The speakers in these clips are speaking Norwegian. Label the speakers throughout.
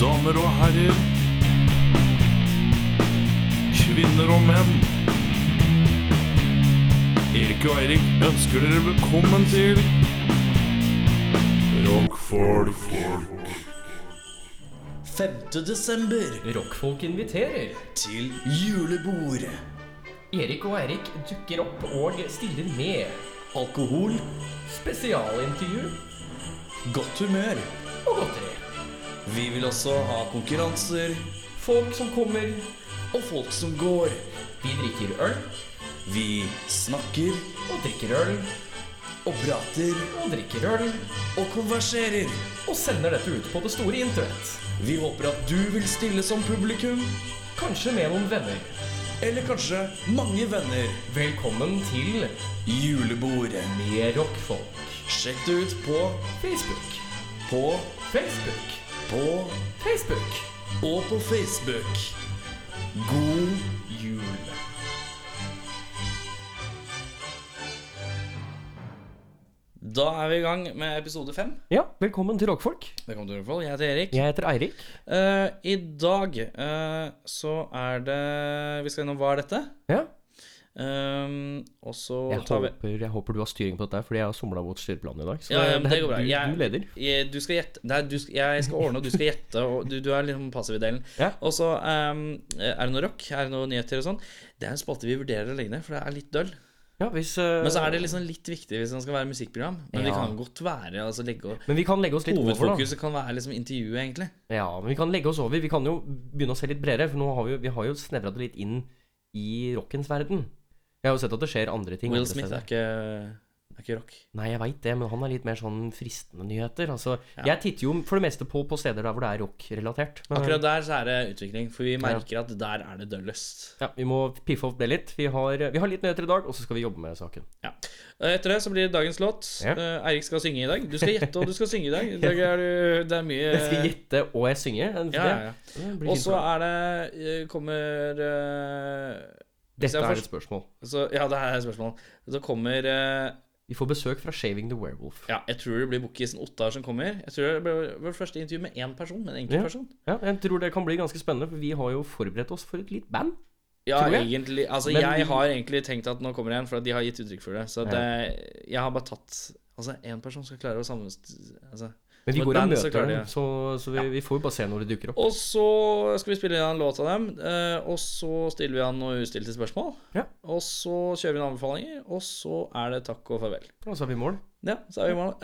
Speaker 1: damer og herrer. Kvinner og menn. Erik og Eirik ønsker dere velkommen til Rockfolk.
Speaker 2: 5. desember
Speaker 3: Rockfolk inviterer.
Speaker 2: til julebord.
Speaker 3: Erik og Eirik dukker opp og stiller med.
Speaker 2: Alkohol,
Speaker 3: Spesialintervju
Speaker 2: godt humør.
Speaker 3: og godteri.
Speaker 2: Vi vil også ha konkurranser
Speaker 3: Folk som kommer.
Speaker 2: og folk som går.
Speaker 3: Vi drikker øl
Speaker 2: Vi snakker
Speaker 3: og drikker øl
Speaker 2: og prater
Speaker 3: og drikker øl
Speaker 2: og konverserer.
Speaker 3: og sender dette ut på det store internett.
Speaker 2: Vi håper at du vil stille som publikum,
Speaker 3: Kanskje med noen venner.
Speaker 2: eller kanskje mange venner.
Speaker 3: Velkommen til
Speaker 2: Julebord.
Speaker 3: Med rockfolk.
Speaker 2: Sjekk det ut på,
Speaker 3: Facebook,
Speaker 2: på,
Speaker 3: Facebook,
Speaker 2: på
Speaker 3: Facebook.
Speaker 2: og på Facebook. God
Speaker 3: Jul.
Speaker 2: Da er vi i gang med episode fem.
Speaker 3: Ja, velkommen til rockfolk.
Speaker 2: Velkommen til Rockfold. Jeg heter Erik.
Speaker 3: Jeg heter Eirik.
Speaker 2: Eh, I dag eh, så er det Eh, Vi skal gjennom hva er dette?
Speaker 3: Ja.
Speaker 2: Ehm, og så
Speaker 3: Jeg
Speaker 2: tar vi
Speaker 3: håper, jeg håper du har styring på dette, her, fordi jeg har somla mot styreplanen i dag. Så
Speaker 2: Ja, ja, men det
Speaker 3: er
Speaker 2: går bra.
Speaker 3: Du,
Speaker 2: Jeg-
Speaker 3: du leder.
Speaker 2: jeg, Du skal gjette Nei, du, skal- jeg skal ordne, og du skal gjette. Og du, du er liksom passiv i delen.
Speaker 3: Ja.
Speaker 2: Og så ehm, er det noe rock, er det noen nyheter og sånn. Det er en spalte vi vurderer å legge ned, for det er litt døll.
Speaker 3: Ja, hvis, eh,
Speaker 2: Men så er det liksom litt viktig hvis det skal være musikkprogram. Men vi
Speaker 3: Ja.
Speaker 2: kan godt være altså legge og-
Speaker 3: men vi kan legge oss litt over, da.
Speaker 2: Hovedfokuset kan være liksom intervjuet, egentlig.
Speaker 3: Ja, men vi kan legge oss over. Vi kan jo begynne å se litt bredere, for nå har vi, jo- vi har jo snevra det litt inn i rockens verden. Jeg har jo sett at det skjer andre ting.
Speaker 2: Will
Speaker 3: andre
Speaker 2: Smith er
Speaker 3: steder.
Speaker 2: ikke, er ikke rock.
Speaker 3: Nei, jeg veit det, men han er litt mer sånn fristende nyheter. Altså,
Speaker 2: Ja.
Speaker 3: Jeg titter jo for det meste på, på steder der hvor det er rock-relatert. men-
Speaker 2: Akkurat der så er det utvikling, for vi merker at der er det døllest.
Speaker 3: Ja, Vi må piffe opp det litt. Vi har, vi har litt nyheter i dag, og så skal vi jobbe med saken.
Speaker 2: Ja. Eh, Etter det så blir det dagens låt.
Speaker 3: Ja.
Speaker 2: Eh, Eirik skal synge i dag. Du skal gjette, og du skal synge i dag. I dag er du, det er mye
Speaker 3: Jeg skal gjette og jeg synge. en-
Speaker 2: Eh. ja, ja, ja.
Speaker 3: det- det blir
Speaker 2: Og
Speaker 3: fint
Speaker 2: så
Speaker 3: for deg.
Speaker 2: er det eh, Kommer eh, hvis
Speaker 3: Dette
Speaker 2: jeg
Speaker 3: er
Speaker 2: får-
Speaker 3: et spørsmål.
Speaker 2: så, Ja, det her er spørsmålet. Så kommer eh,
Speaker 3: Vi får besøk fra Shaving the Werewolf.
Speaker 2: Ja, jeg tror det blir Bukkisen Ottar som kommer. Jeg tror det blir vårt første intervju med én person. Med en enkelt
Speaker 3: Ja.
Speaker 2: person.
Speaker 3: Ja, jeg tror det kan bli ganske spennende, for vi har jo forberedt oss for et litt band.
Speaker 2: Ja,
Speaker 3: Tror jeg.
Speaker 2: egentlig Altså,
Speaker 3: Men vi-
Speaker 2: jeg har egentlig tenkt at nå kommer det en, for at de har gitt uttrykk for det. Så det, jeg har bare tatt Altså, én person skal klare å sammen... Altså,
Speaker 3: Men vi
Speaker 2: som et
Speaker 3: går og
Speaker 2: band så
Speaker 3: møter
Speaker 2: klarer de
Speaker 3: dem,
Speaker 2: det.
Speaker 3: så, så vi, vi får jo bare se når det dukker opp.
Speaker 2: Og så skal vi spille inn en låt av dem, eh, og så stiller vi han noen ustilte spørsmål.
Speaker 3: Ja.
Speaker 2: Og så kjører vi noen anbefalinger, og så er det takk og farvel.
Speaker 3: Og så er vi i mål.
Speaker 2: Ja, så er vi i morgen.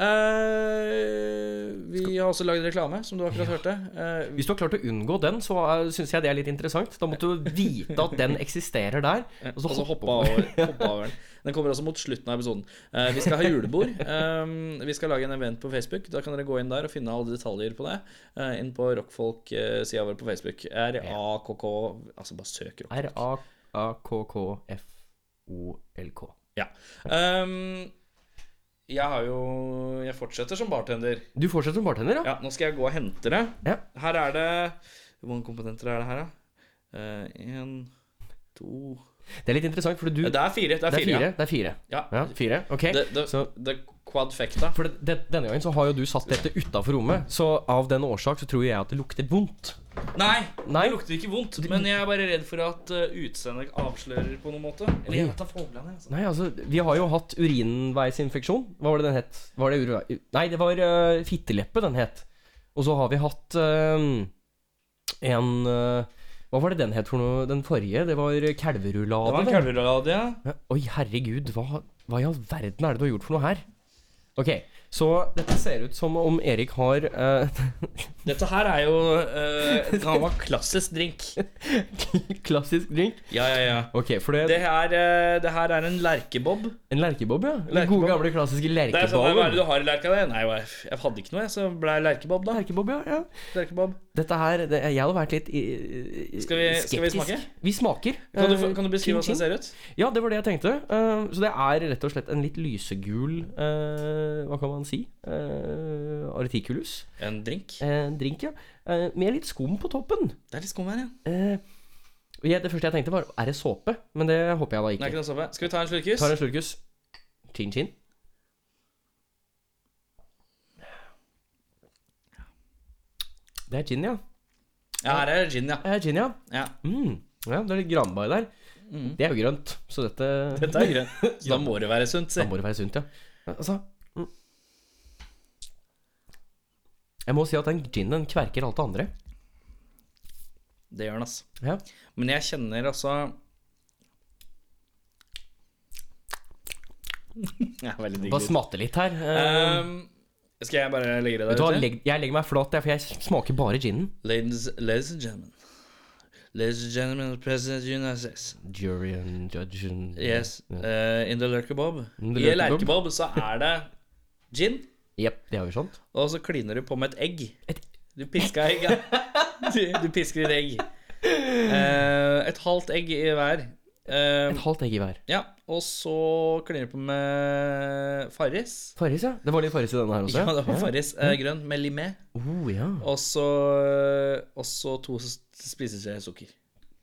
Speaker 2: Eh, vi har også lagd reklame, som du akkurat hørte. Eh,
Speaker 3: Hvis du har klart å unngå den, så syns jeg det er litt interessant. Da måtte du vite at den eksisterer der.
Speaker 2: og så altså hoppa over, hoppa over den. Den kommer også mot slutten av episoden. Eh, vi skal ha julebord. Eh, vi skal lage en event på Facebook. Da kan dere gå inn der og finne alle detaljer på det. Eh, inn på rockfolk-sida vår på Facebook. R-A-K-K Altså, bare søk rock.
Speaker 3: R-A-K-K-F-O-L-K.
Speaker 2: Ja. Ehm, jeg har jo Jeg fortsetter som bartender.
Speaker 3: Du fortsetter som bartender, ja?
Speaker 2: Ja, nå skal jeg gå og hente det.
Speaker 3: Ja.
Speaker 2: Her er det Hvor mange komponenter er det her, da? Én, to Eh,
Speaker 3: Det er litt interessant, for du
Speaker 2: Det er fire. Det er
Speaker 3: Det er
Speaker 2: fire.
Speaker 3: fire.
Speaker 2: ja.
Speaker 3: Det er fire.
Speaker 2: Ja.
Speaker 3: Ja, fire. Ok.
Speaker 2: Det, det,
Speaker 3: Så
Speaker 2: det quadfecta.
Speaker 3: For det, det, denne gangen så har jo du satt dette utafor rommet, så av den årsak så tror jeg at det lukter vondt.
Speaker 2: Nei,
Speaker 3: Nei.
Speaker 2: det lukter ikke vondt. Men jeg er bare redd for at uh, utseendet avslører på noen måte. Eller jeg tar foglene, jeg. Altså.
Speaker 3: Nei, altså, vi har jo hatt urinveisinfeksjon. Hva var det den het? Var det urvei... Nei, det var eh, fitteleppe den het. Og så har vi hatt eh, en eh, Hva var det den het for noe? Den forrige? Det var
Speaker 2: Det
Speaker 3: kalverulade.
Speaker 2: var en
Speaker 3: vel?
Speaker 2: kalverad, ja.
Speaker 3: Ja, Oi, herregud, hva, hva i all verden er det du har gjort for noe her? Ok, så dette ser ut som om Erik har eh,
Speaker 2: Dette her er jo uh, Det kan være klassisk drink.
Speaker 3: klassisk drink.
Speaker 2: Ja, ja, ja.
Speaker 3: Ok, for det,
Speaker 2: Det her, eh, det her er en lerkebob.
Speaker 3: En lerkebob, ja. Den
Speaker 2: Lerkebob.
Speaker 3: gode gamle klassiske
Speaker 2: Det er sånn, Hva er
Speaker 3: lerkeboben.
Speaker 2: det du har i lerka? Det? Nei, hva- jeg hadde ikke noe, jeg, så ble jeg lerkebob, da.
Speaker 3: Lerkebob, ja, ja.
Speaker 2: Lerkebob.
Speaker 3: Dette her det, Jeg hadde vært litt i- i-
Speaker 2: Skal vi- skal vi
Speaker 3: skeptisk.
Speaker 2: smake?
Speaker 3: Vi smaker.
Speaker 2: Kan du,
Speaker 3: Eh,
Speaker 2: kan du beskrive
Speaker 3: ting,
Speaker 2: hvordan det ser ut?
Speaker 3: ting. Ja, det var det jeg tenkte. Eh, så det er rett og slett en litt lysegul eh, Hva kan man si? Uh, articulus.
Speaker 2: En drink.
Speaker 3: Eh, drink, ja. Eh, med litt skum på toppen.
Speaker 2: Det er litt skum her, ja.
Speaker 3: Eh, og jeg, det første jeg tenkte, var er det såpe? Men det håper jeg
Speaker 2: Det
Speaker 3: da
Speaker 2: er
Speaker 3: ikke.
Speaker 2: ikke noe såpe. Skal vi ta en slurkus?
Speaker 3: Tar en slurkus. Chin-chin. Det er gin, ja.
Speaker 2: Ja, her er gin, ja.
Speaker 3: Eh, gin, ja.
Speaker 2: ja.
Speaker 3: Mm. ja. Det er litt granbar der. Det er jo grønt, så dette,
Speaker 2: Dette Mm. er grønt. Så da må det være sunt, si.
Speaker 3: Da må det være sunt, ja. Ja, Altså mm. Jeg må si at den ginen kverker alt det andre.
Speaker 2: Det gjør den, altså.
Speaker 3: Ja.
Speaker 2: Men jeg kjenner altså Jeg er veldig digg.
Speaker 3: Bare smatte litt her. Eh,
Speaker 2: Um, skal jeg bare legge det
Speaker 3: vet du hva,
Speaker 2: der ute?
Speaker 3: legg, jeg legger meg flat, jeg, for jeg smaker bare ginen.
Speaker 2: Ladies, ladies and gentlemen. Ladies and gentlemen, the President of the United States.
Speaker 3: Jury and judge and
Speaker 2: Yes, uh, in the lerkebob.
Speaker 3: In the
Speaker 2: I
Speaker 3: lurkebob.
Speaker 2: lerkebob så er det gin,
Speaker 3: Jepp, det er jo sånt.
Speaker 2: og så kliner du på med et egg. Du pisker egg, ja. Du, du pisker et egg. Eh, et halvt egg i hver. Eh,
Speaker 3: Et halvt egg i hver.
Speaker 2: ja, og så kliner du på med farris.
Speaker 3: Farris, ja. Det var litt farris i denne her også.
Speaker 2: Ja, det var farris. eh, grønn med limé.
Speaker 3: Oh, ja.
Speaker 2: Og så, og så to s- spiseskjeer sukker.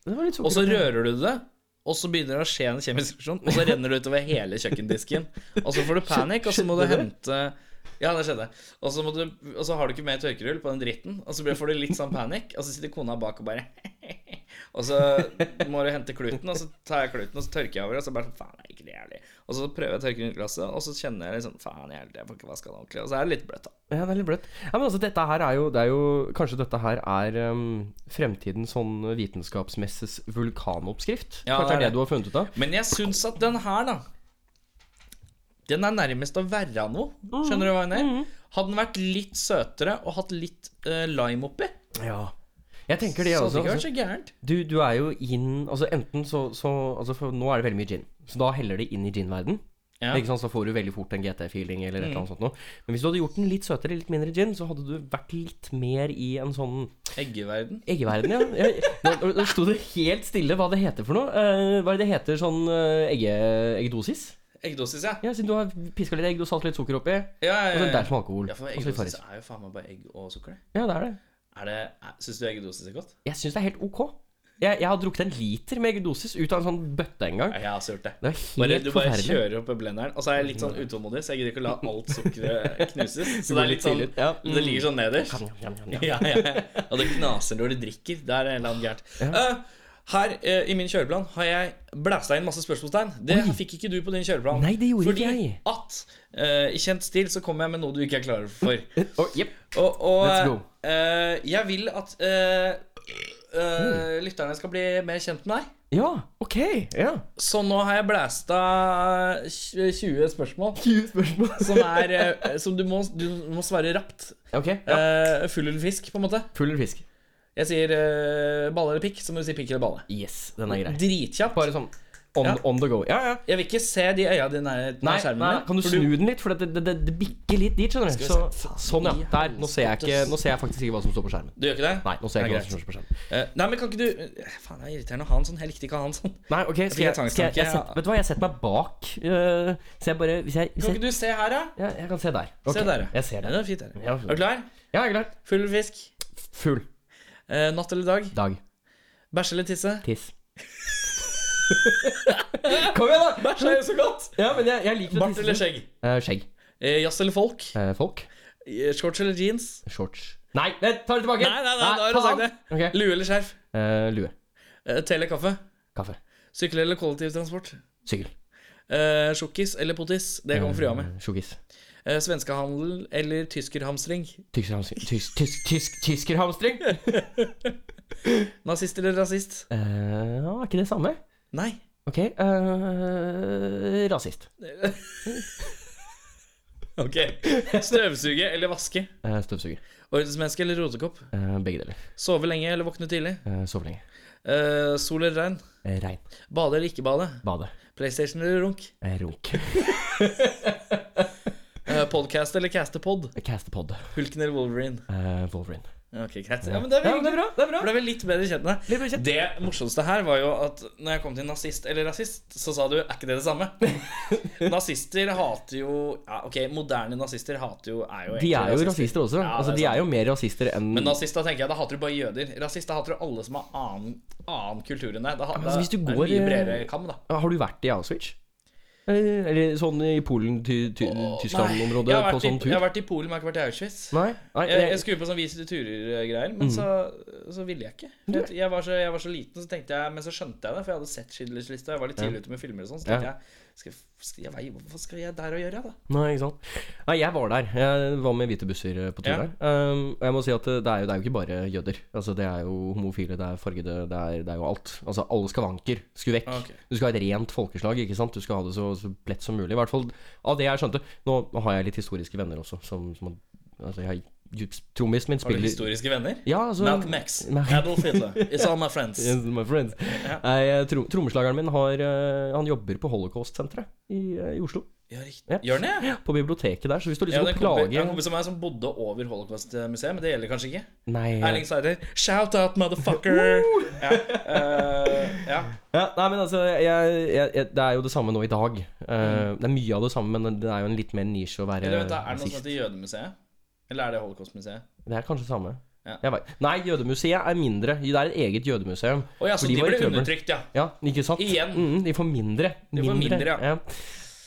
Speaker 3: Det var litt
Speaker 2: Og så
Speaker 3: sukker.
Speaker 2: rører du det, og så begynner det å skje en kjemisk reaksjon, og så renner det utover hele kjøkkendisken. Og så får du panikk, og så må du
Speaker 3: Skjedde det?
Speaker 2: hente Ja, det skjedde. Og så, må du, og så har du ikke mer tørkerull på den dritten, og så blir- får du litt sånn panikk, og så sitter kona bak og bare Og så må du hente kluten, og så tar jeg kluten, og så tørker jeg over, og så bare sånn Faen, det er ikke det jævlig. Og så prøver jeg å tørke rundt glasset, og så kjenner jeg litt sånn Faen, jeg, jeg får ikke vaska det ordentlig. Og så er det litt bløtt, da.
Speaker 3: Ja, det er litt bløtt. Ja, men altså, dette her er jo, det er jo Kanskje dette her er um, fremtidens sånn vitenskapsmesses vulkanoppskrift?
Speaker 2: Ja,
Speaker 3: kanskje det er
Speaker 2: det er det.
Speaker 3: det du har funnet ut av?
Speaker 2: Men jeg syns at den her, da Den er nærmest å være noe. Skjønner du hva jeg mener? Hadde den vært litt søtere og hatt litt eh, lime oppi,
Speaker 3: Ja. Jeg tenker det,
Speaker 2: så hadde
Speaker 3: altså.
Speaker 2: det ikke vært
Speaker 3: altså
Speaker 2: så gærent.
Speaker 3: du, du er jo inn Altså enten så, så altså, For nå er det veldig mye gin. Så da heller det inn i ginverden.
Speaker 2: Ja. Mm.
Speaker 3: Ikke sant, Så får du veldig fort en GT-feeling eller et eller annet sånt noe. Men hvis du hadde gjort den litt søtere, litt mindre gin, så hadde du vært litt mer i en sånn
Speaker 2: Eggeverden.
Speaker 3: Eggeverden, ja. Jeg, nå, nå- nå sto det helt stille hva det heter for noe. Eh, hva er det det heter sånn eh, egge, eggedosis?
Speaker 2: Eggdosis, ja.
Speaker 3: Ja, siden du har piska litt egg, du har satt litt sukker oppi.
Speaker 2: Ja,
Speaker 3: Og
Speaker 2: ja,
Speaker 3: så
Speaker 2: ja,
Speaker 3: en
Speaker 2: ja.
Speaker 3: dash med alkohol.
Speaker 2: ja for
Speaker 3: og så litt
Speaker 2: eggedosis
Speaker 3: farris.
Speaker 2: er jo faen meg bare egg og sukker, det.
Speaker 3: Ja, det er det.
Speaker 2: Er det er- Syns du eggedosis er godt?
Speaker 3: Jeg syns det er helt ok. Jeg, jeg har drukket en liter med eggedosis ut av en sånn bøtte en gang.
Speaker 2: Nei, Jeg har også gjort det.
Speaker 3: Det er
Speaker 2: Bare,
Speaker 3: helt
Speaker 2: du bare
Speaker 3: forferdelig.
Speaker 2: kjører opp i blenderen, og så er jeg litt sånn utålmodig, så jeg gidder ikke å la alt sukkeret knuses. Så det
Speaker 3: går
Speaker 2: er
Speaker 3: litt
Speaker 2: litt sånn
Speaker 3: tidlig ut. Ja.
Speaker 2: Det ligger sånn nederst. ja, ja, ja. Og det knaser når du drikker. Det er et eller annet gærent. Eh, her eh, i min kjøreplan har jeg blæsta inn masse spørsmålstegn. Det fikk ikke du på din kjøreplan.
Speaker 3: Nei, det gjorde
Speaker 2: Fordi
Speaker 3: ikke jeg.
Speaker 2: at eh, i kjent stil så kommer jeg med noe du ikke er klar for.
Speaker 3: Å, jepp.
Speaker 2: Og, og
Speaker 3: Let's go.
Speaker 2: eh, jeg vil at eh, eh,
Speaker 3: Hmm.
Speaker 2: lytterne skal bli mer kjent med deg.
Speaker 3: Ja, ok. Ja.
Speaker 2: Så nå har jeg blæsta 20 spørsmål
Speaker 3: 20 spørsmål.
Speaker 2: som, er, eh, som du, må, du må svare rapt.
Speaker 3: Ok. Ja.
Speaker 2: Eh, full eller fisk, på en måte.
Speaker 3: Full eller fisk?
Speaker 2: Jeg sier eh, balle eller pikk, så må du si pikk eller balle.
Speaker 3: Yes, den er grei.
Speaker 2: Dritkjapt.
Speaker 3: Bare sånn on,
Speaker 2: Ja.
Speaker 3: on the go. Ja, ja.
Speaker 2: Jeg vil ikke se de øya dine i nærheten
Speaker 3: Nei,
Speaker 2: av skjermen.
Speaker 3: nei,
Speaker 2: min,
Speaker 3: kan du
Speaker 2: for
Speaker 3: snu den litt? For det, det, det, det bikker litt dit, skjønner du.
Speaker 2: vi
Speaker 3: Så,
Speaker 2: se. Faen,
Speaker 3: sånn, ja.
Speaker 2: i
Speaker 3: Der. Nå ser, jeg ikke,
Speaker 2: helvete.
Speaker 3: nå ser jeg faktisk ikke hva som står på skjermen.
Speaker 2: Du gjør ikke det?
Speaker 3: Nei, nå ser jeg
Speaker 2: Det er
Speaker 3: ikke hva som står på skjermen.
Speaker 2: Eh, nei, men kan ikke du eh, Faen, det er irriterende å ha en sånn. Jeg likte ikke å ha en sånn.
Speaker 3: Nei, ok, skal jeg,
Speaker 2: fikk en
Speaker 3: skal jeg,
Speaker 2: tvangstanke,
Speaker 3: jeg
Speaker 2: ja.
Speaker 3: setter, Vet du hva, jeg setter meg bak øh, Så jeg bare hvis jeg, hvis
Speaker 2: Kan
Speaker 3: jeg,
Speaker 2: ikke du se her, da?
Speaker 3: ja, jeg kan se der Ok,
Speaker 2: Se der, ja.
Speaker 3: Jeg ser
Speaker 2: Ja,
Speaker 3: det
Speaker 2: det er fint. her
Speaker 3: Ja.
Speaker 2: Er du klar?
Speaker 3: Ja, jeg er klart
Speaker 2: Full fisk.
Speaker 3: Full
Speaker 2: Eh, natt eller dag?
Speaker 3: dag
Speaker 2: Bæsje eller tisse?
Speaker 3: Tiss Kom igjen da
Speaker 2: Bæsj er jo så godt!
Speaker 3: Ja, men jeg, jeg liker å
Speaker 2: Bart
Speaker 3: tisse
Speaker 2: eller skjegg?
Speaker 3: Eh, Skjegg
Speaker 2: Eh, jazz eller folk?
Speaker 3: Eh, Folk
Speaker 2: Eh, Shorts eller jeans?
Speaker 3: Shorts Nei, vent, ta det tilbake
Speaker 2: Nei, nei, nei, da har du
Speaker 3: faen.
Speaker 2: sagt det.
Speaker 3: Ok
Speaker 2: Lue eller skjerf?
Speaker 3: Eh, Lue
Speaker 2: Eh, te eller kaffe?
Speaker 3: Kaffe
Speaker 2: Sykle eller kollektivtransport?
Speaker 3: Sykkel
Speaker 2: Eh, Sjokkis eller potis? Det kommer frua med.
Speaker 3: Eh, Sjokkis
Speaker 2: Eh, Svenskehandel eller tyskerhamstring?
Speaker 3: Tyskerhamstring tysk, tysk, tysk, Tyskerhamstring
Speaker 2: Nazist eller rasist?
Speaker 3: Eh, ja, Er ikke det samme?
Speaker 2: Nei.
Speaker 3: Ok eh, Rasist
Speaker 2: Ok. Støvsuge eller vaske?
Speaker 3: Eh, Støvsuger
Speaker 2: Ordensmenneske eller rotekopp?
Speaker 3: Eh, Begge deler
Speaker 2: Sove lenge eller våkne tidlig?
Speaker 3: Eh, Sov lenge
Speaker 2: Eh, sol eller regn?
Speaker 3: Eh, Regn
Speaker 2: Bade eller ikke bade?
Speaker 3: Bade.
Speaker 2: PlayStation eller runk?
Speaker 3: Eh, Runk.
Speaker 2: Uh, podcast eller castepod?
Speaker 3: Castepod.
Speaker 2: Hulken eller Wolverine?
Speaker 3: Eh, Wolverine.
Speaker 2: Ok, greit. Ja, men det er
Speaker 3: Ja, men det er
Speaker 2: bra.
Speaker 3: bra. Det er bra.
Speaker 2: Ble vi litt bedre kjent med deg. Det morsomste her var jo at når jeg kom til nazist eller rasist, så sa du er ikke det det samme? Nazister hater jo ja, Ok, moderne nazister hater jo er jo
Speaker 3: De er jo
Speaker 2: egentlig
Speaker 3: rasister også.
Speaker 2: Ja,
Speaker 3: altså,
Speaker 2: det er
Speaker 3: de
Speaker 2: sant.
Speaker 3: er jo mer rasister enn
Speaker 2: Men altså- nazist, da tenker jeg, da hater du bare jøder. Rasist, da hater du alle som har annen, annen kultur enn deg. Da, ha-
Speaker 3: men altså, hvis du
Speaker 2: da er det
Speaker 3: går,
Speaker 2: mye
Speaker 3: eh,
Speaker 2: bredere kam, da.
Speaker 3: Har du vært i Auschwitz? Eller, eller sånn i Polen, ty, ty,
Speaker 2: Nei,
Speaker 3: Tyskland-området,
Speaker 2: jeg har
Speaker 3: på
Speaker 2: vært i-
Speaker 3: sånn tur?
Speaker 2: Jeg har vært i Polen, men jeg har ikke vært i Auschwitz.
Speaker 3: Nei? nei
Speaker 2: Jeg, jeg
Speaker 3: jeg, Mm.
Speaker 2: skulle på sånn Vis til turer-greier, men så, så ville jeg ikke. Jeg, jeg, var så, jeg var så liten, så tenkte jeg, men så skjønte jeg det, for jeg hadde sett Schindlers liste. og Jeg var litt tidlig ute med filmer og sånn, så tenkte
Speaker 3: Ja.
Speaker 2: jeg skal, skal jeg, vei- Hva skal jeg der og gjøre, da?
Speaker 3: nei, ikke sant? Nei, jeg var der. Jeg var med hvite busser eh, på tur
Speaker 2: Ja.
Speaker 3: der. Um, og jeg må si at det det er, jo, det er jo ikke bare jøder. Altså, det er jo homofile, det er fargede, det er, det er jo alt. Altså, alle skavanker skulle vekk.
Speaker 2: Ok.
Speaker 3: Du skal ha et rent folkeslag, ikke sant? Du skal ha det så, så blett som mulig. I hvert fall av det jeg skjønte. Nå nå har jeg litt historiske venner også, som, som altså, jeg har Trommisen min
Speaker 2: Har du
Speaker 3: spiller
Speaker 2: historiske venner?
Speaker 3: Ja, altså
Speaker 2: Malcolm X,
Speaker 3: Nei.
Speaker 2: Adolf Hitler, It's All My Friends.
Speaker 3: Yes, my friends.
Speaker 2: Ja.
Speaker 3: Nei, eh, trom trommeslageren min har, eh, han jobber på Holocaust-senteret i, eh, i Oslo.
Speaker 2: Ja, riktig.
Speaker 3: Ja.
Speaker 2: Gjør den det?
Speaker 3: På biblioteket der. Så hvis du har
Speaker 2: Ja,
Speaker 3: lyst til å
Speaker 2: det er en kompi- det er
Speaker 3: plage
Speaker 2: en kompis av meg som bodde over Holocaust-museet, men det gjelder kanskje ikke.
Speaker 3: Nei,
Speaker 2: Erling Seider, shout out, motherfucker! Ja, eh, ja.
Speaker 3: ja, nei men altså jeg, jeg, jeg, Det er jo det samme nå i dag. Eh, Det er mye av det samme, men det er jo en litt mer nisje å være
Speaker 2: Mm. Eller vent da, Er det noe som
Speaker 3: rasist.
Speaker 2: heter Jødemuseet? Eller er det Holocaust-museet?
Speaker 3: Det er kanskje det samme.
Speaker 2: Ja.
Speaker 3: Jeg vet. Nei, jødemuseet er mindre. Det er et eget jødemuseum.
Speaker 2: Å ja,
Speaker 3: For
Speaker 2: så de
Speaker 3: de var i
Speaker 2: ble
Speaker 3: trøbbel.
Speaker 2: undertrykt, ja.
Speaker 3: Ja, ikke sant?
Speaker 2: Igjen.
Speaker 3: Mm, de får mindre.
Speaker 2: De får mindre, ja.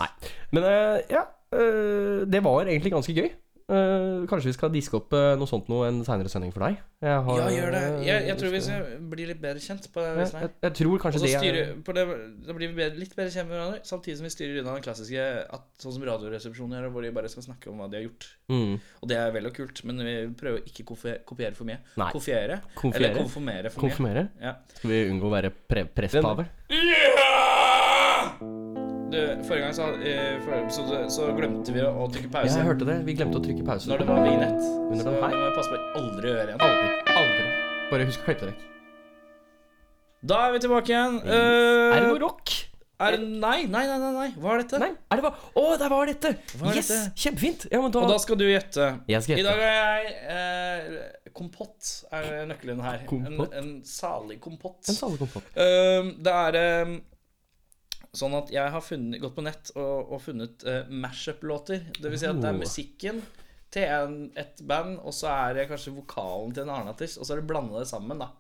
Speaker 3: Nei. Men eh, ja, eh, det var egentlig ganske gøy. Eh, kanskje vi skal diske opp eh, noe sånt noe en seinere sending for deg? Jeg har-
Speaker 2: Ja, gjør det. Jeg, jeg tror vi skal bli litt bedre kjent på det
Speaker 3: Ja,
Speaker 2: visen
Speaker 3: jeg,
Speaker 2: her.
Speaker 3: jeg tror
Speaker 2: Og
Speaker 3: kanskje
Speaker 2: så
Speaker 3: det er
Speaker 2: styrer, på det, da blir vi bedre, litt bedre kjent med hverandre, samtidig som vi styrer unna den klassiske at, sånn som Radioresepsjonen gjør, hvor de bare skal snakke om hva de har gjort.
Speaker 3: mm,
Speaker 2: Og det er vel og kult, men vi prøver å ikke kofe- kopiere for mye.
Speaker 3: Nei.
Speaker 2: Kofiere.
Speaker 3: Konfiere.
Speaker 2: Eller konfirmere for mye.
Speaker 3: Konfirmere?
Speaker 2: Ja.
Speaker 3: Skal vi unngå å være pre presspave?
Speaker 2: Du, forrige gang så, eh, forrige episode, så glemte vi å å trykke
Speaker 3: Ja,
Speaker 2: pause
Speaker 3: jeg hørte det. Vi glemte å trykke pause.
Speaker 2: når det var vignett.
Speaker 3: Under
Speaker 2: Så
Speaker 3: den her?
Speaker 2: må jeg passe på å aldri å gjøre igjen.
Speaker 3: Aldri. Aldri. Bare husk å klippe det vekk.
Speaker 2: Da er vi tilbake igjen.
Speaker 3: Er det
Speaker 2: Eh,
Speaker 3: noe rock?
Speaker 2: er det nei, nei, nei, nei, nei. Hva er dette?
Speaker 3: Nei? Er det bare Å, der var dette!
Speaker 2: Hva er
Speaker 3: yes!
Speaker 2: dette?
Speaker 3: Kjempefint! Ja, men da,
Speaker 2: Og da skal du gjette.
Speaker 3: Jeg skal
Speaker 2: I
Speaker 3: gjette.
Speaker 2: dag er jeg eh, Kompott er nøkkelen her.
Speaker 3: Kompott?
Speaker 2: En, en salig kompott.
Speaker 3: En salekompott.
Speaker 2: Ehm, det er ehm, sånn at jeg har funnet, gått på nett og, og funnet eh, mashup-låter. Det vil si at det er
Speaker 3: Oh.
Speaker 2: musikken til en, et band, og så er det kanskje vokalen til en annen artist, og så er det blanda det sammen, da.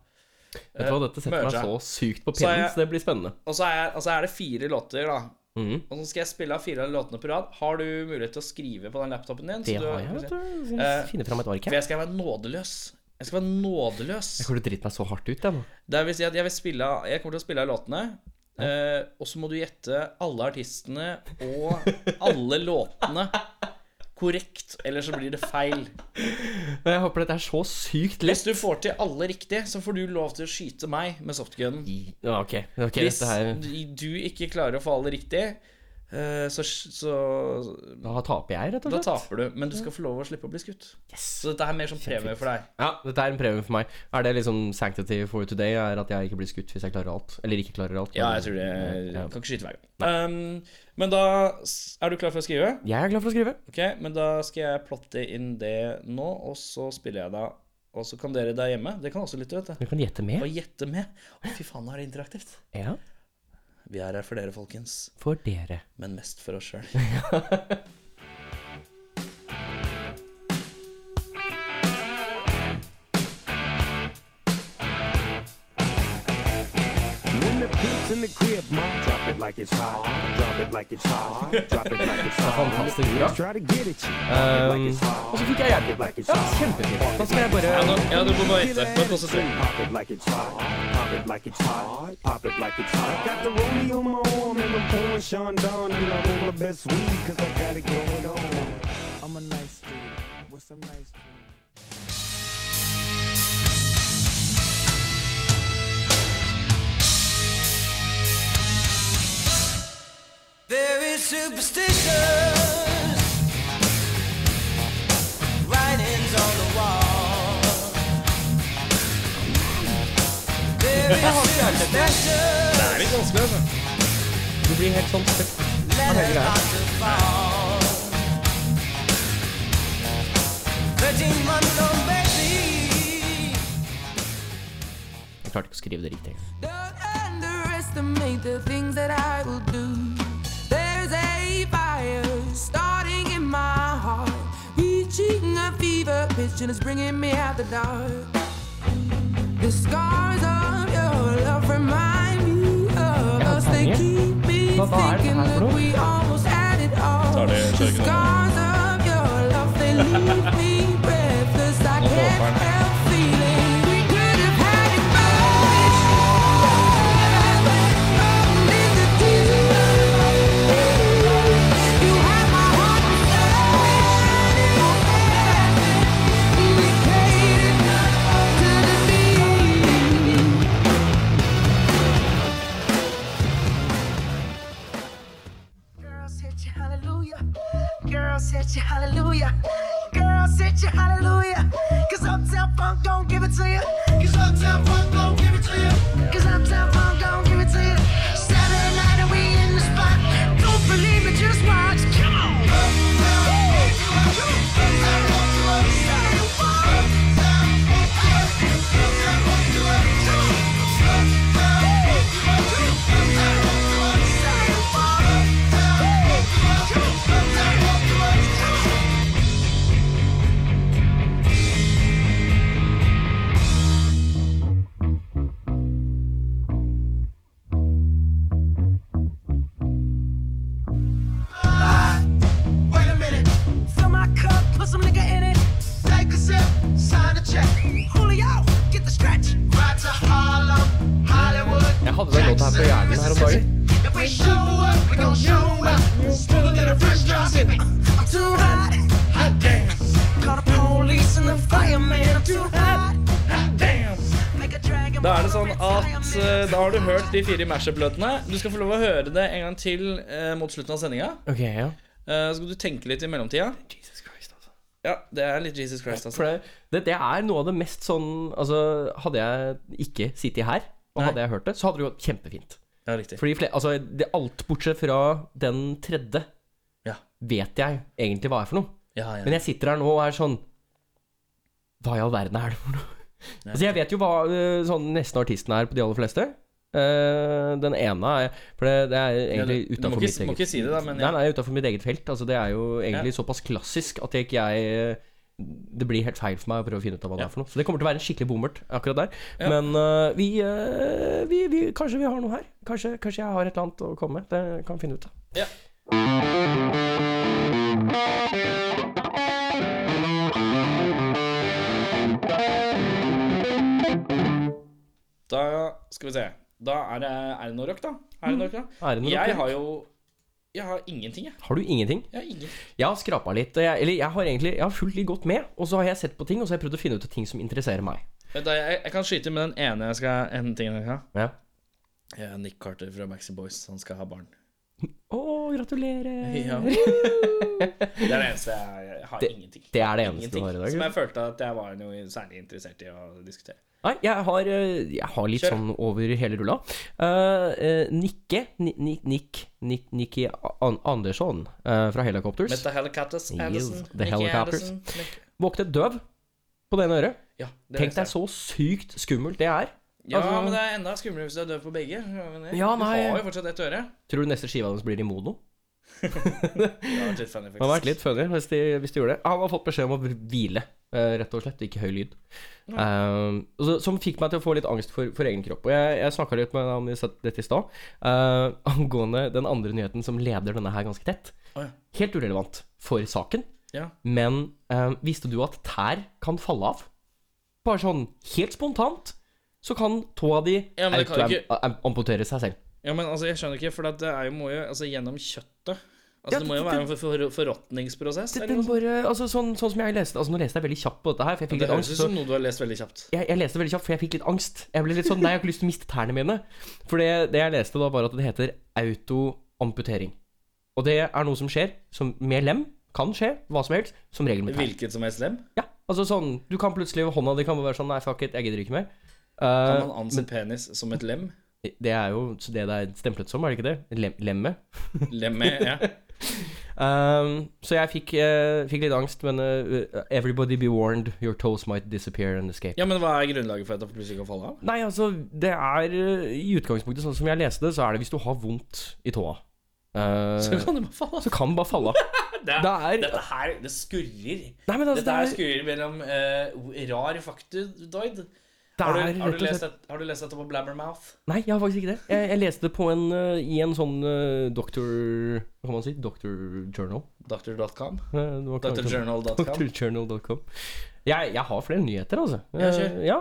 Speaker 3: Vet du hva, dette setter
Speaker 2: Merge.
Speaker 3: meg så sykt på
Speaker 2: Så er
Speaker 3: pinnen,
Speaker 2: jeg-
Speaker 3: så det blir spennende.
Speaker 2: Og så er, jeg- og så er det fire låter, da.
Speaker 3: Mhm.
Speaker 2: Og så skal jeg spille av fire av låtene på rad. Har du mulighet til å skrive på den laptopen din?
Speaker 3: Det
Speaker 2: Så du-
Speaker 3: har jeg, vet du. Så
Speaker 2: Eh,
Speaker 3: Finne fram et ark
Speaker 2: For
Speaker 3: her.
Speaker 2: jeg skal være nådeløs. Jeg skal være nådeløs.
Speaker 3: Jeg kommer til å drite meg så hardt ut, jeg nå.
Speaker 2: Det vil si at jeg, vil spille, av- jeg kommer til å spille av låtene. Eh, og så må du gjette alle artistene og alle låtene korrekt, eller så blir det feil.
Speaker 3: Men Jeg håper dette er så sykt
Speaker 2: Hvis
Speaker 3: lett.
Speaker 2: du får til alle riktig, så får du lov til å skyte meg med softgunen.
Speaker 3: Ja, ok. ok,
Speaker 2: Hvis
Speaker 3: dette her
Speaker 2: du ikke klarer å få alle riktig, eh, så, så
Speaker 3: Da taper jeg, rett og
Speaker 2: Da
Speaker 3: slett.
Speaker 2: taper du. Men du skal få lov å slippe å bli skutt. Så dette er mer som premie for deg.
Speaker 3: Ja, dette er en premie for meg. Er det liksom sanctity for today? Er at jeg ikke blir skutt hvis jeg klarer alt? Eller ikke klarer alt?
Speaker 2: Ja,
Speaker 3: men-
Speaker 2: jeg tror det
Speaker 3: Ja.
Speaker 2: Kan ikke skyte hver gang. Um, men da s- Er du klar for å skrive?
Speaker 3: Jeg er klar for å skrive.
Speaker 2: Ok, men da skal jeg plotte inn det nå, og så spiller jeg da. Og så kan dere der hjemme Det kan også lytte, vet du.
Speaker 3: Du kan gjette med.
Speaker 2: Og gjette med. Å, fy faen, nå er det interaktivt.
Speaker 3: Ja,
Speaker 2: Vi er her for dere, folkens.
Speaker 3: for dere.
Speaker 2: Men mest for oss sjøl.
Speaker 4: When the pimp's in the crib, mom, drop it like it's hot. Drop it like it's hot. Drop it like it's hot.
Speaker 3: Fantastisk bra.
Speaker 4: Try to get it.
Speaker 3: Um, og så fikk jeg hjelp. Ja, kjempefint. Da skal jeg bare
Speaker 2: Ja, nå, ja, du må bare gjette. Bare konsentrere.
Speaker 4: Pop it like it's hot. Pop it like it's hot. Pop it like it's hot. Got the rollie on my arm and I'm pouring Sean Don and I roll my best weed 'cause I got it going on. I'm a nice dude with some nice dude.
Speaker 5: Very superstitious writings on the wall. Very superstitious
Speaker 2: Det er litt vanskelig, altså.
Speaker 3: Du blir helt sånn støkk.
Speaker 5: letters not to fall. Thirteen months on Betsy.
Speaker 3: Jeg klarte ikke å skrive det riktig.
Speaker 6: Don't underestimate the things that I will do. There's a fire starting in my heart, reaching a fever pitch and it's bringing me out the dark. The scars of your love remind me of us. They keep me
Speaker 3: Hva, hva er det her for noe?
Speaker 6: we almost had it all.
Speaker 1: Tar det
Speaker 6: The
Speaker 1: sørgen.
Speaker 6: scars of your love, they leave me breathless. I
Speaker 2: Nå
Speaker 6: can't
Speaker 2: håper han.
Speaker 6: help feeling we could have had it both. Only the tears. You had my heart and soul. We played it to the beat.
Speaker 7: Girls hit you hallelujah. Girls hit you hallelujah. Girls hit you hallelujah. Cause Uptown Funk don't give it to you. Cause Uptown Funk don't give it to you. Cause Uptown Funk don't give it to you. Saturday night and we in the spot. Don't believe me, just watch. Come on.
Speaker 8: Wait a minute,
Speaker 7: Fill my cup, put some nigga in it.
Speaker 8: take a sip, sign a check.
Speaker 7: Julio, get the stretch.
Speaker 8: Ride to Harlem, Hollywood.
Speaker 3: Jeg hadde den låta her på hjernen her om dagen.
Speaker 8: If we show up, we gon' show up. Smoother than a fresh drop.
Speaker 7: I'm too hot.
Speaker 8: Hot damn,
Speaker 7: Call the police and the fireman. I'm too hot.
Speaker 8: hot damn.
Speaker 7: Make a dragon.
Speaker 2: Da er det sånn at eh, da har du hørt de fire mashup-låtene. Du skal få lov å høre det en gang til eh, mot slutten av sendinga.
Speaker 3: Ok, ja.
Speaker 2: Eh, så skal du tenke litt i mellomtida.
Speaker 3: Jesus Christ, altså.
Speaker 2: Ja, det er litt Jesus Christ, altså.
Speaker 3: For det, det, det er noe av det mest sånn Altså, hadde jeg ikke sittet her, og
Speaker 2: Nei.
Speaker 3: hadde jeg hørt det, så hadde det gått kjempefint.
Speaker 2: Ja, riktig.
Speaker 3: Fordi fle- altså, det, alt bortsett fra den tredje,
Speaker 2: Ja.
Speaker 3: vet jeg egentlig hva er for noe.
Speaker 2: Ja, ja.
Speaker 3: Men jeg sitter her nå og er sånn Hva i all verden er det for noe? Altså, jeg vet jo hva eh, sånn nesten artisten er på de aller fleste. Eh, den ene er For det, det er
Speaker 2: Ja,
Speaker 3: egentlig
Speaker 2: du- du må
Speaker 3: utenfor
Speaker 2: ikke-
Speaker 3: mitt
Speaker 2: må
Speaker 3: eget
Speaker 2: ikke si det da, men
Speaker 3: Nei,
Speaker 2: ja.
Speaker 3: nei, utenfor mitt eget felt. Altså, det er jo egentlig såpass klassisk at jeg ikke jeg Det blir helt feil for meg å prøve å finne ut av hva det
Speaker 2: Ja.
Speaker 3: er for noe. Så det kommer til å være en skikkelig bommert akkurat der. Men eh, vi, eh, vi, vi Kanskje vi har noe her. Kanskje, kanskje jeg har et eller annet å komme med. Det kan vi finne ut av.
Speaker 2: Ja. Da skal vi se. Da er det Er det noe rock, da? Er det noe rock, da?
Speaker 3: Er det noe Mm. rock?
Speaker 2: Jeg har jo Jeg har ingenting, jeg.
Speaker 3: Har du ingenting?
Speaker 2: Jeg har ingen.
Speaker 3: Jeg har skrapa litt. Jeg, eller jeg har egentlig Jeg har fulgt litt godt med, og så har jeg sett på ting, og så har jeg prøvd å finne ut av ting som interesserer meg.
Speaker 2: Vent da, Jeg, jeg kan skyte med den ene jeg skal, en tingen jeg skal ha.
Speaker 3: Ja.
Speaker 2: Jeg er Nick Carter fra Maxi Boys. Han skal ha barn.
Speaker 3: Å, gratulerer.
Speaker 2: Ja. det er det eneste jeg, jeg har.
Speaker 3: Det-
Speaker 2: ingenting.
Speaker 3: det er det eneste
Speaker 2: Ingenting.
Speaker 3: du har i dag,
Speaker 2: Som
Speaker 3: eller?
Speaker 2: jeg følte at jeg var noe særlig interessert i å diskutere.
Speaker 3: Nei, jeg har, eh, jeg har litt
Speaker 2: Kjør.
Speaker 3: sånn over hele rulla. Eh, eh, Nikke Ni- Ni- Nick Nick Nikki An Andersson eh, fra Helicopters
Speaker 2: Meta Helicopters,
Speaker 3: Yes,
Speaker 2: Anderson,
Speaker 3: the
Speaker 2: Nicky
Speaker 3: Helicopters.
Speaker 2: Anderson, Nick-
Speaker 3: våknet døv på det ene øret.
Speaker 2: Ja, det
Speaker 3: Tenk deg
Speaker 2: leste jeg.
Speaker 3: så sykt skummelt det er.
Speaker 2: Ja,
Speaker 3: altså-
Speaker 2: men det er enda skumlere hvis du er døv på begge. skjønner du?
Speaker 3: Ja, nei.
Speaker 2: Du har jo fortsatt ett øre.
Speaker 3: Tror du neste skiva hans blir i mono?
Speaker 2: Det har vært litt funny,
Speaker 3: Det hadde vært
Speaker 2: faktisk.
Speaker 3: litt funny hvis de, hvis de gjorde det. Han har fått beskjed om å hvile, eh, rett og slett, og ikke høy lyd. Eh, og så- som fikk meg til å få litt angst for, for egen kropp. Og jeg, jeg snakka litt med deg om disse- dette i stad, eh, angående den andre nyheten som leder denne her ganske tett.
Speaker 2: Å, ja.
Speaker 3: Helt urelevant for saken,
Speaker 2: Ja.
Speaker 3: men eh, visste du at tær kan falle av? Bare sånn helt spontant, så kan tåa di
Speaker 2: Ja, men det kan jo ikke-
Speaker 3: autoam- am- amputere seg selv.
Speaker 2: ja, men altså, jeg skjønner ikke, for at det er jo, må jo altså, gjennom kjøttet Altså,
Speaker 3: Ja,
Speaker 2: Det må jo
Speaker 3: det-
Speaker 2: være en for, for, forråtningsprosess.
Speaker 3: Den
Speaker 2: eller noe sånt.
Speaker 3: bare, altså, sånn, sånn som jeg leste Altså Nå leste jeg veldig kjapt på dette her, for jeg fikk
Speaker 2: Det
Speaker 3: litt
Speaker 2: høres
Speaker 3: angst. Så
Speaker 2: ut som noe du har lest veldig kjapt.
Speaker 3: jeg, jeg leste veldig kjapt, for jeg fikk litt angst. Jeg ble litt sånn, nei, jeg har ikke lyst til å miste tærne mine. For det, det jeg leste da, var at det heter autoamputering. Og det er noe som skjer som med lem. Kan skje, hva som helst, som regel med tær.
Speaker 2: Hvilket som helst lem?
Speaker 3: Ja, altså sånn, du kan plutselig hånda di kan bare være sånn, nei, fuck it, jeg gidder ikke mer.
Speaker 2: Kan
Speaker 3: Eh,
Speaker 2: man anse penis som et lem?
Speaker 3: det er jo det det er stemplet som, er det ikke det? Lem, lemme.
Speaker 2: Lem med, ja.
Speaker 3: Um, så jeg fikk, eh, fikk litt angst, men eh, Everybody be warned, your toes might disappear and escape.
Speaker 2: ja, men hva er grunnlaget for at det plutselig kan falle av?
Speaker 3: Nei, altså, det er eh, I utgangspunktet, sånn som jeg leste det, så er det hvis du har vondt i tåa. eh,
Speaker 2: Så kan det bare falle av.
Speaker 3: så kan den bare falle av.
Speaker 2: Det
Speaker 3: Det er
Speaker 2: Dette her, det skurrer.
Speaker 3: Nei, men altså,
Speaker 2: Dette
Speaker 3: det
Speaker 2: her
Speaker 3: er,
Speaker 2: skurrer mellom eh, rar faktoid
Speaker 3: Det
Speaker 2: Har
Speaker 3: er
Speaker 2: du, har
Speaker 3: rett og
Speaker 2: du, lest,
Speaker 3: slett
Speaker 2: et, har du lest dette på Blabbermouth?
Speaker 3: Nei, jeg har faktisk ikke det. Jeg, jeg leste det på en, eh, i en sånn eh, doktor... Hva kan man si? Doktor journal.
Speaker 2: Doctor.com?
Speaker 3: Eh, det var ikke-
Speaker 2: Doctorjournal.com?
Speaker 3: Doctorjournal.com. Jeg, jeg har flere nyheter, altså.
Speaker 2: Ja,
Speaker 3: Eh,
Speaker 2: kjør.
Speaker 3: ja.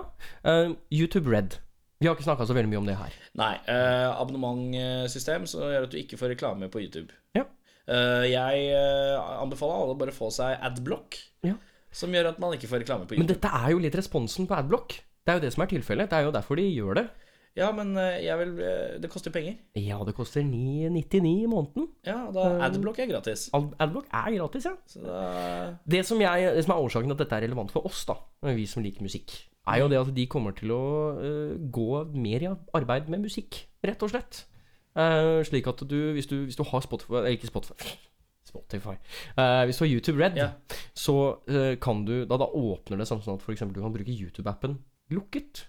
Speaker 3: Eh, YouTube Red. Vi har ikke snakka så veldig mye om det her.
Speaker 2: Nei. Eh, abonnementsystem som gjør at du ikke får reklame på YouTube.
Speaker 3: Ja.
Speaker 2: Eh, jeg eh, anbefaler alle å bare få seg adblock,
Speaker 3: Ja.
Speaker 2: som gjør at man ikke får reklame på
Speaker 3: Men
Speaker 2: YouTube.
Speaker 3: dette er jo litt responsen på Adblock. Det er jo det som er tilfellet. Det er jo derfor de gjør det.
Speaker 2: Ja, men eh, jeg vil eh, Det koster penger.
Speaker 3: Ja, det koster 9,99 i måneden.
Speaker 2: Ja, da
Speaker 3: Eh.
Speaker 2: adblock er gratis.
Speaker 3: Ad- Adblock er gratis, ja.
Speaker 2: Så da
Speaker 3: Det som, jeg, det som er årsaken til at dette er relevant for oss, da, vi som liker musikk, er jo det at de kommer til å øh, gå mer i arbeid med musikk, rett og slett. Eh, slik at du, hvis du, hvis du har Spotify Eller ikke Spotify. Spotify. Eh, hvis du har YouTube Red,
Speaker 2: Ja.
Speaker 3: så eh, kan du da, da åpner det sånn sånn at for eksempel du kan bruke YouTube-appen lukket.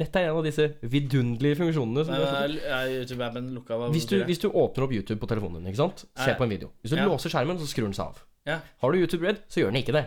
Speaker 3: Dette er en av disse vidunderlige funksjonene. Som
Speaker 2: Nei,
Speaker 3: du har fått.
Speaker 2: men Er eh, er YouTube-appen lukka? Hva
Speaker 3: Hvis du,
Speaker 2: betyr det?
Speaker 3: hvis du åpner opp YouTube på telefonen din, ikke sant?
Speaker 2: Ja.
Speaker 3: ser på en video. Hvis du
Speaker 2: Ja.
Speaker 3: låser skjermen, så skrur den seg av.
Speaker 2: Ja.
Speaker 3: Har du YouTube Red, så gjør den ikke det.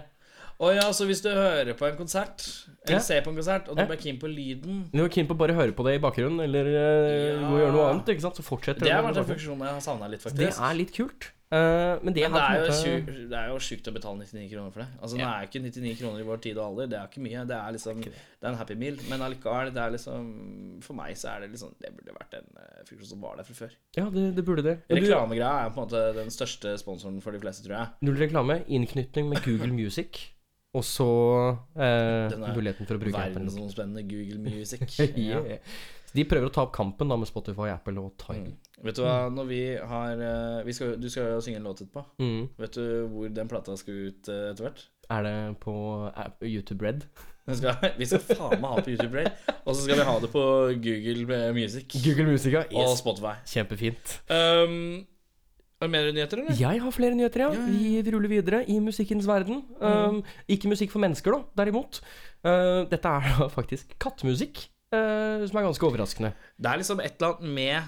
Speaker 2: Å ja, så hvis du hører på en konsert, eller
Speaker 3: Ja.
Speaker 2: ser på en konsert, og du
Speaker 3: Ja.
Speaker 2: blir keen på lyden
Speaker 3: Du er keen på å bare høre på det i bakgrunnen, eller eh,
Speaker 2: Ja.
Speaker 3: gå og gjøre noe annet, ikke sant? så fortsetter
Speaker 2: Det
Speaker 3: den
Speaker 2: har
Speaker 3: i
Speaker 2: vært en
Speaker 3: bakgrunnen.
Speaker 2: funksjon jeg har savna litt, faktisk.
Speaker 3: Det er litt kult. eh, men det,
Speaker 2: Men det
Speaker 3: har på
Speaker 2: er, jo
Speaker 3: en måte-
Speaker 2: sjukt, det er jo sjukt å betale 99 kroner for det. Altså Nå er jo ikke 99 kroner i vår tid og alder, det er ikke mye. Det er liksom, det er en happy meal. Men allikevel, det er liksom For meg så er det liksom Det burde vært en eh, funksjon som var der fra før.
Speaker 3: Ja, det, det burde det. Men du,
Speaker 2: Reklamegreia er på en måte den største sponsoren for de fleste, tror jeg.
Speaker 3: null reklame, innknytning med Google Music, og så eh,
Speaker 2: Den er
Speaker 3: muligheten for å bruke appen.
Speaker 2: Verdensomspennende Google Music.
Speaker 3: Ja. Så de prøver å ta opp kampen da med Spotify, Apple og Tidal.
Speaker 2: Vet du hva, når vi har eh, vi skal, Du skal jo synge en låt etterpå.
Speaker 3: Mm.
Speaker 2: Vet du hvor den plata skal ut eh, etter hvert?
Speaker 3: Er det på app- YouTube Red?
Speaker 2: Den skal, vi skal faen meg ha det på YouTube Play, og så skal vi ha det på Google eh, Music
Speaker 3: Google Music, ja.
Speaker 2: og
Speaker 3: Yes.
Speaker 2: Spotify.
Speaker 3: Kjempefint.
Speaker 2: Um, er det mer nyheter, eller?
Speaker 3: Jeg har flere nyheter, ja.
Speaker 2: Ja, Mm. ja,
Speaker 3: Vi ruller videre i musikkens verden. Um, ikke musikk for mennesker, da, derimot. Uh, dette er da faktisk kattemusikk, uh, som er ganske overraskende.
Speaker 2: Det er liksom et eller annet med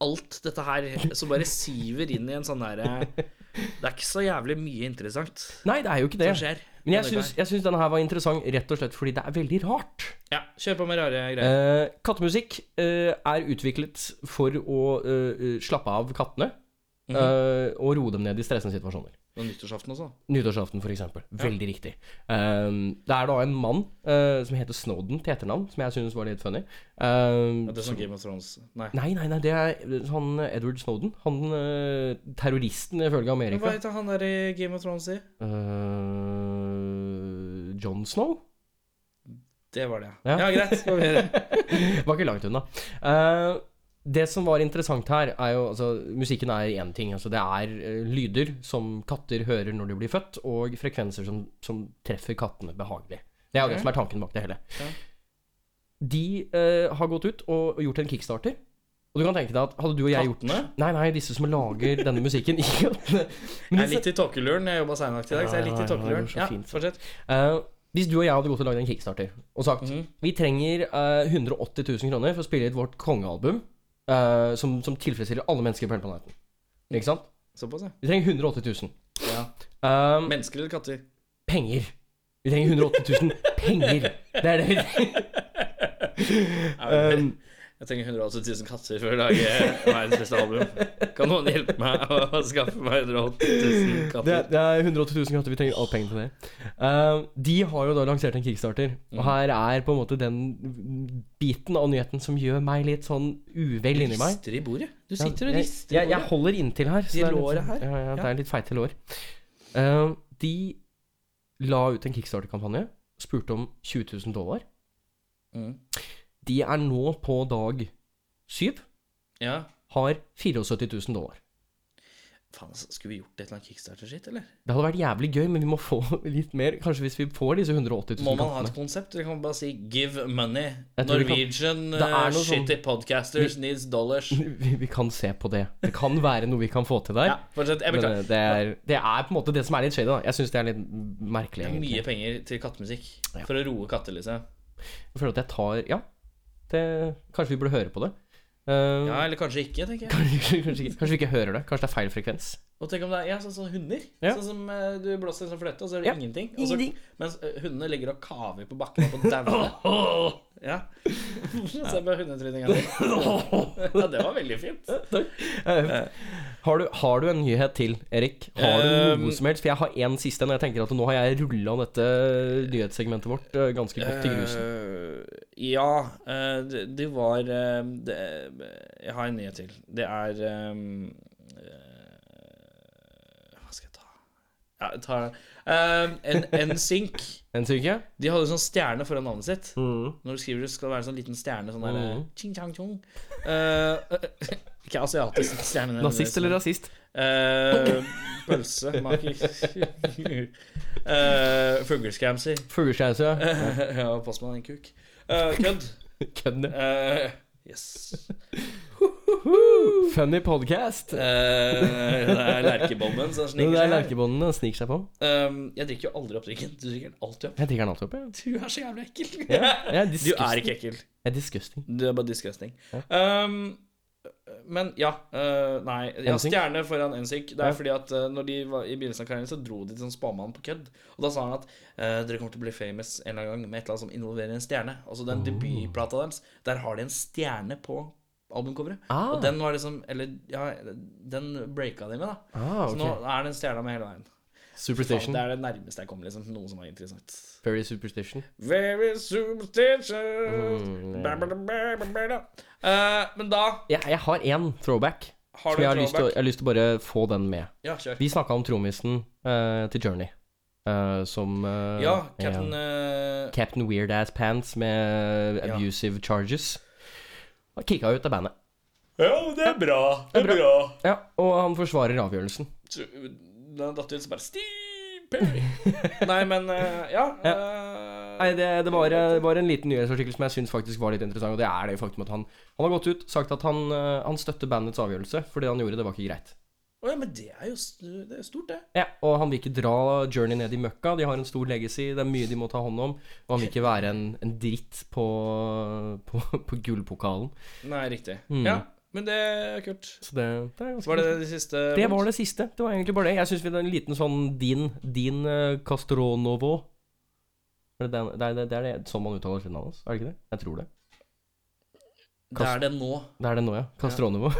Speaker 2: alt dette her som bare siver inn i en sånn derre Det er ikke så jævlig mye interessant
Speaker 3: Nei, det er jo ikke det.
Speaker 2: som skjer.
Speaker 3: Men jeg syns, jeg syns denne her var interessant rett og slett fordi det er veldig rart.
Speaker 2: Ja, kjør på med rare greier.
Speaker 3: Uh, kattemusikk eh, er utviklet for å eh, slappe av kattene
Speaker 2: Mhm.
Speaker 3: eh, og roe dem ned i stressende situasjoner.
Speaker 2: Og nyttårsaften også.
Speaker 3: Nyttårsaften, f.eks. Veldig riktig. Um, det er da en mann eh, som heter Snowden til etternavn, som jeg synes var litt funny. Um,
Speaker 2: Ja, det er sånn Game of Thrones Nei.
Speaker 3: Nei, nei, nei, det er han eh, Edward Snowden. Han eh, terroristen ifølge
Speaker 2: Hva
Speaker 3: Amerika.
Speaker 2: heter han der i Game of Thrones i?
Speaker 3: Eh, John Snow?
Speaker 2: Det var det, ja.
Speaker 3: Ja.
Speaker 2: Ja, greit. Skal vi gjøre.
Speaker 3: Var ikke langt unna. Eh, det som var interessant her, er jo altså Musikken er én ting. Altså, det er eh, lyder som katter hører når de blir født, og frekvenser som, som treffer kattene behagelig. Det er jo det som er tanken bak det hele.
Speaker 2: Ja.
Speaker 3: De eh, har gått ut og, og gjort en kickstarter. Og du kan tenke deg at hadde du og jeg gjort
Speaker 2: Kattene?
Speaker 3: Nei, nei, disse som lager denne musikken. Ikke kattene. Men
Speaker 2: Jeg er
Speaker 3: disse-
Speaker 2: litt i tåkeluren. Jeg jobba seinvakt i dag, så jeg er
Speaker 3: Ja, ja,
Speaker 2: litt i
Speaker 3: ja, det går
Speaker 2: tåkeluren.
Speaker 3: så
Speaker 2: Ja,
Speaker 3: fint.
Speaker 2: fortsett.
Speaker 3: Eh, hvis du og jeg hadde gått og lagd en kickstarter og sagt vi trenger eh, 180 000 kroner for å spille inn vårt kongealbum eh, som, som tilfredsstiller alle mennesker på hele planeten. Ikke sant?
Speaker 2: Såpass, ja.
Speaker 3: Vi trenger 180 000.
Speaker 2: ja.
Speaker 3: Eh,
Speaker 2: Mennesker eller katter?
Speaker 3: penger. Vi trenger 180 000 penger. Det er det vi trenger. Um,
Speaker 2: Jeg trenger 180 000 katter for å lage verdens beste album. Kan noen hjelpe meg å skaffe meg 180 000
Speaker 3: det,
Speaker 2: katter?
Speaker 3: er- det er 180 000 kroner. Vi trenger all penger til det. Mhm. Eh, de har jo da lansert en kickstarter. Og her er på en måte den biten av nyheten som gjør meg litt sånn uvel inni meg.
Speaker 2: Rister i bordet. Du
Speaker 3: Ja,
Speaker 2: sitter og
Speaker 3: jeg-
Speaker 2: rister i
Speaker 3: jeg, jeg
Speaker 2: bordet.
Speaker 3: holder inntil her. så
Speaker 2: I
Speaker 3: det er litt- sånn-
Speaker 2: låret her?
Speaker 3: Ja, ja, det
Speaker 2: Ja.
Speaker 3: er litt feite lår. Eh, de la ut en kickstarter-kampanje, spurte om 20 000 dollar.
Speaker 2: Mm.
Speaker 3: De er nå på dag syv,
Speaker 2: Ja.
Speaker 3: har 74 000 dollar.
Speaker 2: Faen, altså, skulle vi gjort et eller annet kickstarter-skitt, eller?
Speaker 3: Det hadde vært jævlig gøy, men vi må få litt mer. Kanskje hvis vi får disse 180 000
Speaker 2: Må man ha et
Speaker 3: kattene.
Speaker 2: konsept? Eller kan man bare si 'give money'?
Speaker 3: Jeg tror vi kan-
Speaker 2: Norwegian
Speaker 3: Det er noe
Speaker 2: eh,
Speaker 3: sånn-
Speaker 2: shitty podcasters needs dollars.
Speaker 3: Vi, vi kan se på det. Det kan være noe vi kan få til der.
Speaker 2: Ja, fortsett. Jeg
Speaker 3: men
Speaker 2: beklager.
Speaker 3: eh, det er, det er på en måte det som er litt shady, da. Jeg syns det er litt merkelig.
Speaker 2: Det er
Speaker 3: egentlig.
Speaker 2: Mye penger til kattemusikk.
Speaker 3: Ja.
Speaker 2: For å roe katter, liksom.
Speaker 3: Jeg føler at jeg tar Ja, det, kanskje vi burde høre på det. Eh,
Speaker 2: Ja, eller kanskje ikke, tenker jeg.
Speaker 3: kanskje, kanskje, ikke, kanskje vi ikke hører det. Kanskje det er feil frekvens.
Speaker 2: Og tenk om det er ja, sånn, sånn hunder.
Speaker 3: Ja.
Speaker 2: Sånn som eh, du blåser en sånn fløyte, og så er det
Speaker 3: Ja,
Speaker 2: ingenting. Og så,
Speaker 3: ingenting.
Speaker 2: Mens eh, hundene ligger og kaver på bakken og på dauene. Ja. Se på hundetryninga di. Ja, det var veldig fint.
Speaker 3: Eh, Har du, har du en nyhet til, Erik? Har du
Speaker 2: Um,
Speaker 3: noe som helst? For jeg har én siste en, og jeg tenker at nå har jeg rulla dette nyhetssegmentet vårt eh, ganske godt i grusen.
Speaker 2: Eh, ja, eh, det, det var eh, det, Jeg har en nyhet til. Det er eh, eh, Hva skal jeg ta? Ja, jeg tar den. Uh, NSYNC.
Speaker 3: En syke?
Speaker 2: De hadde sånn stjerne foran navnet sitt.
Speaker 3: Mm.
Speaker 2: Når du skriver det, skal det være sånn liten stjerne. Sånn der
Speaker 3: Mhm.
Speaker 2: ching, chang, chong. Eh, Ikke asiatisk stjerne. men-
Speaker 3: Nazist eller rasist?
Speaker 2: Eh, Pølsemaker. uh, Fuglescamser.
Speaker 3: Fugleskjærelse?
Speaker 2: ja, pass meg en kuk. Eh, kødd.
Speaker 3: Kødd? ja.
Speaker 2: Eh, yes. uh.
Speaker 3: Funny podcast!
Speaker 2: Eh, det er lerkebomben som
Speaker 3: Det
Speaker 2: sniker
Speaker 3: er
Speaker 2: seg.
Speaker 3: lerkebåndene sniker seg på.
Speaker 2: Eh, jeg drikker jo aldri opp drikken. Du drikker den alltid opp.
Speaker 3: Jeg drikker den alltid opp, jeg.
Speaker 2: Du er så jævlig ekkel.
Speaker 3: Jeg er
Speaker 2: Du er
Speaker 3: disgusting.
Speaker 2: ikke ekkel.
Speaker 3: Jeg er disgusting.
Speaker 2: Du er bare disgusting. Um, men ja eh, Nei. Ja,
Speaker 3: NSYNC?
Speaker 2: stjerne foran NSYNC. Det er
Speaker 3: Ja.
Speaker 2: fordi at eh, når de var i begynnelsen av karrieren, så dro de til sånn spåmann på kødd. Og da sa han at eh, dere kommer til å bli famous en eller annen gang med et eller annet som involverer en stjerne. Altså
Speaker 3: Oh.
Speaker 2: den debutplata deres, der har de en stjerne på albumcoveret.
Speaker 3: Ah.
Speaker 2: Og den var liksom Eller ja, den breaka de med, da.
Speaker 3: Ah,
Speaker 2: Så
Speaker 3: ok.
Speaker 2: nå er det en stjerne med hele veien. Faen,
Speaker 3: Superstition.
Speaker 2: det er det nærmeste jeg kom liksom, til noe som var interessant.
Speaker 3: Very superstition.
Speaker 2: Very superstitious
Speaker 3: Mm,
Speaker 2: Ba, ba, ba, ba, ba, da. Eh, Men da
Speaker 3: Jeg, jeg har én throwback.
Speaker 2: har
Speaker 3: Som
Speaker 2: du
Speaker 3: jeg
Speaker 2: en
Speaker 3: har, lyst til, å-
Speaker 2: throwback.
Speaker 3: jeg har lyst til å bare få den med.
Speaker 2: Ja, kjør.
Speaker 3: Vi snakka om trommisen eh, til Journey, eh, som eh,
Speaker 2: Ja, Captain
Speaker 3: er-
Speaker 2: eh,
Speaker 3: Captain Weird Ass Pants med
Speaker 2: Ja.
Speaker 3: abusive charges. Han kicka ut av bandet.
Speaker 2: Ja, det er bra. Det er bra.
Speaker 3: Ja, Og han forsvarer avgjørelsen.
Speaker 2: Så, Den datt ut, så bare Steve Perry. Nei, men eh, ja. eh,
Speaker 3: Nei, det, det var, det var en liten nyhetsartikkel som jeg syns faktisk var litt interessant, og det er det faktum at han, han har gått ut sagt at han, eh, han støtter bandets avgjørelse, for det han gjorde, det var ikke greit.
Speaker 2: Å ja, men det er jo s- det er stort, det.
Speaker 3: Ja, og han vil ikke dra Journey ned i møkka. De har en stor legacy, det er mye de må ta hånd om. Og han vil ikke være en, en dritt på, på, på gullpokalen.
Speaker 2: Nei, riktig.
Speaker 3: Mm.
Speaker 2: Ja, men det er kult.
Speaker 3: Så det, det er ganske
Speaker 2: Var det det siste?
Speaker 3: Det var det siste. Det var egentlig bare det. Jeg syns vi hadde en liten sånn din, din eh, Castronovo Er det, den- det, er- det, er det sånn man uttaler sitt navn? altså? Er det ikke det? Jeg tror det.
Speaker 2: Det er det nå.
Speaker 3: Det er det nå, ja. Castronovo.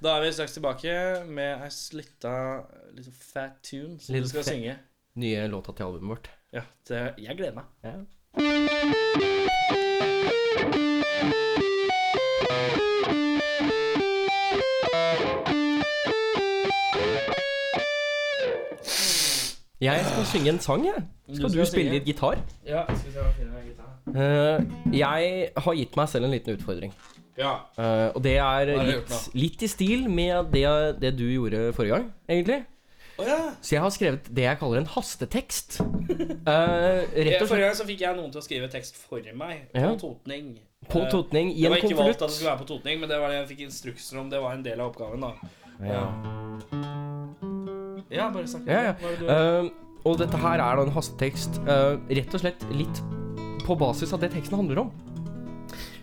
Speaker 2: Da er vi straks tilbake med ei slitta liten fat tune som
Speaker 3: Liten
Speaker 2: du skal
Speaker 3: fat-
Speaker 2: synge.
Speaker 3: Nye låta til albumet vårt.
Speaker 2: Ja, det, jeg gleder meg.
Speaker 3: Ja. Jeg skal synge en sang, jeg. Skal du,
Speaker 2: skal
Speaker 3: spille
Speaker 2: synge?
Speaker 3: litt gitar?
Speaker 2: Ja, skal vi se om jeg finner meg gitar.
Speaker 3: Eh, jeg har gitt meg selv en liten utfordring.
Speaker 2: Ja.
Speaker 3: Eh, og det er
Speaker 2: har du
Speaker 3: litt,
Speaker 2: gjort
Speaker 3: litt i stil med det, det du gjorde forrige gang, egentlig.
Speaker 2: Å ja.
Speaker 3: Så jeg har skrevet det jeg kaller en hastetekst. Eh, rett og slett
Speaker 2: Forrige gang så fikk jeg noen til å skrive tekst for meg. På
Speaker 3: Ja.
Speaker 2: Totning.
Speaker 3: på
Speaker 2: Eh,
Speaker 3: totning i
Speaker 2: Det
Speaker 3: en
Speaker 2: var ikke valgt at det
Speaker 3: konvolutt.
Speaker 2: skulle være på Totning, men det var det jeg fikk instrukser om. Det var en del av oppgaven, da.
Speaker 3: Ja.
Speaker 2: Ja, bare snakk
Speaker 3: Ja, ja.
Speaker 2: Hva er det du-
Speaker 3: Eh, og dette her er da en hastetekst, eh, rett og slett litt på basis av det teksten handler om.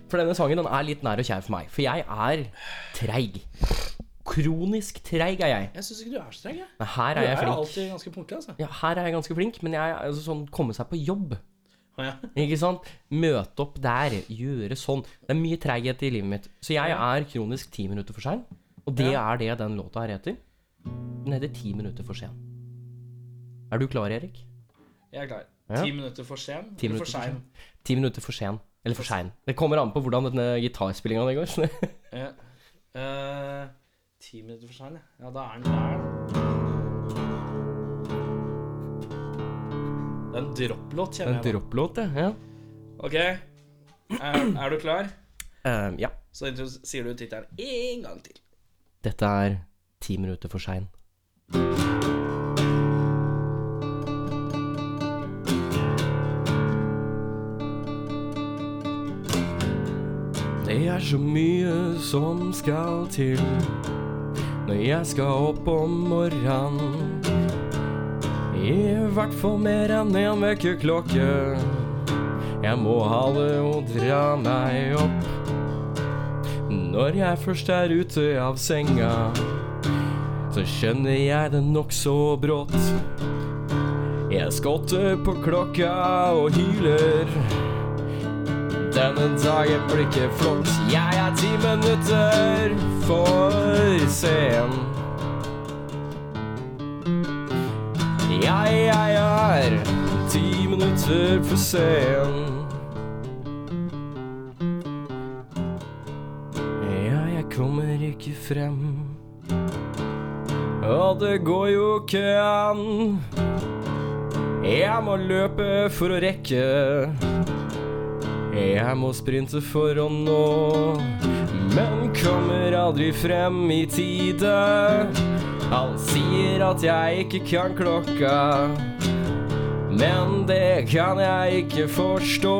Speaker 3: For denne sangen den er litt nær og kjær for meg, for jeg er treig. Kronisk treig er jeg.
Speaker 2: Jeg syns ikke du er så streng, jeg.
Speaker 3: Men her
Speaker 2: Du
Speaker 3: er jeg
Speaker 2: er jo
Speaker 3: flink.
Speaker 2: alltid ganske punktlig, altså.
Speaker 3: Ja, her er jeg ganske flink, men jeg altså, sånn komme seg på jobb.
Speaker 2: Å, ja.
Speaker 3: Ikke sant? Møte opp der, gjøre sånn. Det er mye treighet i livet mitt. Så jeg er kronisk ti minutter for sein. Og det er det den låta her heter. Den heter Ti minutter for sen. Er du klar, Erik?
Speaker 2: Jeg er klar.
Speaker 3: Ja.
Speaker 2: Ti minutter for sen.
Speaker 3: Ti
Speaker 2: eller
Speaker 3: minutter
Speaker 2: for
Speaker 3: for
Speaker 2: sein.
Speaker 3: Ti minutter for sen. Eller for sein. Det kommer an på hvordan denne gitarspillinga di går.
Speaker 2: Ja. Eh, ti minutter for sein, ja. Ja, da er den der. Det er en dropplåt,
Speaker 3: Det er
Speaker 2: kjenner
Speaker 3: en
Speaker 2: jeg. nå.
Speaker 3: dropplåt, det. Ja.
Speaker 2: OK, er, er du klar?
Speaker 3: Ehm, ja.
Speaker 2: Så intros- sier du tittelen en gang til.
Speaker 3: Dette er Ti minutter for sein. Det er så mye som skal til når jeg skal opp om morgenen. I hvert fall mer enn en vekkerklokke. Jeg må hale og dra meg opp når jeg først er ute av senga. så skjønner jeg det nokså brått. Jeg skotter på klokka og hyler. Denne dagen blir ikke flott. Jeg er ti minutter for sen. Jeg, jeg er ti minutter for sen. Ja, jeg kommer ikke frem. Og det går jo ikke an. Jeg må løpe for å rekke. Jeg må sprinte for å nå. Men kommer aldri frem i tide. Alle sier at jeg ikke kan klokka. Men det kan jeg ikke forstå.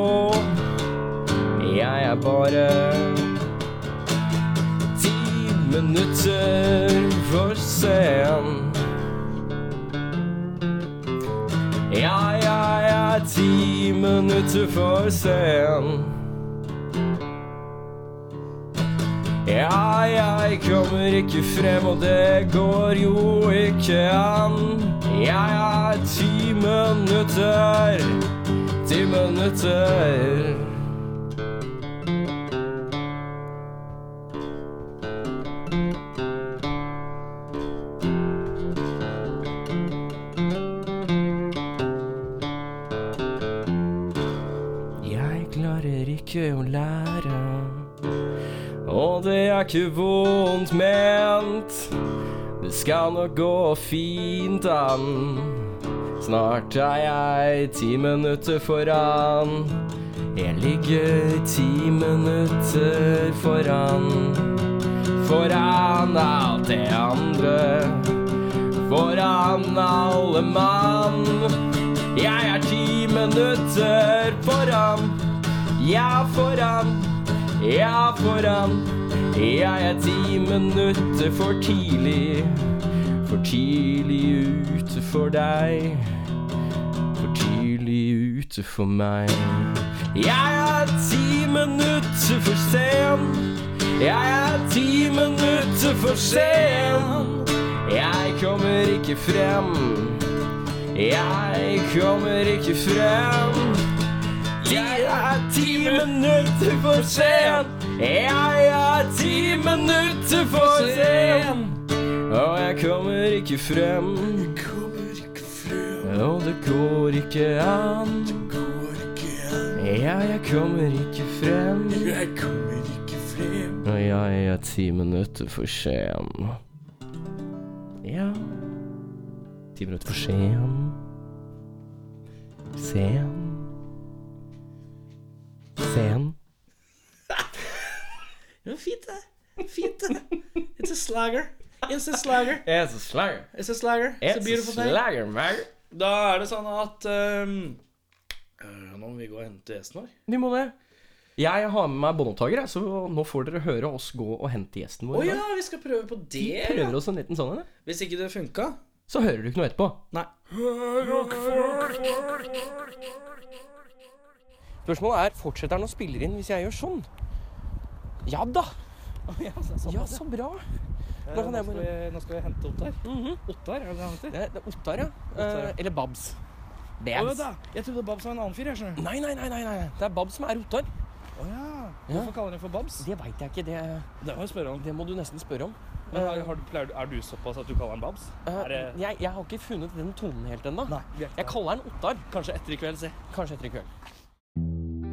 Speaker 3: Jeg er bare ti minutter for sen. Ja, jeg er ti minutter for sen. Ja, jeg kommer ikke frem, og det går jo ikke an. Jeg er ti minutter, ti minutter. Jeg klarer ikke å lære. Og det er ikke vondt ment. Det skal nok gå fint an. Snart er jeg ti minutter foran. Jeg ligger ti minutter foran. Foran alt det andre foran alle mann. Jeg er ti minutter foran. Ja, foran. Ja, foran. Jeg er ti minutter for tidlig. For tidlig ute for deg. For tidlig ute for meg. Jeg er ti minutter for sen. Jeg er ti minutter for sen. Jeg kommer ikke frem. Jeg kommer ikke frem. Jeg er ti minutter for sen. Jeg er ti minutter for sen. Og jeg kommer ikke frem. Og det går ikke an. Ja, jeg kommer ikke frem. Og jeg er ti minutter for sen. Ja. Ti minutter for sen. Sen. Sen.
Speaker 2: Det var fint, det. Fint, det. It's a slagger. It's a slagger.
Speaker 3: Jeg er så slager.
Speaker 2: It's a slagger. It's a beautiful thing. Da er det sånn at ehm, øh, Nå må vi gå og hente gjesten vår.
Speaker 3: Du må det. Jeg har med meg båndopptaker, jeg, så nå får dere høre oss gå og hente gjesten
Speaker 2: Å
Speaker 3: vår. i dag.
Speaker 2: ja, vi skal prøve på det.
Speaker 3: Vi
Speaker 2: ja.
Speaker 3: prøver oss en liten sånn en, ja.
Speaker 2: Hvis ikke det funka
Speaker 3: så hører du ikke noe etterpå.
Speaker 2: Nei.
Speaker 3: Spørsmålet er fortsetter han å spille inn hvis jeg gjør sånn. Ja da. Ja, så bra. Nå kan jeg bare
Speaker 2: Nå skal vi hente Ottar. Ottar, er det det han heter?
Speaker 3: Det er det er Ottar, ja. Eh, Eller Babs.
Speaker 2: Å,
Speaker 3: Babs.
Speaker 2: da. Jeg trodde Babs var en annen fyr. jeg skjønner
Speaker 3: Nei, nei, nei, nei, nei. Det er Babs som er Ottar.
Speaker 2: Å ja. Hvorfor kaller han det for Babs?
Speaker 3: Det veit jeg ikke. Det,
Speaker 2: Det må jeg spørre om.
Speaker 3: det må du nesten spørre om.
Speaker 2: Men har, har, du- pleier, du- er du såpass at du kaller han Babs?
Speaker 3: Eh,
Speaker 2: Er det-
Speaker 3: jeg, jeg har ikke funnet den tonen helt ennå.
Speaker 2: greit.
Speaker 3: Jeg kaller den Ottar.
Speaker 2: Kanskje etter i kveld, se.
Speaker 3: Kanskje etter i kveld.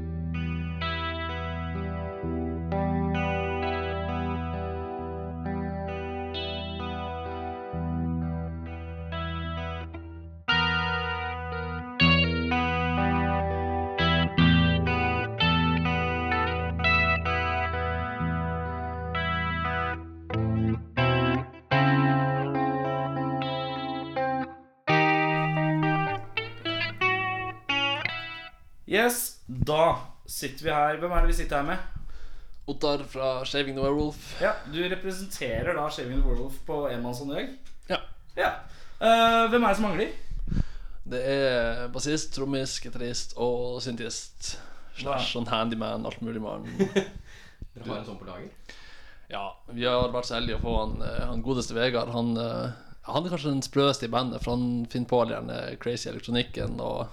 Speaker 2: Yes, da sitter vi her. Hvem er det vi sitter her med?
Speaker 9: Ottar fra Shaving the Werewolf.
Speaker 2: Ja, Du representerer da Shaving the Werewolf på enmannshåndjag.
Speaker 9: Ja.
Speaker 2: ja. Eh, hvem er det som mangler?
Speaker 9: Det er bassist, trommis, gitarist og syntist. Slash sånn handyman, alt mulig mann.
Speaker 3: Dere har en sånn på lager?
Speaker 9: Ja, vi har vært så heldige å få han, eh, han godeste Vegard. Han, eh, han er kanskje den sprøeste i bandet, for han finner på all den eh, crazy elektronikken og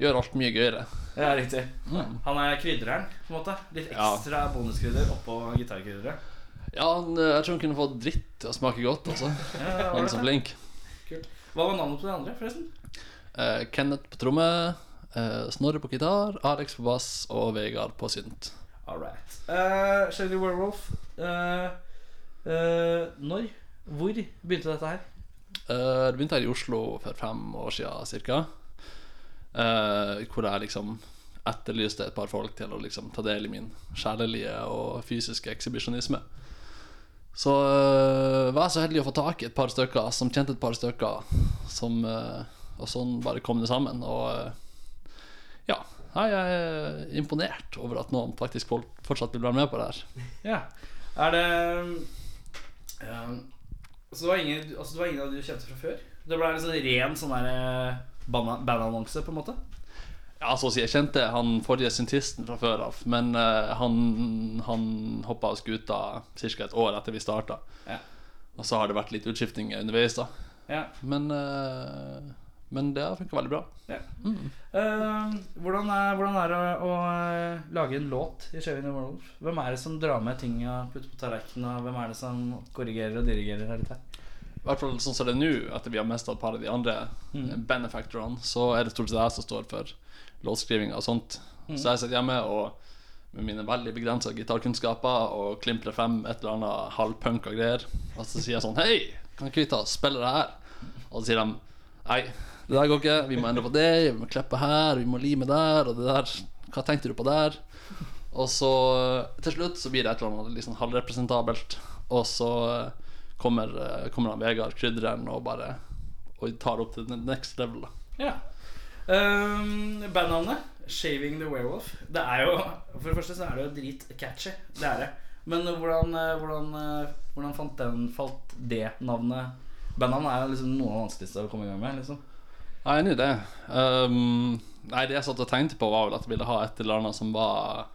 Speaker 9: gjør alt mye gøyere.
Speaker 2: Ja, riktig. Han er krydreren, på en måte. Litt
Speaker 9: Mm. Ja.
Speaker 2: ekstra bonuskrydder oppå gitarkrydderet.
Speaker 9: Ja, han, eh, jeg tror han kunne fått dritt til å smake godt, altså.
Speaker 2: Ja,
Speaker 9: Han er så flink.
Speaker 2: Hva var navnet på de andre, forresten?
Speaker 9: Eh, Kenneth på tromme, eh, Snorre på gitar, Alex på bass og Vegard på synt.
Speaker 2: All right. Eh, Shady Werewolf, eh, eh, når, hvor begynte dette her?
Speaker 9: Eh, Det begynte her i Oslo for fem år siden cirka Eh, Hvor jeg liksom etterlyste et par folk til å liksom ta del i min sjelelige og fysiske ekshibisjonisme. Så eh, var jeg så heldig å få tak i et par stykker som kjente et par stykker. Som, eh, og sånn bare kom det sammen. Og eh, ja, jeg er imponert over at noen faktisk fol- fortsatt vil være med på det her.
Speaker 2: Ja. Er det ehm, Så det var, ingen, altså det var ingen av de du kjente fra før? Det ble en sånn ren sånn der eh, banda- bandannonse, på en måte?
Speaker 9: Ja, så å si, jeg kjente han forrige syntisten fra før av, men eh, han, han hoppa av skuta ca. et år etter vi starta.
Speaker 2: Ja.
Speaker 9: Og så har det vært litt utskiftinger underveis, da.
Speaker 2: Ja.
Speaker 9: Men, eh, men det har funka veldig bra.
Speaker 2: Ehm, hvordan, er, hvordan er det å, å eh, lage en låt i Shaving the World? Hvem er det som drar med tinga, putter på tallerkenen, og hvem er det som korrigerer og dirigerer? her litt her?
Speaker 9: I hvert fall sånn som det er nå, etter vi har mista et par av de andre eh, benefactorene, så er det stort sett jeg som står for låtskrivinga og sånt. Så jeg sitter hjemme og med mine veldig begrensa gitarkunnskaper og klimprer frem et eller annet halvpunk og greier. Og så sier jeg sånn Hei, kan ikke vi ta og spille det her? Og så sier de Nei, det der går ikke. Vi må endre på det. Vi må klippe her. Vi må lime der. Og det der. Hva tenkte du på der? Og så eh, til slutt så blir det et eller annet litt sånn halvrepresentabelt. Og så eh, kommer, eh, kommer han Vegard, krydderen, og bare og tar det opp til the next level. da.
Speaker 2: Ja. Um, bandnavnet Shaving the Werewolf. Det er jo For det første så er det jo dritcatchy. Det er det. Men hvordan, eh, hvordan, eh, hvordan fant, den, falt det navnet Bandnavn er jo liksom noe av det vanskeligste å komme i gang med. liksom
Speaker 9: Jeg er enig i det. Ehm, nei, det jeg satt og tenkte på, var vel at jeg ville ha et eller annet som var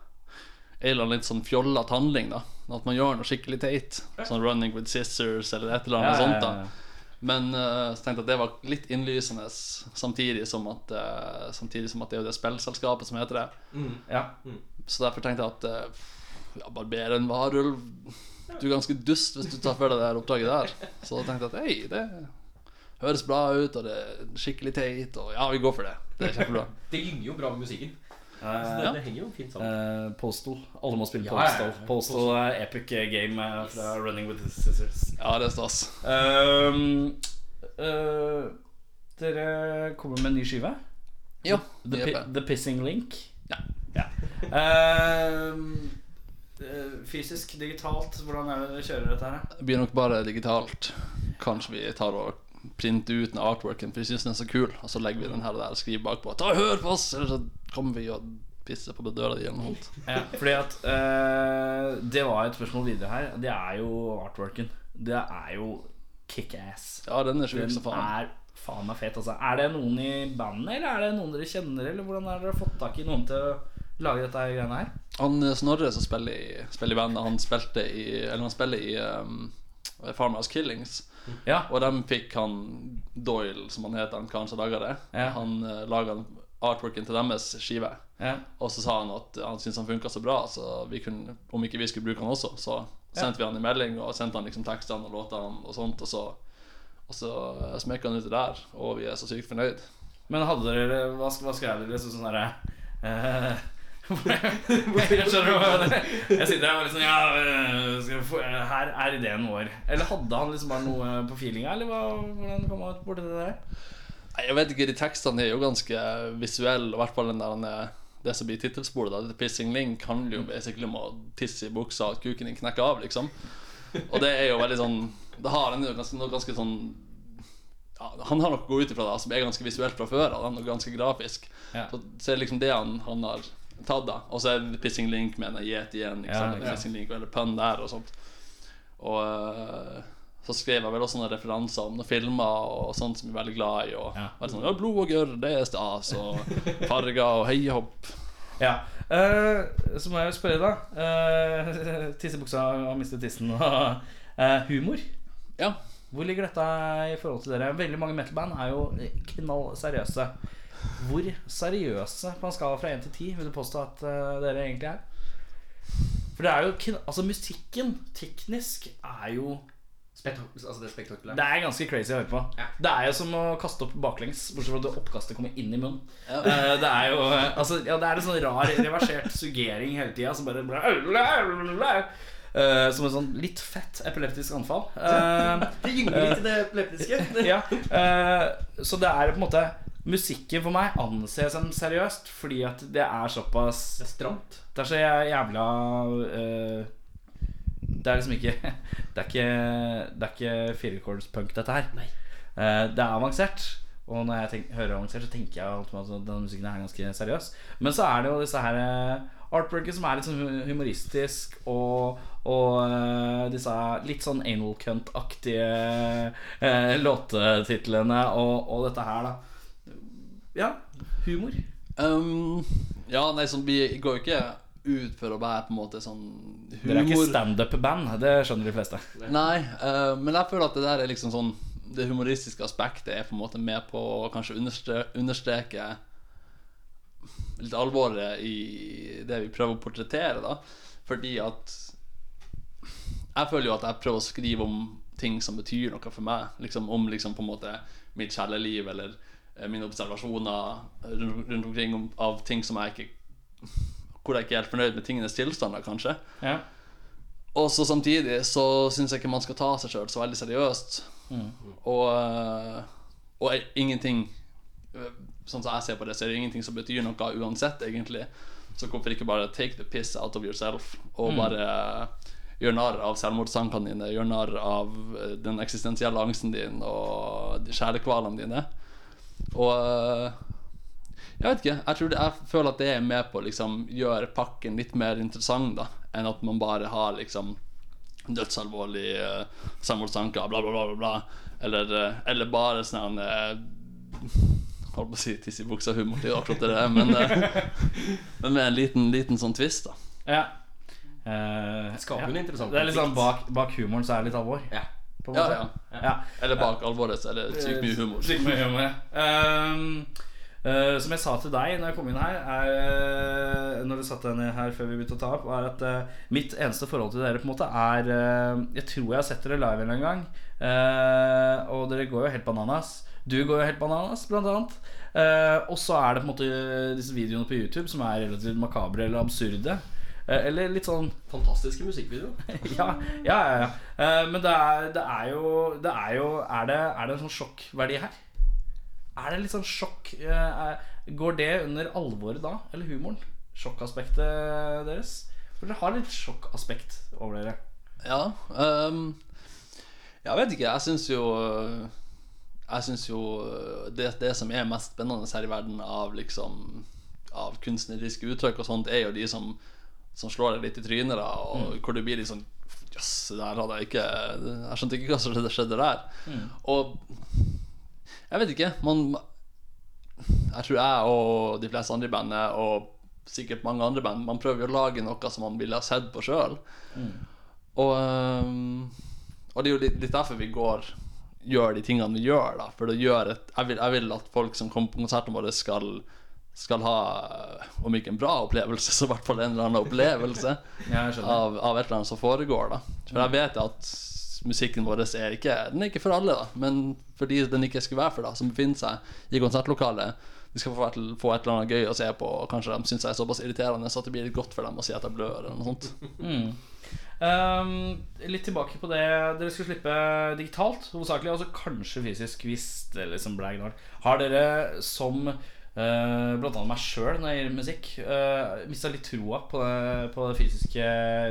Speaker 9: en eller annen litt sånn fjollete handling, da. At man gjør noe skikkelig teit. Sånn 'running with scissors' eller et eller annet sånt. da Men eh, så tenkte jeg at det var litt innlysende, samtidig som at, eh, samtidig som at det er jo det spillselskapet som heter det.
Speaker 2: ja.
Speaker 9: Så derfor tenkte jeg at eh, ja, Barberen varulv Du er ganske dust hvis du tar for deg det her oppdraget der. Så da tenkte jeg at hei, det høres bra ut, og det er skikkelig teit, og ja, vi går for det. Det er kjempebra.
Speaker 3: Det gynger jo bra med musikken. Så
Speaker 2: Eh,
Speaker 3: det,
Speaker 9: Ja.
Speaker 3: det henger jo fint sammen.
Speaker 2: eh, Postal. Alle må spille
Speaker 3: Ja, ja,
Speaker 2: Postal.
Speaker 3: ja.
Speaker 2: Postal er epic eh, game eh, fra Running with the Scissors.
Speaker 9: Ja, det er stas.
Speaker 2: Um, eh, dere kommer med en ny skive.
Speaker 9: Ja,
Speaker 2: The,
Speaker 9: det er
Speaker 2: pi-
Speaker 9: bra.
Speaker 2: the Pissing Link.
Speaker 9: Ja.
Speaker 2: Ehm, eh, fysisk, digitalt, hvordan er det dere kjører dette her?
Speaker 9: Det blir nok bare digitalt. Kanskje vi tar og printer ut den artworken, for vi syns den er så kul, og så legger vi den her og der og skriver bakpå 'Ta og hør på oss', eller så kommer vi og pisser på døra di eller noe sånt.
Speaker 2: Ja, fordi at eh, Det var et spørsmål videre her. Det er jo artworken. Det er jo kickass.
Speaker 9: Ja, den er sjuk
Speaker 2: Den
Speaker 9: som faen.
Speaker 2: er faen meg fet, altså. Er det noen i bandet, eller er det noen dere kjenner, eller hvordan har dere fått tak i noen til å lage dette her greiene her?
Speaker 9: Han eh, Snorre som spiller i, spiller i bandet, han spilte i Eller han spiller i um, Farmhouse Killings.
Speaker 2: Ja.
Speaker 9: Og dem fikk han Doyle, som han heter, han karen som laga det.
Speaker 2: Ja.
Speaker 9: Han uh, laga artworken til deres skive.
Speaker 2: Ja.
Speaker 9: Og så sa han at han syntes han funka så bra, så vi kunne, om ikke vi skulle bruke han også, så sendte vi han en melding og sendte han liksom tekstene og låtene og sånt, og så, og så eh, smekka han ut det der, og vi er så sykt fornøyd.
Speaker 2: Men hadde dere Hva, sk- hva skrev dere liksom sånn herre jeg skjønner hva jeg mener. Jeg sitter her og liksom Ja, eh, skal vi få, eh, her er ideen vår. Eller hadde han liksom bare noe på feelinga, eller hva, hvordan kom han borti det der?
Speaker 9: Nei, Jeg vet ikke, de tekstene er jo ganske visuelle, og i hvert fall den der den- det som blir tittelsporet, da, The Pissing Link, handler jo basically om å tisse i buksa og at kuken din knekker av, liksom. Og det er jo veldig sånn Det har en jo ganske, noe ganske sånn ja, Han har noe å gå ut ifra da, som er ganske visuelt fra før av, og ganske grafisk.
Speaker 2: Ja.
Speaker 9: Så, så er det liksom det han, han har tatt, da. Og så er The Pissing Link med en gjet igjen, ikke
Speaker 2: Ja,
Speaker 9: sant?
Speaker 2: ja.
Speaker 9: Pissing Link, eller pønn der og sånt. Og eh, så skrev jeg vel også noen referanser om noen filmer og sånt som jeg er veldig glad i. Og
Speaker 2: Ja.
Speaker 9: bare sånn, ja, Blod og gørr, det er stas. Og farger og heihopp.
Speaker 2: Ja. Eh, så må jeg jo spørre, da. Eh, tissebuksa har mistet tissen og eh, humor.
Speaker 9: Ja.
Speaker 2: Hvor ligger dette i forhold til dere? Veldig mange metalband er jo knall seriøse. Hvor seriøse på en skala fra 1 til 10 vil du påstå at eh, dere egentlig er? For det er jo kn- Altså, musikken teknisk er jo
Speaker 10: Altså, det er spektakulært.
Speaker 2: Det er ganske crazy å høre på. Det er jo som å kaste opp baklengs, bortsett fra at det oppkastet kommer inn i munnen. Eh, Det er jo eh, altså, ja, det er en sånn rar reversert sugering hele tida som bare Eh, Som en sånn litt fett epileptisk anfall. Eh,
Speaker 10: Det gynger litt i det epileptiske.
Speaker 2: ja. eh, så det er på en måte Musikken for meg anses som seriøst fordi at det er såpass
Speaker 10: Det er stramt.
Speaker 2: Det er så jæ- jævla eh, Det er liksom ikke Det er ikke, det er ikke firekordspunk, dette her. Eh, det er avansert. Og når jeg tenk, hører avansert, så tenker jeg alltid at denne musikken er ganske seriøs. Men så er det jo disse her eh, artworkene som er litt sånn hu- humoristisk, og, og eh, disse litt sånn anal cunt-aktige eh, låtetitlene og, og dette her, da. Ja, humor.
Speaker 9: Um, ja, nei, sånn, vi går jo ikke ut for å være på en måte sånn humor.
Speaker 2: Dere er ikke standup-band, det skjønner de fleste.
Speaker 9: Nei, eh, men jeg føler at det der er liksom sånn Det humoristiske aspektet er på en måte med på å kanskje understre understreke litt alvoret i det vi prøver å portrettere, da. Fordi at Jeg føler jo at jeg prøver å skrive om ting som betyr noe for meg. Liksom Om liksom på en måte mitt kjærlighetsliv eller eh, mine observasjoner rundt, rundt omkring om, av ting som jeg ikke Hvor jeg ikke er helt fornøyd med tingenes tilstand, da, kanskje.
Speaker 2: Ja.
Speaker 9: Og så samtidig så syns jeg ikke man skal ta seg sjøl så veldig seriøst. Og, eh, og er- ingenting eh, Sånn som jeg ser på det, så er det ingenting som betyr noe uansett, egentlig. Så hvorfor ikke bare take the piss out of yourself og bare eh, gjøre narr av selvmordstankene dine, gjøre narr av eh, den eksistensielle angsten din og de kjælekvalene dine. Og eh, jeg vet ikke. Jeg, tror det, jeg føler at det er med på å liksom, gjøre pakken litt mer interessant da enn at man bare har liksom dødsalvorlig uh, samboerstanker, bla, bla, bla, bla, bla. Eller, eh, eller bare sånn uh, Holdt på å si tiss i buksa-humor. Det er jo akkurat det det er, men, eh, men med en liten, liten sånn twist, da.
Speaker 2: Ja. Eh,
Speaker 3: skaper jo en interessant
Speaker 2: Det er litt sånn
Speaker 3: konflikt.
Speaker 2: bak, bak humoren så er det litt alvor.
Speaker 3: Ja.
Speaker 2: På en
Speaker 9: Ja,
Speaker 2: måte.
Speaker 9: ja.
Speaker 2: ja.
Speaker 9: Eller bak alvoret så er det sykt mye humor.
Speaker 2: Slik må vi gjøre med det. Ehm, eh, som jeg sa til deg når jeg kom inn her, er, eh, når du satte deg ned her før vi begynte å ta opp, er at eh, mitt eneste forhold til dere på en måte er eh, Jeg tror jeg har sett dere live en eller annen gang, eh, og dere går jo helt bananas. Du går jo helt bananas, blant annet. Eh, og så er det på en måte eh, disse videoene på YouTube som er relativt makabre eller absurde. Eh, eller litt sånn
Speaker 10: Fantastiske musikkvideoer.
Speaker 2: ja, ja, ja, ja. Eh, Men det er, det er jo, det er, jo er, det, er det en sånn sjokkverdi her? Er det litt sånn sjokk eh, er- Går det under alvoret da? Eller humoren? Sjokkaspektet deres? For dere har litt sjokkaspekt over dere.
Speaker 9: Ja ehm, Jeg vet ikke, jeg synes jo Jeg synes jo eh, det, det som er mest spennende her i verden Av liksom Av kunstneriske uttrykk og sånt Er jo de som, som slår deg litt i trynet da, Og hvor det blir litt sånn Jøss, det der hadde jeg ikke Jeg skjønte ikke hva som skjedde- skjedde der Og Jeg vet ikke, man Jeg tror jeg og de fleste andre i bandet Og sikkert mange andre band Man prøver jo å lage noe som man ville ha sett på selv og, øhm, og det er jo litt, litt derfor vi går gjør de tingene vi gjør. da For det gjør et, jeg, vil, jeg vil at folk som kommer på konsertene våre, skal, skal ha øh, om ikke en bra opplevelse, så i hvert fall en eller annen opplevelse
Speaker 2: Ja, jeg skjønner.
Speaker 9: av, av et eller annet som foregår. da For jeg vet at musikken vår er ikke Den er ikke for alle, da men for de den ikke skulle være for, da som befinner seg i konsertlokalet. De skal få et, få et eller annet gøy å se på, og kanskje de syns jeg er såpass irriterende så at det blir litt godt for dem å si at jeg blør. eller noe sånt
Speaker 2: Ehm, litt tilbake på det Dere skulle slippe digitalt hovedsakelig, altså kanskje fysisk hvis det liksom ble gnål. Har dere som eh, blant annet meg sjøl når jeg gir musikk, uh, mista litt troa på det, på det fysiske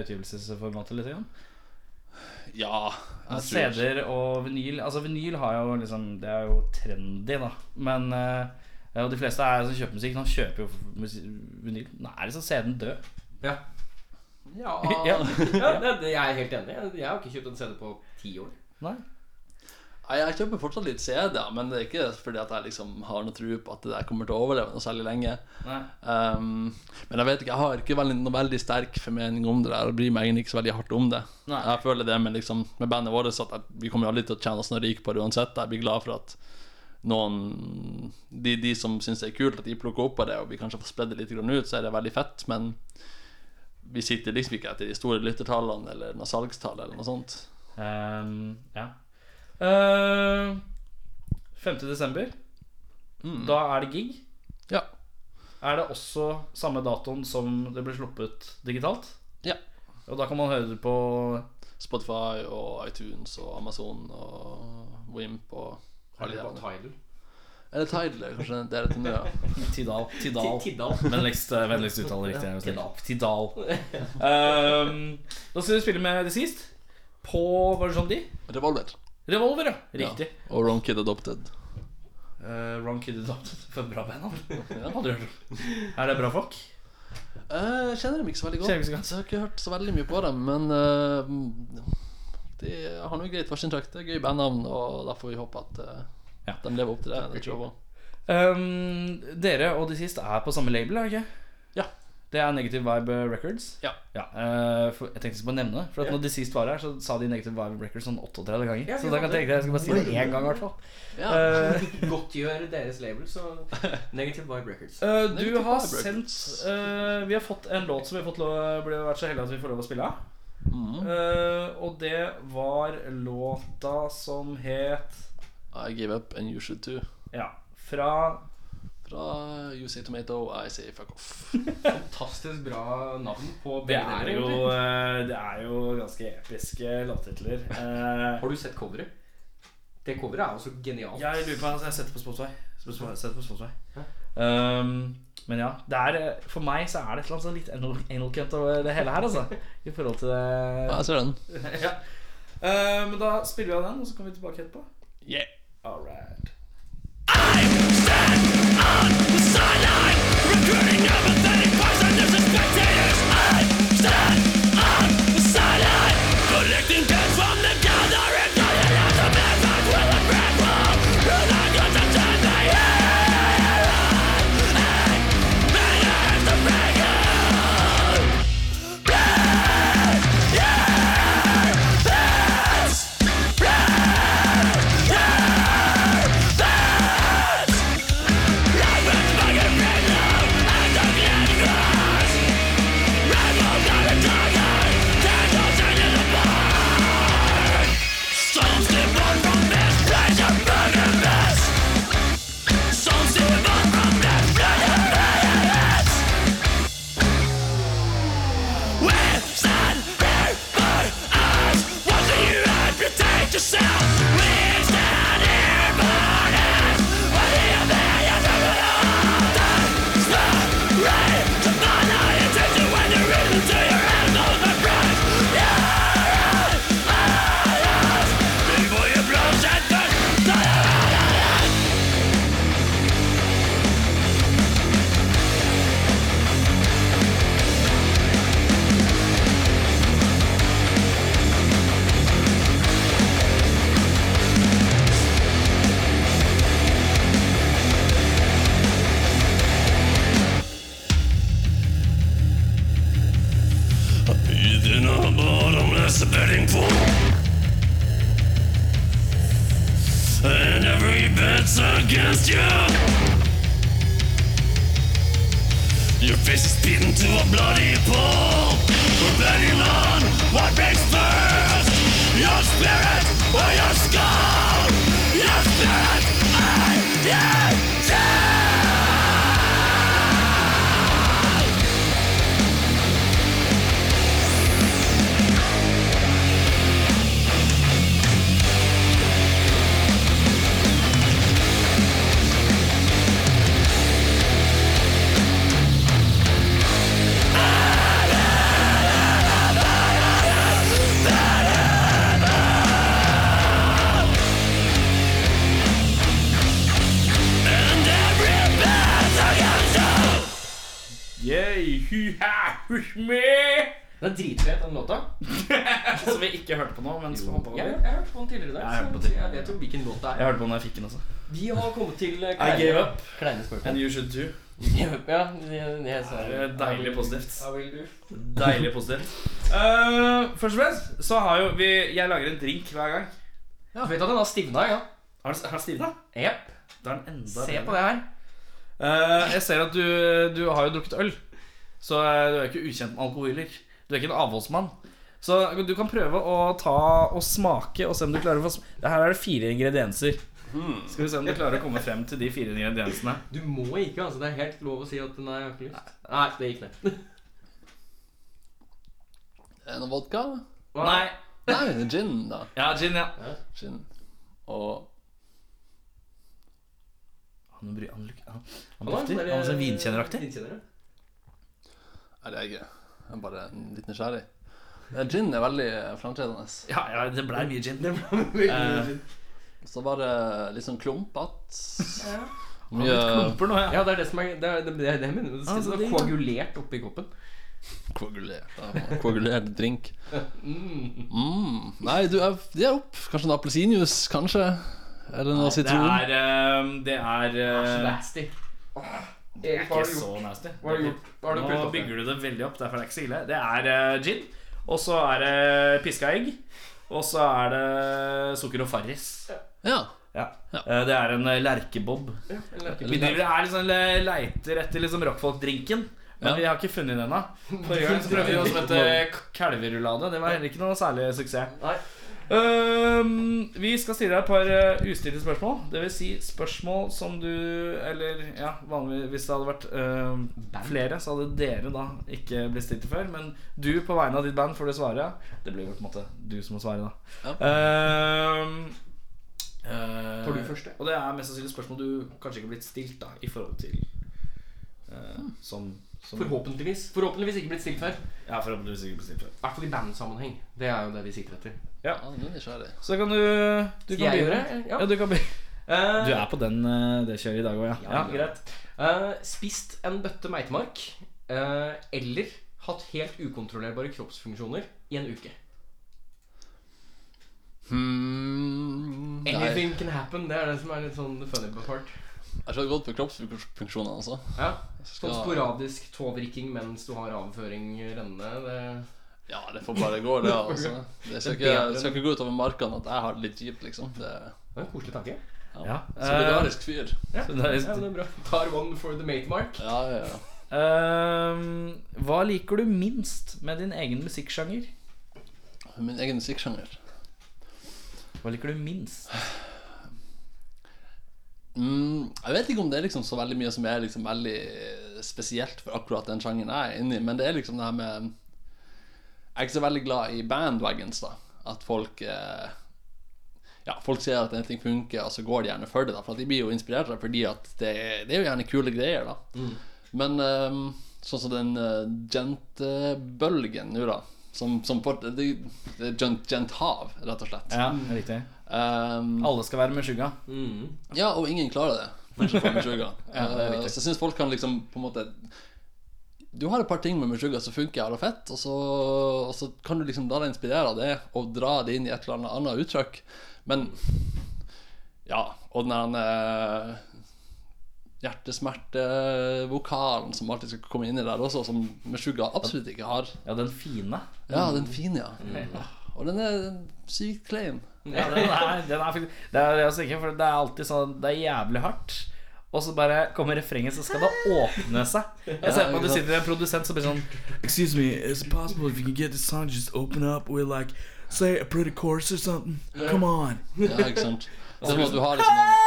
Speaker 2: utgivelsesformatet litt? Igjen?
Speaker 9: Ja, jeg tror
Speaker 2: CD-er og vinyl Altså vinyl har jo liksom Det er jo trendy da Men eh, Og de fleste er som kjøper musikk De kjøper jo musi- vinyl Nå er liksom CD-en død Ah.
Speaker 3: Ja.
Speaker 9: Ja,
Speaker 2: Ja.
Speaker 3: ja det, det, jeg er helt enig. Jeg, jeg har ikke kjøpt en CD på ti år.
Speaker 2: Nei
Speaker 9: Nei, Jeg kjøper fortsatt litt CD-er, men det er ikke fordi at jeg liksom har noe tro på at det der kommer til å overleve noe særlig lenge.
Speaker 10: Nei.
Speaker 9: Um, men jeg vet ikke, jeg har ikke veldig, noe veldig sterk formening om det der, og bryr meg egentlig ikke så veldig hardt om det.
Speaker 10: Nei.
Speaker 9: Jeg føler det med, liksom, med bandet vårt at jeg, vi kommer jo aldri til å tjene oss noe rike på det uansett. Jeg blir glad for at noen De, de som syns det er kult, at de plukker opp på det, og vi kanskje får spredd det litt grann ut, så er det veldig fett. Men vi sitter liksom ikke etter de store lyttertallene eller noe salgstall eller noe sånt.
Speaker 2: Ehm, ja. Eh, 5. desember. Da er det gig.
Speaker 9: Mm. Ja.
Speaker 2: Er det også samme datoen som det ble sluppet digitalt?
Speaker 9: Ja.
Speaker 2: Og da kan man høre det på
Speaker 9: Spotify og iTunes og Amazon og Wimp og alle de
Speaker 10: Eller på
Speaker 9: der.
Speaker 10: Tidal.
Speaker 9: Eller Tidal, kanskje. Det er det til nå, ja.
Speaker 2: Tidal. Tidal.
Speaker 10: Ti- Tidal.
Speaker 2: Vennligst, eh, vennligst uttale riktig. her, hvis det er riktig. Tidal. Ehm, da skal vi spille med det sist. På Hva er det som de?
Speaker 9: Revolver.
Speaker 2: Revolver, ja. Riktig.
Speaker 9: Ja. Og Wrong Kid Adopted.
Speaker 2: Eh, Wrong Kid Adopted. For bra band, han. Aldri hørt om. Er det bra folk?
Speaker 9: Eh, Jeg kjenner dem ikke så veldig godt.
Speaker 2: Kjenner dem ikke så godt.
Speaker 9: Så jeg har ikke hørt så veldig mye på dem, men eh, de har noe greit for sin trakt. Det er gøy bandnavn, og da får vi håpe at eh,
Speaker 2: Ja.
Speaker 9: de lever opp til det. Det tror jeg på.
Speaker 2: Ehm, dere og de siste er på samme label, er det ikke?
Speaker 9: Ja.
Speaker 2: Det er Negative Vibe Records.
Speaker 9: Ja.
Speaker 2: eh, for, jeg tenkte jeg skulle bare nevne det. For at
Speaker 9: Ja.
Speaker 2: når de sist var her, så sa de Negative Vibe Records sånn 38 ganger.
Speaker 10: Ja,
Speaker 2: så
Speaker 10: vi
Speaker 2: da kan jeg
Speaker 10: hadde-
Speaker 2: tenke deg, jeg skal bare si det én gang, i hvert fall.
Speaker 9: Ja.
Speaker 2: Eh,
Speaker 10: Godtgjøre deres label, så Negative Vibe Records.
Speaker 2: eh, du
Speaker 9: Negative
Speaker 2: har
Speaker 9: Vibe
Speaker 2: sendt
Speaker 9: Records.
Speaker 2: eh, Vi har fått en låt som vi har fått lov, ble vært så heldige at vi får lov å spille av.
Speaker 9: Mm.
Speaker 2: Eh, og det var låta som het
Speaker 9: I give up and you should too.
Speaker 2: Ja, fra
Speaker 9: Fra You Say Tomato, I Say Fuck Off.
Speaker 10: Fantastisk bra navn på
Speaker 2: Det
Speaker 10: begge
Speaker 2: er
Speaker 10: deler,
Speaker 2: jo,
Speaker 10: egentlig.
Speaker 2: eh, det er jo ganske episke låttitler. Eh,
Speaker 10: Har du sett coveret? Det coveret er jo så genialt.
Speaker 2: Jeg lurer på altså, Jeg setter på Spotify. Spotify- setter på Spotify. Um, men ja, det er, eh, for meg så er det et eller annet sånn litt anal- anal cunt over det hele her, altså. I forhold til
Speaker 9: Ja,
Speaker 2: det
Speaker 9: jeg ser den.
Speaker 2: ja. Eh, Men da spiller vi av den, og så kommer vi tilbake etterpå.
Speaker 9: Yeah.
Speaker 2: All right. Yay, hyha, hush me!
Speaker 3: Den er dritfet, den låta.
Speaker 2: Som vi ikke hørte på nå, men som hoppa
Speaker 3: Jeg,
Speaker 2: over.
Speaker 3: jeg hørte på den tidligere i dag.
Speaker 2: Jeg hørte
Speaker 3: så
Speaker 2: på den.
Speaker 3: jeg vet jo hvilken låt det
Speaker 2: Jeg
Speaker 3: er.
Speaker 2: hørte på den da jeg fikk den også.
Speaker 3: Vi har kommet til eh,
Speaker 2: I gave up.
Speaker 3: kleine
Speaker 2: And
Speaker 3: spørsmål.
Speaker 2: you should too.
Speaker 3: Give up, ja. det- det er så-
Speaker 2: Det er deilig positivt.
Speaker 3: I will do.
Speaker 2: Deilig positivt. Eh, først og fremst så har jo vi Jeg lager en drink hver gang.
Speaker 3: Ja, vet du at den har stivna, ja?
Speaker 2: Har den- har den stivna?
Speaker 3: Jep.
Speaker 2: Da er den enda
Speaker 3: Se
Speaker 2: bedre.
Speaker 3: på det her.
Speaker 2: Eh, jeg ser at du, du har jo drukket øl, så eh, du er ikke ukjent med alkoholer. Du er ikke en avholdsmann. Så du kan prøve å ta og smake og se om du klarer å få sm Her er det fire ingredienser. Hmm. Skal vi se om du klarer å komme frem til de fire ingrediensene.
Speaker 3: Du må ikke, altså. Det er helt lov å si at nei, jeg har ikke lyst. Nei, det gikk ned.
Speaker 9: Er det noe vodka?
Speaker 2: Nei.
Speaker 9: Nei, gin, da.
Speaker 2: Ja, gin, ja.
Speaker 9: Gin. Og
Speaker 2: Han, bry, han, luk- han, han
Speaker 3: Han har
Speaker 2: dufter.
Speaker 3: sånn der-
Speaker 2: Han er sånn vinkjenneraktig.
Speaker 3: Vinkjenner, ja.
Speaker 9: Nei, det er jeg ikke. Jeg er bare litt nysgjerrig. Eh, Gin er veldig framtredende.
Speaker 2: Ja, ja, det blei mye gin.
Speaker 9: Så bare litt sånn klumpete.
Speaker 2: Mye
Speaker 9: Mye
Speaker 2: klumper nå, ja.
Speaker 3: Ja, det er det som er Det er det, det, er det jeg mener du. Det skal
Speaker 2: Altså,
Speaker 3: være
Speaker 2: det-
Speaker 3: koagulert oppi koppen.
Speaker 9: koagulert. da. Koagulert drink. Mm. Nei, du, jeg, de er opp. Kanskje en appelsinjuice, kanskje? Eller noe
Speaker 2: Det
Speaker 9: sitron?
Speaker 2: er eh, Det er eh,
Speaker 3: Nasty. Det er
Speaker 2: ikke så nasty.
Speaker 3: Hva har du gjort? Hva har du
Speaker 2: Nå
Speaker 3: puttet oppi?
Speaker 2: bygger du det veldig opp, derfor er det ikke så ille. Det er eh, gin, og så er det piska egg, og så er det sukker og farris.
Speaker 9: Ja.
Speaker 2: Ja. Eh, Det er en eh, lerkebob. Vi driver er liksom le- leiter etter liksom rockfolk-drinken. Men
Speaker 9: Ja.
Speaker 2: vi har ikke funnet den ennå. Forrige gang så prøvde vi oss med et eh, kalverulade. Det var heller ikke noe særlig suksess.
Speaker 3: Nei.
Speaker 2: Ehm, vi skal stille deg et par eh, ustilte spørsmål. Det vil si spørsmål som du Eller ja, vanligvis hvis det hadde vært ehm, flere, så hadde dere da ikke blitt stilt det før. Men du på vegne av ditt band får du svare. Det blir jo på en måte du som må svare, da.
Speaker 9: Ja.
Speaker 2: Ehm, eh,
Speaker 3: Tar du første?
Speaker 2: Og det er mest sannsynlig spørsmål du kanskje ikke har blitt stilt da i forhold til eh, som, som
Speaker 3: Forhåpentligvis. Hmm. Forhåpentligvis ikke blitt stilt før.
Speaker 2: Ja, forhåpentligvis ikke blitt stilt før.
Speaker 3: I hvert fall i bandsammenheng. Det er jo det vi sikter etter.
Speaker 9: ja, nå er jeg nysgjerrig.
Speaker 2: Så kan du, du
Speaker 3: Skal jeg
Speaker 2: kan begynne.
Speaker 3: gjøre det?
Speaker 2: Ja, du kan begynne.
Speaker 3: Eh,
Speaker 2: Du er på den, eh, det kjøret i dag òg, ja.
Speaker 3: ja, greit. Eh, spist en bøtte meitemark eh, eller hatt helt ukontrollerbare kroppsfunksjoner i en uke.
Speaker 9: Hmm, nei,
Speaker 3: Anything can happen. Det er det som er litt sånn the funny part.
Speaker 9: jeg ser godt på kroppsfunksjonene, altså.
Speaker 3: Ja.
Speaker 9: Skal-
Speaker 3: Sånn sporadisk tådrikking mens du har avføring rennende. Det
Speaker 9: Ja, det får bare gå, det. altså Det skal ikke,
Speaker 3: bedre
Speaker 9: det skal ikke gå utover markene at jeg har det litt kjipt, liksom. Det er
Speaker 3: det er en koselig tanke.
Speaker 2: Ja.
Speaker 9: Eh.
Speaker 2: Eh,
Speaker 9: solidarisk fyr.
Speaker 3: Ja,
Speaker 2: Så det er-
Speaker 3: ja, det er bra. Tar one for the matemark.
Speaker 9: Ja, ja, ja.
Speaker 2: Ehm, hva liker du minst med din egen musikksjanger?
Speaker 9: Min egen musikksjanger.
Speaker 2: Hva liker du minst?
Speaker 9: Mm, jeg vet ikke om det er liksom så veldig mye som er liksom veldig spesielt for akkurat den sjangeren jeg er inni, men det er liksom det her med Jeg er ikke så veldig glad i bandwagons, da. At folk eh, Ja, folk ser at en ting funker, og så går de gjerne for det, da. For at de blir jo inspirert av det, fordi at det, det er jo gjerne kule greier, da. Men eh, sånn som den eh, gent-bølgen nå, da. Som, som for, det, det er gent- gent-hav, rett og slett.
Speaker 2: Ja, riktig.
Speaker 9: Um,
Speaker 2: Alle skal være med skygga.
Speaker 9: ja, og ingen klarer det. bortsett fra Meshuggah. Eh, så jeg syns folk kan liksom på en måte Du har et par ting med Meshuggah som funker jævla fett, og så, og så kan du liksom la deg inspirere av det og dra det inn i et eller annet annet uttrykk. Men Ja, og den der eh, hjertesmertevokalen som alltid skal komme inn i der også, som Meshuggah absolutt ikke har.
Speaker 2: Ja, den fine.
Speaker 9: Ja, den fine, ja. Og den er sykt klein.
Speaker 2: Ja, den er, den er faktisk, det er det jeg tenker, for det er alltid sånn Det er jævlig hardt. Og så bare kommer refrenget, så skal det åpne seg. Jeg ser på at du sitter med en produsent som blir sånn
Speaker 1: Excuse me, is it possible if you can get this song to just open up with like, say a pretty chorus or something? Come on.
Speaker 9: Ja, ikke sant? Det er som at du har liksom en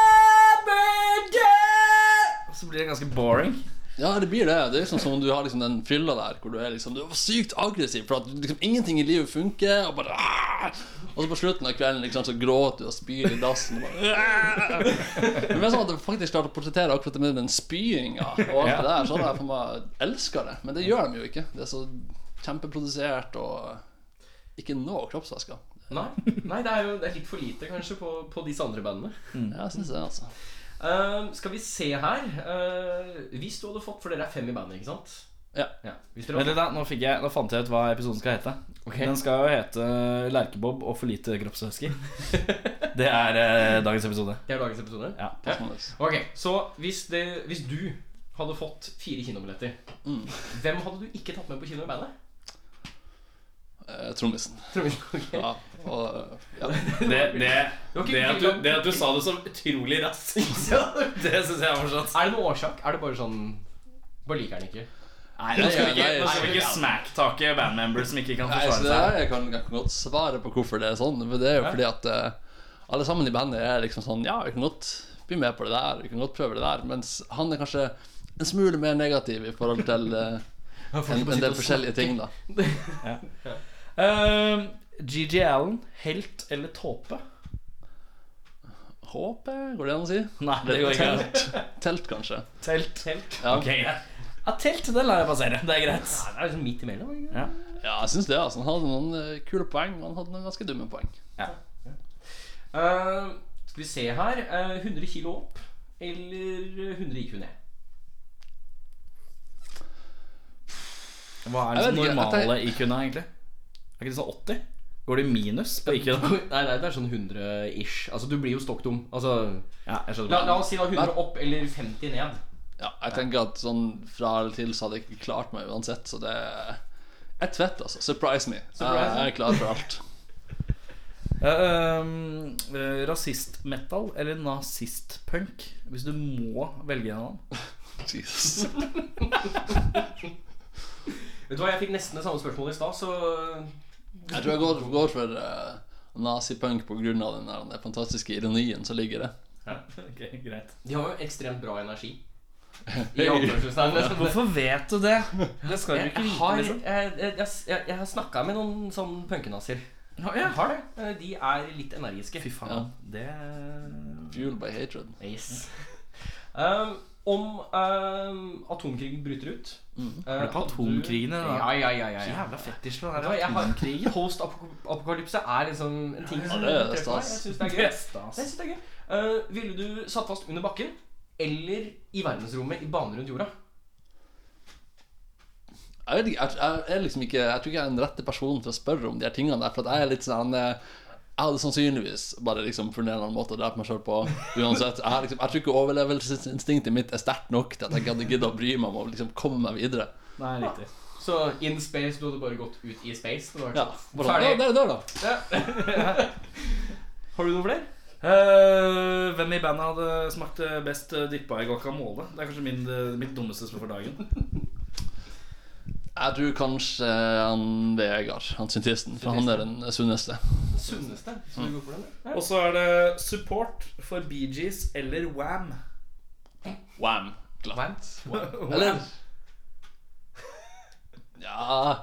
Speaker 2: Og så blir det ganske boring.
Speaker 9: Ja, det blir det. Det er liksom som om du har liksom den fylla der hvor du er liksom Du er sykt aggressiv for at liksom ingenting i livet funker. Og bare "Ah!" Og så på slutten av kvelden liksom så gråter du og spyr i dassen. Og bare, "Ah!" Men det er sånn at jeg faktisk klarte å portrettere akkurat det med den spyinga og alt det der. Sånn at jeg for meg elsker det. Men det gjør de jo ikke. Det er så kjempeprodusert og ikke noe kroppsvæsker.
Speaker 3: Nei, nei det er jo det er litt for lite, kanskje, på, på disse andre bandene.
Speaker 2: Mm.
Speaker 9: Ja, jeg syns det, altså.
Speaker 3: Ehm, Eh, skal vi se her eh, Hvis du hadde fått For dere er fem i bandet, ikke sant?
Speaker 9: Ja.
Speaker 2: Vent litt, da. Nå, fikk jeg, nå fant jeg ut hva episoden skal hete. Den skal jo hete 'Lerkebob og for lite kroppsvæske'. det er eh, dagens episode.
Speaker 3: Det er dagens episode?
Speaker 2: Ja.
Speaker 3: Ok, så hvis, det, hvis du hadde fått fire kinobilletter,
Speaker 2: Mm.
Speaker 3: hvem hadde du ikke tatt med på kino i bandet?
Speaker 9: Eh, Trommisen.
Speaker 3: Trommisen, ok.
Speaker 9: Ja, og, ja.
Speaker 2: Det, det,
Speaker 3: var ikke
Speaker 2: det, at du,
Speaker 3: villig.
Speaker 2: det at du sa det som utrolig raskt, det syns jeg er fortsatt.
Speaker 3: Er det noen årsak? Er det bare sånn Bare liker den ikke?
Speaker 2: Nei,
Speaker 9: Nei,
Speaker 2: nå skal vi
Speaker 9: nei,
Speaker 2: ikke, nå skal vi
Speaker 9: nei,
Speaker 2: ikke smack-take bandmembers som ikke kan
Speaker 9: Nei, så
Speaker 2: forsvare
Speaker 9: det,
Speaker 2: seg.
Speaker 9: jeg, kan, jeg kan godt svare på hvorfor det er sånn. Men det er jo fordi at eh, alle sammen i bandet er liksom sånn Ja, vi kan godt bli med på det der, vi kan godt prøve det der. Mens han er kanskje en smule mer negativ i forhold til eh, en, en del forskjellige ting, da.
Speaker 2: Ehm, GG Allen, helt eller tåpe?
Speaker 9: Håper Går det an å si?
Speaker 2: Nei, det går ikke. an.
Speaker 9: Telt, telt kanskje.
Speaker 2: Telt. telt.
Speaker 9: Ja,
Speaker 2: Ok. Ja, telt, det lar jeg passere. Det er greit.
Speaker 3: Det er liksom midt imellom. ikke?
Speaker 9: ja jeg syns det. altså Han hadde noen eh, kule poeng, og han hadde noen ganske dumme poeng.
Speaker 3: Eh, skal vi se her. eh, 100 kilo opp eller 100 IQ ned?
Speaker 2: Hva er
Speaker 9: Jeg
Speaker 2: liksom
Speaker 9: vet ikke,
Speaker 2: normale IQ-en egentlig? Er ikke det sånn 80? Går det i minus på IQ?
Speaker 3: nei, nei, det er sånn 100-ish. Altså, du blir jo stokk dum. Altså,
Speaker 2: Ja, jeg
Speaker 3: la,
Speaker 2: skjønner
Speaker 3: la oss si da 100 opp eller 50 ned.
Speaker 9: Ja, jeg tenker at sånn fra eller til så hadde jeg ikke klart meg uansett, så det Jeg tvetter, altså. Surprise me. jeg, jeg er klar for alt.
Speaker 2: Uh, Rasist-metal eller nazist-punk? Hvis du må velge en av dem.
Speaker 9: Jesus.
Speaker 3: Vet du hva, Jeg fikk nesten det samme spørsmålet i stad, så
Speaker 9: Jeg tror jeg går, går for eh, nazipunk på grunn av den, der, den fantastiske ironien som ligger i det.
Speaker 2: Ok, greit
Speaker 3: De har jo ekstremt bra energi. I anførselstegn, liksom.
Speaker 2: Hvorfor vet du det? Det skal du
Speaker 3: Jeg
Speaker 2: ikke vite,
Speaker 3: har, jeg,
Speaker 2: liksom.
Speaker 3: jeg, jeg, jeg har snakka med noen sånn punkenazier. Jeg har det. Eh, De er litt energiske.
Speaker 2: Fy faen. Det
Speaker 9: Fueled by hatred.
Speaker 3: Yes. Um, om um, atomkrigen bryter ut
Speaker 9: Mm.
Speaker 3: eh,
Speaker 2: Er det på
Speaker 3: hadde du-
Speaker 2: atomkrigene, da?
Speaker 3: Ja, ja, ja. ja, ja.
Speaker 2: Jævla fetisj på
Speaker 3: Vet
Speaker 2: den
Speaker 3: du hva,
Speaker 2: der
Speaker 3: jeg har-
Speaker 2: atomkrigen.
Speaker 3: Post-apokalypse er liksom en ting som
Speaker 9: det
Speaker 3: treffer
Speaker 9: er
Speaker 3: meg. Jeg
Speaker 9: Eh, stas.
Speaker 3: syns det er gøy.
Speaker 2: Det er
Speaker 3: Jeg
Speaker 2: stas.
Speaker 3: synes det er gøy. Eh, ville du satt fast under bakken eller i verdensrommet i bane rundt jorda?
Speaker 9: Jeg vet ikke, jeg, jeg, er liksom ikke, jeg tror ikke jeg er den rette personen til å spørre om de her tingene der, for at jeg er litt sånn eh, jeg hadde sannsynligvis bare liksom funnet en eller annen måte å drepe meg sjøl på. Uansett, jeg, har liksom, jeg tror ikke overlevelsesinstinktet mitt er sterkt nok til at jeg hadde giddet å bry meg om å liksom komme meg videre.
Speaker 2: Nei, riktig.
Speaker 3: Så in space, du hadde bare gått ut i space? Det var
Speaker 9: Ja, bare sånn,
Speaker 3: Ferdig.
Speaker 9: «Ja, der, der, da.
Speaker 3: Har du noen flere?
Speaker 2: Eh, hvem i bandet hadde smakt eh, best eh, dyppa i guacamole? Det er kanskje min, eh, mitt dummeste spørsmål for dagen.
Speaker 9: Jeg tror kanskje han Vegard, han syntisten, for han er den sunneste.
Speaker 3: Sunneste? Skal du gå for den? Ja.
Speaker 2: Og så er det support for Bee Gees eller Wam.
Speaker 9: Wham.
Speaker 3: Vent.
Speaker 9: Eller ja, Ah,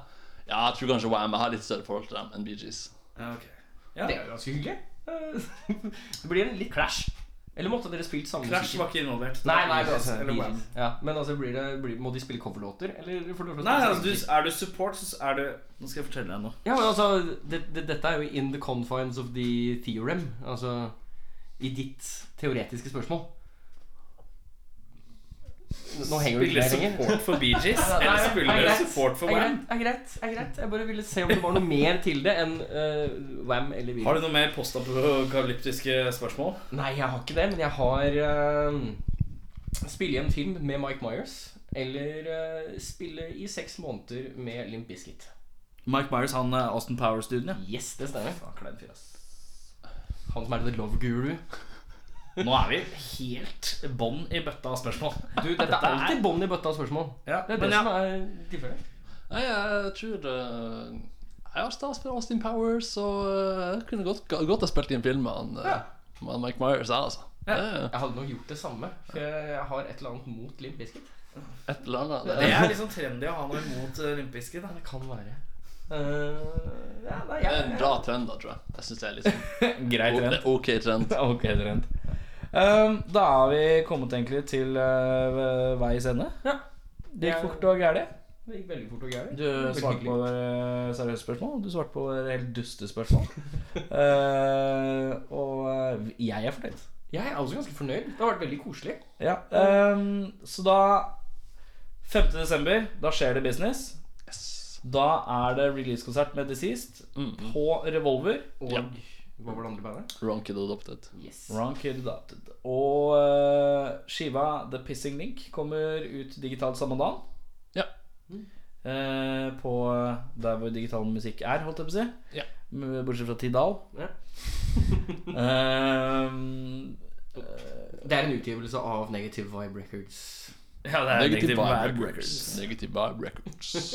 Speaker 9: ja, jeg tror kanskje Wham! Jeg har litt større forhold til dem enn Bee Gees.
Speaker 2: Ja, ok.
Speaker 3: Det er jo ganske hyggelig. Eh, Det blir en litt clash. Eller måtte dere spilt samme
Speaker 2: Crash
Speaker 3: musikk?
Speaker 2: var ikke involvert.
Speaker 3: Nei, nei,
Speaker 2: Bee Gees
Speaker 3: altså,
Speaker 2: eller
Speaker 3: Bee
Speaker 2: Wham.
Speaker 3: Gees. ja, men altså, blir det, blir, må de spille coverlåter? Eller får du lov til å
Speaker 2: Nei,
Speaker 3: spille
Speaker 2: altså, du,
Speaker 3: samme musikk?
Speaker 2: er du support, så er du Nå skal jeg fortelle deg noe.
Speaker 3: Ja, men altså, det, det, dette er jo in the confines of the theorem. Altså i ditt teoretiske spørsmål. Nå henger du ikke der
Speaker 2: Spille
Speaker 3: lenger.
Speaker 2: support for Bee Gees
Speaker 3: Nei, nei,
Speaker 2: eller
Speaker 3: nei,
Speaker 2: spille
Speaker 3: er greit,
Speaker 2: support for
Speaker 3: er
Speaker 2: Wam?
Speaker 3: greit, Er greit, er greit. Jeg bare ville se om det var noe mer til det enn eh, Wham eller Virus.
Speaker 2: Har du noe mer postapokalyptiske spørsmål?
Speaker 3: Nei, jeg har ikke det, men jeg har uh, Spille i en film med Mike Myers. Eller eh, spille i seks måneder med Limp Bizkit.
Speaker 2: Mike Myers, han eh, Austin Powers-duden, ja.
Speaker 3: Yes, det stemmer.
Speaker 2: Faen, klein fyr, ass.
Speaker 3: Han som er the love guru.
Speaker 2: Nå er vi helt bånn i bøtta av spørsmål.
Speaker 3: Du, Dette er alltid bånd i bøtta av spørsmål.
Speaker 2: Ja,
Speaker 3: Det er det
Speaker 2: men ja.
Speaker 3: som er tilfellet.
Speaker 9: Nei, jeg tror eh, Jeg har stas med Austin Powers, og eh, jeg kunne godt, godt ha spilt i en film med han, eh, med han Mike Myers, jeg, altså. Det
Speaker 3: Jeg hadde nok gjort det samme, for jeg har et eller annet mot Limp Bizkit.
Speaker 9: er et eller annet.
Speaker 2: Det er liksom trendy å ha noe imot eh, olympiske. Da.
Speaker 3: Det kan være. Eh, ja, nei,
Speaker 9: Det er
Speaker 3: jeg,
Speaker 9: en bra trend, da, tror jeg. Jeg synes det er litt sånn
Speaker 2: Grei
Speaker 9: det er ok trend.
Speaker 2: Ok, trend. Um, da er vi kommet egentlig til uh, veis ende.
Speaker 3: Ja.
Speaker 2: Det gikk fort og gærent.
Speaker 3: det gikk veldig fort og gærent.
Speaker 2: Du svarte på
Speaker 3: hyggelig.
Speaker 2: våre seriøse spørsmål, og du svarte på våre helt duste spørsmål. Eh, og eh, jeg er fornøyd.
Speaker 3: Jeg er også ganske fornøyd. Det har vært veldig koselig.
Speaker 2: Ja, ehm, så da 5. desember, da skjer det business. Da er det releasekonsert med Deceased
Speaker 3: Mm,
Speaker 2: på Revolver.
Speaker 9: Og Ja.
Speaker 2: hva var det andre bandet?
Speaker 9: Wrong Kid Adopted.
Speaker 2: Wrong Kid Adopted. Og eh, skiva The Pissing Link kommer ut digitalt samme dagen.
Speaker 9: Ja.
Speaker 2: Eh, på der hvor digital musikk er, holdt jeg på å si.
Speaker 9: Ja.
Speaker 2: M- Bortsett fra Tidal.
Speaker 3: Ja.
Speaker 2: Ehm,
Speaker 3: Det er en utgivelse av Negative Vibe Records.
Speaker 2: ja, det er
Speaker 9: Negative
Speaker 2: Negative
Speaker 9: Vibe
Speaker 2: Vibe
Speaker 9: Records. Negative Vibe Records.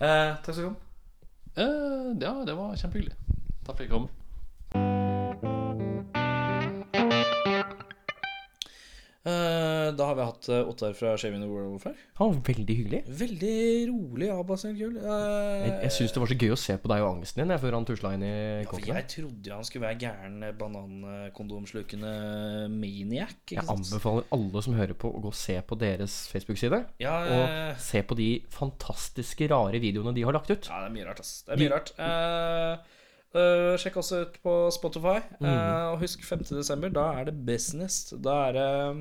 Speaker 2: Eh, takk skal du ha.
Speaker 9: Eh, ja, det var kjempehyggelig. Takk for at jeg kom.
Speaker 2: Eh, da har vi hatt eh, Ottar fra Shaving the World før.
Speaker 3: Han var veldig hyggelig.
Speaker 2: Veldig rolig avbasert kul.
Speaker 3: Jeg,
Speaker 2: Eh,
Speaker 3: jeg syns det var så gøy å se på deg og angsten din jeg, før han tusla inn i
Speaker 2: for
Speaker 3: kåken. der.
Speaker 2: jeg trodde jo han skulle være gæren eh, banankondomslukende eh, maniac. Ikke
Speaker 3: Jeg anbefaler alle som hører på, å gå og se på deres Facebook-side.
Speaker 2: Ja, eh,
Speaker 3: Og se på de fantastiske, rare videoene de har lagt ut.
Speaker 2: ja, det er mye rart, ass. Det er mye rart. Eh, eh, sjekk også ut på Spotify. Eh,
Speaker 3: Mm.
Speaker 2: og husk 5.12., da er det business. Da er det eh,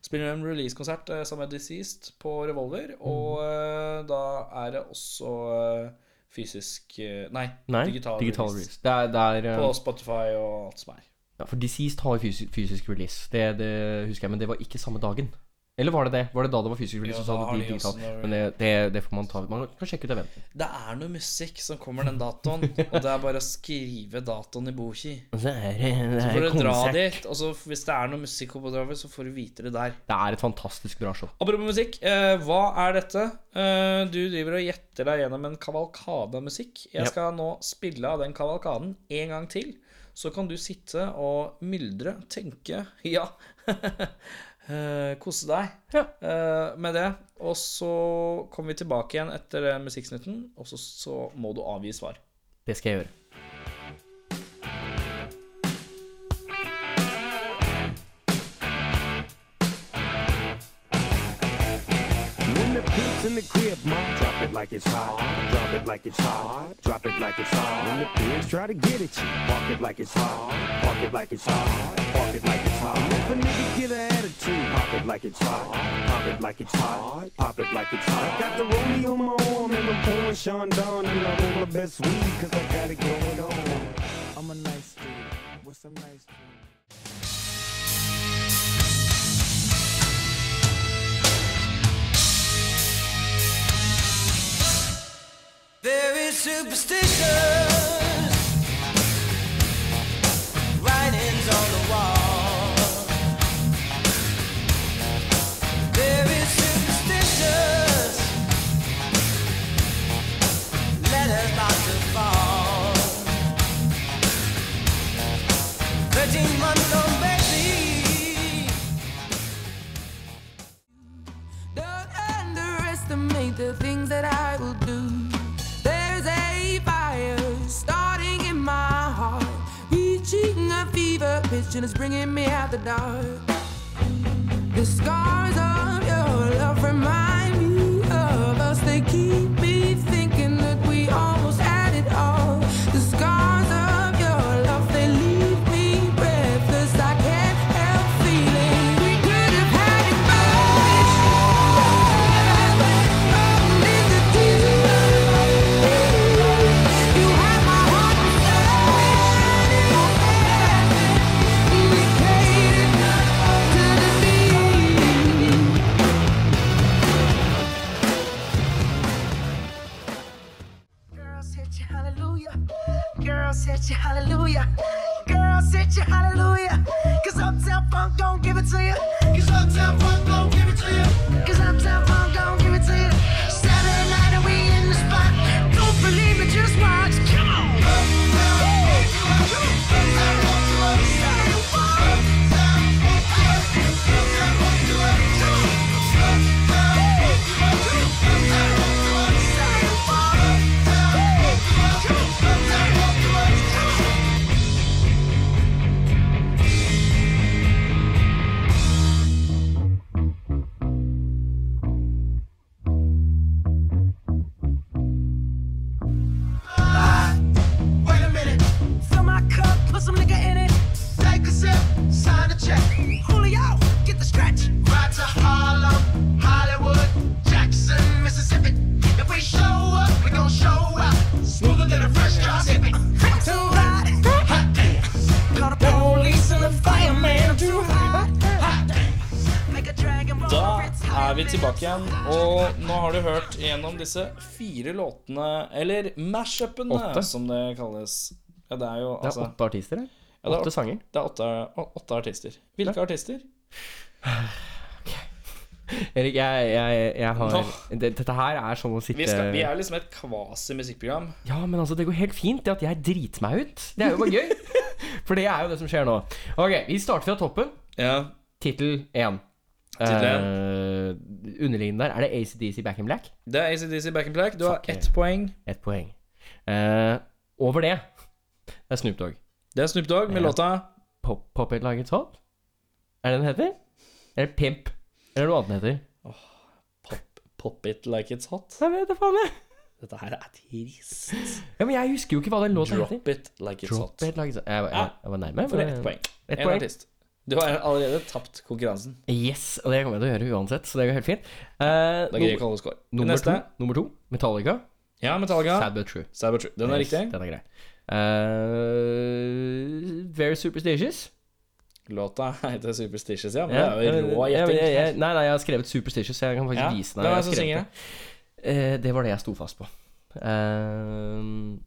Speaker 2: Spiller en releasekonsert uh, sammen med Deceased på Revolver.
Speaker 3: Mm.
Speaker 2: Og eh, da er det også eh, fysisk eh, Nei,
Speaker 3: Nei,
Speaker 2: digital, release.
Speaker 3: Det er, det er eh,
Speaker 2: På Spotify og alt som er.
Speaker 3: ja, For Deceased har fysisk, fysisk release, det, det husker jeg, men det var ikke samme dagen. Eller var det det? Var det da det var fysisk release?
Speaker 2: Ja,
Speaker 3: og så
Speaker 2: da
Speaker 3: hadde
Speaker 2: har
Speaker 3: de
Speaker 2: de også
Speaker 3: digitalt?
Speaker 2: noe-
Speaker 3: Men det, det, det får man ta Man kan sjekke ut eventen.
Speaker 2: Det er noe musikk som kommer den datoen, og det er bare å skrive datoen i boki.
Speaker 3: Og Så er det, det,
Speaker 2: Så
Speaker 3: er
Speaker 2: får du dra
Speaker 3: konsert.
Speaker 2: dit, og så hvis det er noe musikk oppå dravet, så får du vite det der.
Speaker 3: det er et fantastisk bra show.
Speaker 2: Apropos musikk, eh, hva er dette? Eh, du driver og gjetter deg gjennom en kavalkade av musikk. Jeg skal nå spille av den kavalkaden en gang til. Så kan du sitte og myldre, tenke, ja eh, Kose deg eh, med det. Og så kommer vi tilbake igjen etter eh, musikksnutten, og så, så må du avgi svar.
Speaker 3: Det skal jeg gjøre.
Speaker 4: When the pimp's in the crib, mom, drop it like it's hot. Drop it like it's hot. Drop it like it's hot. When the pigs try to get at you, walk it like it's hot. Walk it like it's hot. Walk it like it's hot. And if a nigga get an attitude, pop it like it's hot. Pop it like it's hot. Pop it like it's hot. I got the rollie on my arm and I'm pouring Sean Don and I'm on my best weed 'cause I got it going on. I'm a nice dude with some nice dreams.
Speaker 5: Very superstitious writings on the wall. Very superstitious letters about to fall. Thirteen months on Betsy.
Speaker 6: Don't underestimate the things that I will do. There's a fire starting in my heart, reaching a fever pitch, and it's bringing me out the dark. The scars of your love remind me of us. They keep me thinking that we almost had it all. The scars of your love, they leave me breathless. I can't help feeling we could have had it both. Only the tears. You had my heart inside. We catered to the beat.
Speaker 7: Girls hit you hallelujah. Girls hit you hallelujah. Girls hit you hallelujah. Cause Uptown Funk don't give it to you. Cause Uptown Funk don't give it to you. Cause Uptown Funk don't give it to you. Saturday night and we in the spot. Don't believe me, just watch. Come on.
Speaker 8: Wait a minute,
Speaker 7: Fill my cup, put some nigga in it.
Speaker 8: take a sip, sign a check.
Speaker 7: Julio, get the stretch.
Speaker 8: Ride to Harlem, Hollywood, Jackson.
Speaker 2: er tilbake igjen, og nå har du hørt gjennom disse fire låtene, eller mashupene,
Speaker 3: Åtte.
Speaker 2: som det kalles. Ja, det er jo
Speaker 3: Det er
Speaker 2: altså
Speaker 3: åtte artister her.
Speaker 2: ja, det er
Speaker 3: Åtte sanger.
Speaker 2: Det er åtte, å- åtte artister. Hvilke artister?
Speaker 3: Erik, jeg, jeg, jeg har
Speaker 2: Nå.
Speaker 3: det, Dette her er som å sitte
Speaker 2: Vi, skal, vi er liksom et kvasi-musikkprogram.
Speaker 3: Ja, men altså, det går helt fint det at jeg driter meg ut. Det er jo bare gøy. For det er jo det som skjer nå. Ok, vi starter fra toppen.
Speaker 2: Ja.
Speaker 3: Tittel én.
Speaker 2: Tittel
Speaker 3: Eh, underliggende der, er det ACDC Back in Black?
Speaker 2: Det er ACDC Back in Black. Du har
Speaker 3: Fuck,
Speaker 2: ett poeng.
Speaker 3: Ett poeng. Eh, over det Det er Snoop Dogg.
Speaker 2: Det er Snoop Dogg med
Speaker 3: Ja.
Speaker 2: låta
Speaker 3: Pop, pop it like it's hot? Er det den heter? Eller Pimp? Eller noe annet den heter?
Speaker 2: Pop, pop It Like It's Hot.
Speaker 3: Jeg vet da faen, jeg.
Speaker 2: Dette her er trist.
Speaker 3: Ja, men jeg husker jo ikke hva den låta heter.
Speaker 2: Drop It Like It's
Speaker 3: Drop
Speaker 2: Hot.
Speaker 3: it like it's hot. Jeg, var- jeg, jeg var nærme.
Speaker 2: For
Speaker 3: men-
Speaker 2: ett poeng.
Speaker 3: Ett
Speaker 2: En
Speaker 3: poeng.
Speaker 2: artist. Du har allerede tapt konkurransen.
Speaker 3: Yes, og det kommer jeg til å gjøre uansett, så det går helt fint. Eh,
Speaker 2: Da greier ikke
Speaker 3: nummer,
Speaker 2: alle å score.
Speaker 3: nummer,
Speaker 2: Neste.
Speaker 3: to, nummer to, Metallica.
Speaker 2: Ja, Metallica.
Speaker 3: Sad but true.
Speaker 2: Cyber True. Den er
Speaker 3: Yes,
Speaker 2: riktig.
Speaker 3: Den er grei. Eh, very superstitious.
Speaker 2: Låta heter Superstitious, ja. Men
Speaker 3: Ja,
Speaker 2: det er jo rå
Speaker 3: ja, men jeg- jeg-
Speaker 2: gjetting.
Speaker 3: Nei, nei, jeg har skrevet superstitious, så jeg kan faktisk
Speaker 2: Ja,
Speaker 3: vise
Speaker 2: hvem er
Speaker 3: jeg
Speaker 2: det som
Speaker 3: har skrevet
Speaker 2: synger
Speaker 3: det. Eh, det var det jeg sto fast på. Eh,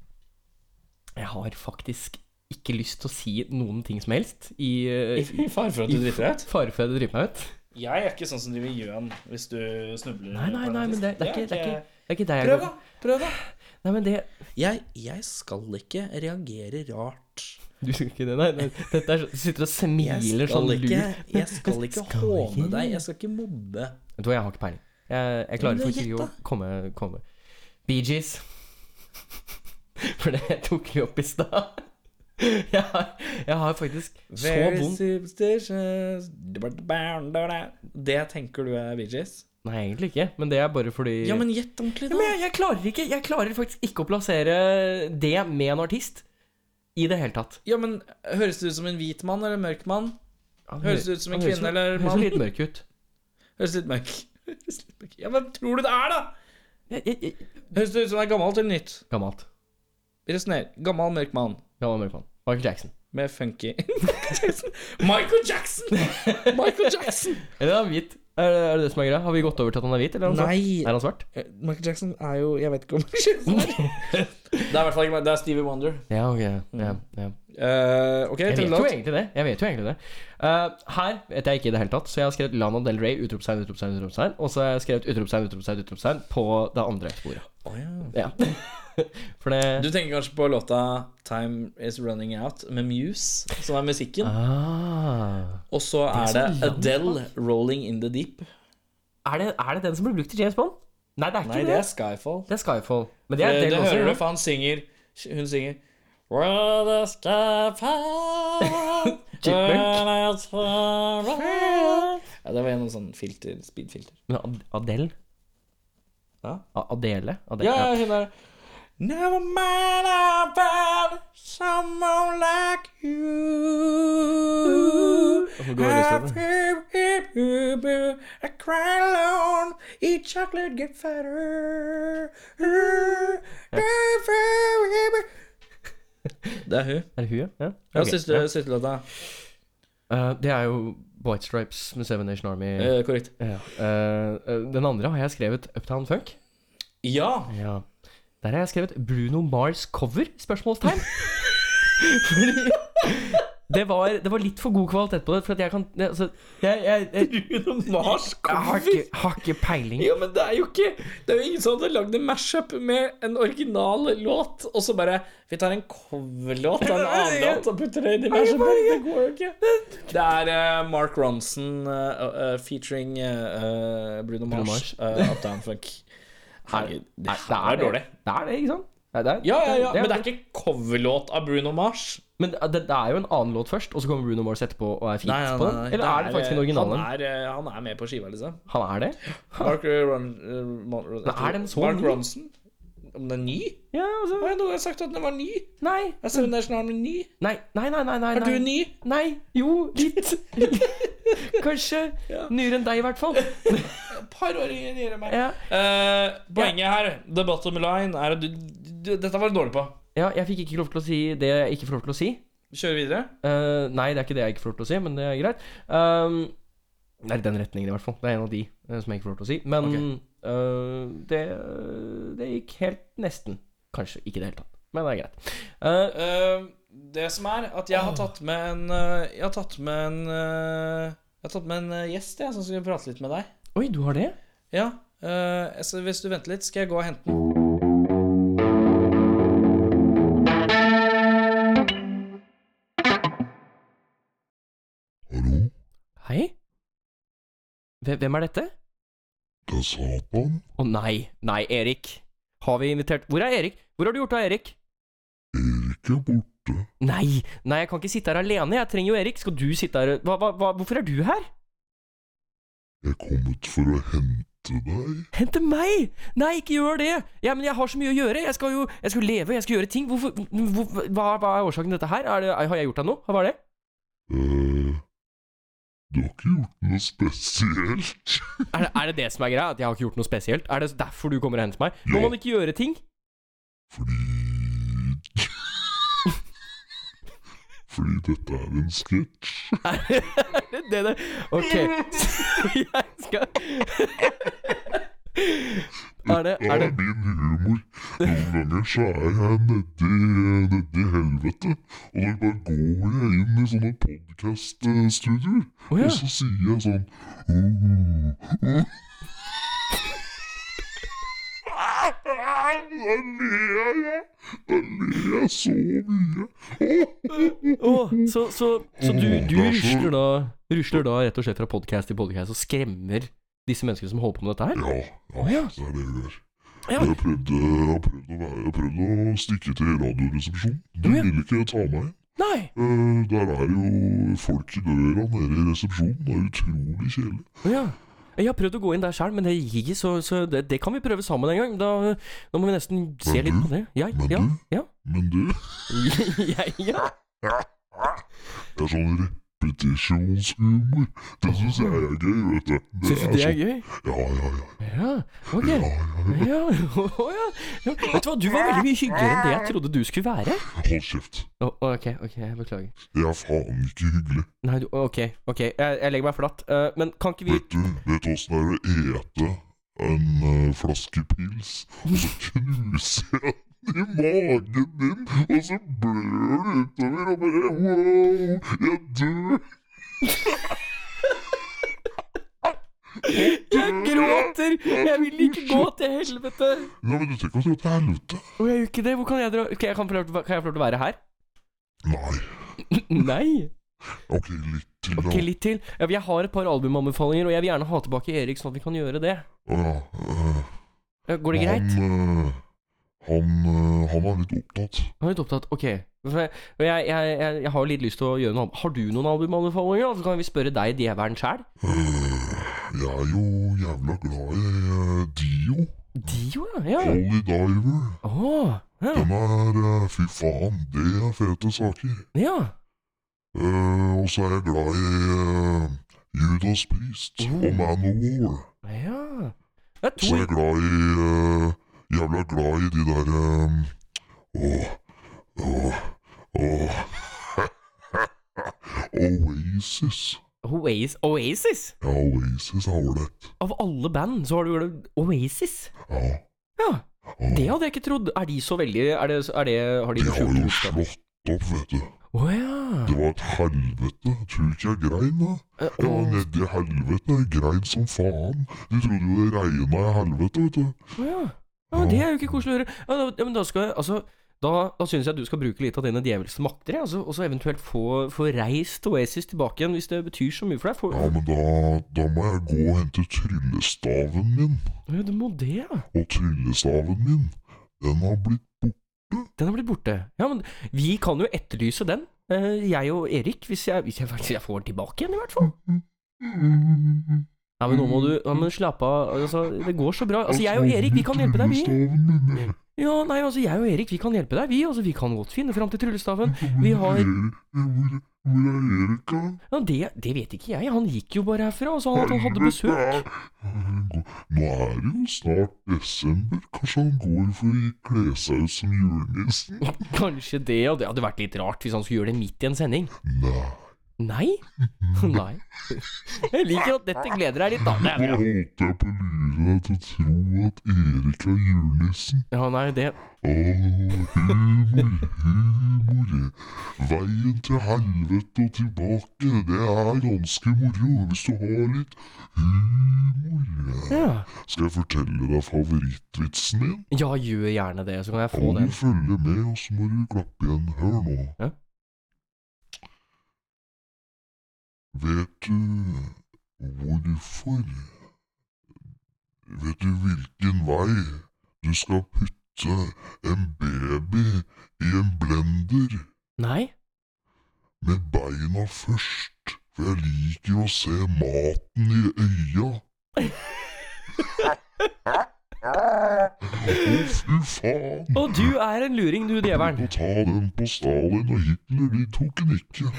Speaker 3: jeg har faktisk ikke lyst til å si noen ting som helst i, eh,
Speaker 2: I fare for at du driter deg ut.
Speaker 3: fare for jeg driter meg ut.
Speaker 2: Jeg er ikke sånn som driver gjøn hvis du snubler.
Speaker 3: Nei, nei,
Speaker 2: på en
Speaker 3: nei, men
Speaker 2: artist.
Speaker 3: det, det, er, ikke, det, er, ikke, det er ikke deg jeg
Speaker 2: Prøv,
Speaker 3: går-
Speaker 2: da. Prøv, da.
Speaker 3: Nei, men det
Speaker 2: Jeg, jeg skal ikke reagere rart.
Speaker 3: Du skal ikke det, nei. nei. Dette er, så- du sitter og smiler sånn
Speaker 2: Jeg skal
Speaker 3: lurt.
Speaker 2: ikke, jeg skal ikke
Speaker 3: Skal
Speaker 2: håne
Speaker 3: ikke.
Speaker 2: deg. Jeg skal ikke mobbe.
Speaker 3: Vet du hva, jeg har ikke peiling. Jeg, jeg klarer
Speaker 2: Men
Speaker 3: faktisk ikke å
Speaker 2: gjett
Speaker 3: komme, komme. Bee Gees. For det tok vi opp i stad. Jeg, har- jeg har faktisk så vondt
Speaker 2: superstitious Det tenker du er Bee Gees?
Speaker 3: Nei, egentlig ikke, men det er bare fordi
Speaker 2: Ja, men gjett ordentlig,
Speaker 3: Ja, men
Speaker 2: da.
Speaker 3: jeg, jeg klarer ikke Jeg klarer faktisk ikke å plassere det med en artist. I det hele tatt.
Speaker 2: Ja, men Høres det ut som en hvit mann eller en mørk mann?
Speaker 3: Han
Speaker 2: Høres
Speaker 3: hø-
Speaker 2: det ut som en
Speaker 3: han høres
Speaker 2: kvinne eller
Speaker 3: Høres
Speaker 2: mann?
Speaker 3: litt mørk ut.
Speaker 2: Høres litt mørk Høres litt mørk. Ja, hvem tror du det er, da?
Speaker 3: Jeg, jeg, jeg,
Speaker 2: Høres det ut som det er gammelt eller nytt?
Speaker 3: gammelt.
Speaker 2: Resonner. Gammel mørk mann
Speaker 3: Gammel mørkmann. Michael Jackson.
Speaker 2: med funky Michael Jackson! Michael Jackson!
Speaker 3: Eller er han hvit? Er det, er det det som er greia? Har vi gått over til at han er hvit, eller er han svart?
Speaker 2: Nei.
Speaker 3: Er han svart?
Speaker 2: Eh, Michael Jackson er jo Jeg vet ikke om Det er i hvert fall ikke Det er Stevie Wonder.
Speaker 3: Ja, ok.
Speaker 2: Mm.
Speaker 3: Ja, ja.
Speaker 2: Eh, ok,
Speaker 3: Jeg vet jo
Speaker 2: tredje låt.
Speaker 3: egentlig det. Jeg vet jo egentlig det. Eh, her vet jeg ikke i det hele tatt, så jeg har skrevet Lana Del Rey, utropstegn, utropstegn, utropstegn. Og så har jeg skrevet utropstegn, utropstegn, utropstegn på det andre sporet. Ja. For det
Speaker 2: Du tenker kanskje på låta 'Time Is Running Out' med Muse, som er musikken.
Speaker 3: ah.
Speaker 2: Og så er det Adele, 'Rolling In The Deep'.
Speaker 3: er, det, er det den som ble brukt i James Bond? Nei, det er ikke
Speaker 2: Nei, det
Speaker 3: det.
Speaker 2: er Skyfall.
Speaker 3: Det er Skyfall. Men det
Speaker 2: Det,
Speaker 3: er
Speaker 2: det,
Speaker 3: Adele også.
Speaker 2: hører du,
Speaker 3: eller?
Speaker 2: for han synger Hun synger Well, the sky fell,
Speaker 3: Chipmunk.
Speaker 2: and it's far away. Ja, det var en sånn filter, speedfilter.
Speaker 3: Men Ad- Adele?
Speaker 2: Ja.
Speaker 3: A- Adele? Adele.
Speaker 2: Ja, ja, hun er Never mind about someone like you.
Speaker 3: går det
Speaker 2: I feel blue, I cry alone, eat chocolate, get fatter. Det er hun.
Speaker 3: Er det hun, ja? ja?
Speaker 2: Ja,
Speaker 3: Ok,
Speaker 2: siste,
Speaker 3: ja.
Speaker 2: siste låta.
Speaker 3: Eh, det er jo White Stripes med Seven Nation Army.
Speaker 2: Eh, korrekt.
Speaker 3: Ja. Eh, eh, den andre har jeg skrevet Uptown Funk.
Speaker 2: Ja!
Speaker 3: Ja. Der har jeg skrevet Bruno Mars cover? Spørsmålstegn. Fordi det var, det var litt for god kvalitet på det, for at jeg kan det- altså, jeg, jeg, jeg,
Speaker 2: Mars
Speaker 3: jeg har, ikke, har ikke peiling.
Speaker 2: Ja, men det er jo ikke Det er jo ingen som hadde lagd en mashup med en original låt, og så bare Vi tar en coverlåt av en annen låt og putter det inn i mashupen. Det går jo ikke. Det er eh, Mark Ronson eh, eh, featuring eh, eh, Bruno
Speaker 3: Bruno
Speaker 2: Mars,
Speaker 3: Mars.
Speaker 2: eh, Uptown Funk. Herregud, det her er dårlig.
Speaker 3: Det er det, ikke sant? Det er, det er-
Speaker 2: Ja, ja, ja,
Speaker 3: det er-
Speaker 2: men det er ikke coverlåt av Bruno Mars.
Speaker 3: Men det, det er jo en annen låt først, og så kommer Bruno Mars etterpå og er fint
Speaker 2: Nei, nei,
Speaker 3: på
Speaker 2: nei,
Speaker 3: den?
Speaker 2: nei,
Speaker 3: Eller er det faktisk en
Speaker 2: eh,
Speaker 3: original en?
Speaker 2: Han er, eh, han er med på skiva, liksom.
Speaker 3: Han er det?
Speaker 2: Mark, eh, Ron, eh, Mon-
Speaker 3: er den så
Speaker 2: Mark
Speaker 3: ny?
Speaker 2: Ronson? Om den er ny?
Speaker 3: Ja,
Speaker 2: Hva
Speaker 3: altså
Speaker 2: har jeg nå sagt at den var ny?
Speaker 3: Nei.
Speaker 2: Jeg ser den er ny.
Speaker 3: Nei, nei, nei, nei, nei.
Speaker 2: Er du
Speaker 3: nei.
Speaker 2: ny?
Speaker 3: Nei, jo, litt. Kanskje nyere enn deg, i hvert fall.
Speaker 2: Et par år yngre enn meg.
Speaker 3: Ja,
Speaker 2: Eh, poenget her, the bottom line, er at du, du Dette var du dårlig på.
Speaker 3: ja jeg fikk ikke lov til å si det jeg ikke får lov til å si.
Speaker 2: Kjøre videre.
Speaker 3: Eh, nei, det er ikke det jeg ikke får lov til å si, men det er greit. Um, Det er i den retningen, i hvert fall. Det er en av de eh, som jeg ikke får lov til å si. Men eh, det, det gikk helt nesten. Kanskje ikke i det hele tatt, men det er greit. Eh,
Speaker 2: Eh, det som er, at jeg har tatt med en eh, Jeg har tatt med en eh, Jeg har tatt med en eh, gjest jeg, som skal prate litt med deg.
Speaker 3: oi, du har det?
Speaker 2: Ja, eh, så Hvis du venter litt, skal jeg gå og hente den.
Speaker 3: Hei? Hve- Hvem er dette? Å nei, nei, Erik. Har vi invitert Hvor er Erik? Hvor har du gjort av Erik? Nei, nei, jeg kan ikke sitte her alene. Jeg trenger jo Erik. Skal du sitte her hva, hva, hva, Hvorfor er du her?
Speaker 9: Jeg er kommet for å hente deg.
Speaker 3: Hente meg! Nei, ikke gjør det! Ja, men jeg har så mye å gjøre. Jeg skal jo jeg skal leve, jeg skal gjøre ting. Hvorfor, hvor, hva, hva er årsaken til dette her? Er det, har jeg gjort deg noe? Hva er det?
Speaker 9: Eh, du har ikke gjort noe spesielt.
Speaker 3: Er det, er det det som er greia? At jeg har ikke gjort noe spesielt? Er det derfor du kommer og henter meg? Må
Speaker 9: Ja.
Speaker 3: man ikke gjøre ting?
Speaker 9: Fordi Fordi dette er en sketsj.
Speaker 3: Det, det, det. Ok. Jeg skal Er det,
Speaker 9: Dette
Speaker 3: er
Speaker 9: er
Speaker 3: det
Speaker 9: min humor. Noen ganger så er jeg nedi nedi helvete, og da bare går jeg inn i sånne podkast-studioer,
Speaker 3: Å ja.
Speaker 9: og så sier jeg sånn «Åh, åh». Da ler jeg! Da ler jeg så mye.
Speaker 3: Å, så, så, så du, du
Speaker 9: Åh, det er så-
Speaker 3: rusler, da, rusler da rett og slett fra podkast til podkast og skremmer disse menneskene som holder på med dette her?
Speaker 9: Ja,
Speaker 3: ja.
Speaker 9: ja, det er det jeg gjør.
Speaker 3: Ja.
Speaker 9: Jeg prøvde, jeg prøvde å være, jeg prøvde å stikke til radioresepsjonen. Du
Speaker 3: Ja.
Speaker 9: ville ikke ta meg inn.
Speaker 3: Nei!
Speaker 9: Eh, der er jo folk i døra nede i resepsjonen. Det er utrolig kjedelig.
Speaker 3: Å Ja. Jeg har prøvd å gå inn der sjøl, men det gikk ikke, så, så det, det kan vi prøve sammen en gang. Da, da må vi nesten se
Speaker 9: Men
Speaker 3: litt
Speaker 9: du?
Speaker 3: på det. Ja,
Speaker 9: Men
Speaker 3: ja,
Speaker 9: du?
Speaker 3: ja.
Speaker 9: Men du,
Speaker 3: ja, ja.
Speaker 9: det er sånn repetisjonshumor. Det syns jeg er gøy, vet du.
Speaker 3: Syns du det er
Speaker 9: sånn-
Speaker 3: gøy?
Speaker 9: Ja, ja, ja.
Speaker 3: Ja, ok.
Speaker 9: ja, ja, ja.
Speaker 3: Ja, å ja. ja. Vet du hva, du var veldig mye hyggeligere enn det jeg trodde du skulle være.
Speaker 9: Hold kjeft.
Speaker 3: Å, ok, ok, jeg beklager.
Speaker 9: Jeg er faen ikke hyggelig.
Speaker 3: Nei, du, ok, ok, jeg, jeg legger meg flatt. Eh, men kan ikke vi
Speaker 9: Vet du vet du åssen det er å ete en eh, flaske pils, og så knuser jeg den i magen din, og så blør det utover, og bare wow, jeg dør.
Speaker 3: Jeg gråter! Jeg vil ikke gå til helvete!
Speaker 9: Ja, men du trenger ikke å dra til helvete.
Speaker 3: Å, jeg gjør ikke det. Hvor kan jeg dra? Ok, jeg kan, få lov til, kan jeg få lov til å være her?
Speaker 9: Nei.
Speaker 3: Nei!
Speaker 9: Ok, litt til, da.
Speaker 3: Ok, litt til. Ja, Jeg har et par albumanbefalinger, og jeg vil gjerne ha tilbake Erik, sånn at vi kan gjøre det.
Speaker 9: Å ja. eh,
Speaker 3: Eh, Går det greit?
Speaker 9: Han, eh, han, eh, han er litt opptatt.
Speaker 3: Jeg er litt opptatt. Ok. For jeg, for jeg, jeg, jeg, jeg har jo litt lyst til å gjøre noe. Har du noen albumanbefalinger? da? Så kan vi spørre deg, djevelen sjæl.
Speaker 9: Eh, jeg er jo jævla glad i eh, Dio.
Speaker 3: Dio, ja. ja.
Speaker 9: Holy Diver.
Speaker 3: Åh, ja.
Speaker 9: Den er eh, Fy faen, det er fete saker.
Speaker 3: ja.
Speaker 9: Eh, og så er jeg glad i eh, Judas Priest
Speaker 3: Oh.
Speaker 9: og Man of War.
Speaker 3: Ja. Det er
Speaker 9: Og så
Speaker 3: to
Speaker 9: er jeg glad i eh, Jævla glad i de der eh, Åh, åh, åh Oasis.
Speaker 3: Oasis. Oasis?
Speaker 9: Ja, Oasis er ålreit.
Speaker 3: Av alle band så har du glemt Oasis?
Speaker 9: Ja.
Speaker 3: Ja.
Speaker 9: ja.
Speaker 3: Det hadde jeg ikke trodd. Er de så veldig Er det, er det Har de
Speaker 9: De
Speaker 3: noe
Speaker 9: har
Speaker 3: skjult
Speaker 9: jo
Speaker 3: budskap?
Speaker 9: slått opp, vet du.
Speaker 3: Å ja.
Speaker 9: Det var et helvete. Tror du ikke jeg grein, da?
Speaker 3: Eh,
Speaker 9: Jeg var
Speaker 3: og-
Speaker 9: nedi helvete. Jeg grein som faen. De trodde jo det regna i helvete, vet du.
Speaker 3: Å ja. ja. men Det er jo ikke koselig å høre. Ja, da, ja, men da skal jeg Altså da, da syns jeg du skal bruke litt av dine djevelske makter, jeg, altså, og så eventuelt få, få reist Oasis tilbake igjen, hvis det betyr så mye for deg. For,
Speaker 9: Ja, men da, da må jeg gå og hente tryllestaven min.
Speaker 3: ja, du må det, ja.
Speaker 9: Og tryllestaven min, den har blitt
Speaker 3: Den har blitt borte. Ja, men vi kan jo etterlyse den, eh, jeg og Erik, hvis jeg, hvis jeg, hvis jeg får den tilbake igjen, i hvert fall. Ja, men nå må du ja, men slapp av. Altså, det går så bra. Altså, jeg og Erik, vi kan hjelpe deg, vi.
Speaker 9: Tryllestaven min, jeg.
Speaker 3: Ja, nei, altså, jeg og Erik, vi kan hjelpe deg, vi. Altså, vi kan godt finne fram til tryllestaven. Vi har
Speaker 9: Erik- Hvor, hvor er Erik, da?
Speaker 3: Ja, det, det vet ikke jeg. Han gikk jo bare herfra og sa at han hadde besøk.
Speaker 9: Helvete. Nå er det jo snart desember. Kanskje han går for å kle seg ut som julenissen?
Speaker 3: Kanskje det, og det hadde vært litt rart hvis han skulle gjøre det midt i en sending.
Speaker 9: Nei.
Speaker 3: Nei? Nei. Jeg liker at dette gleder deg litt, da. Det er
Speaker 9: Nå
Speaker 3: bra.
Speaker 9: holdt jeg på å lure deg til å tro at Erik er julenissen.
Speaker 3: Ja, nei, det
Speaker 9: Åh, humor, humor. Veien til helvete og tilbake, det er ganske moro hvis du har litt humor.
Speaker 3: Ja.
Speaker 9: Skal jeg fortelle deg favorittvitsen min?
Speaker 3: Ja, gjør gjerne det, så kan jeg få
Speaker 9: Kan
Speaker 3: den.
Speaker 9: du følge med, og så må du klappe igjen. Hør nå.
Speaker 3: Ja.
Speaker 9: Vet du hvorfor Vet du hvilken vei du skal putte en baby i en blender?
Speaker 3: Nei?
Speaker 9: Med beina først, for jeg liker jo å se maten i øya. Å, fy faen!
Speaker 3: Og du er en luring, du djevelen.
Speaker 9: Å ta den på Stalin og Hitler, de tok den ikke.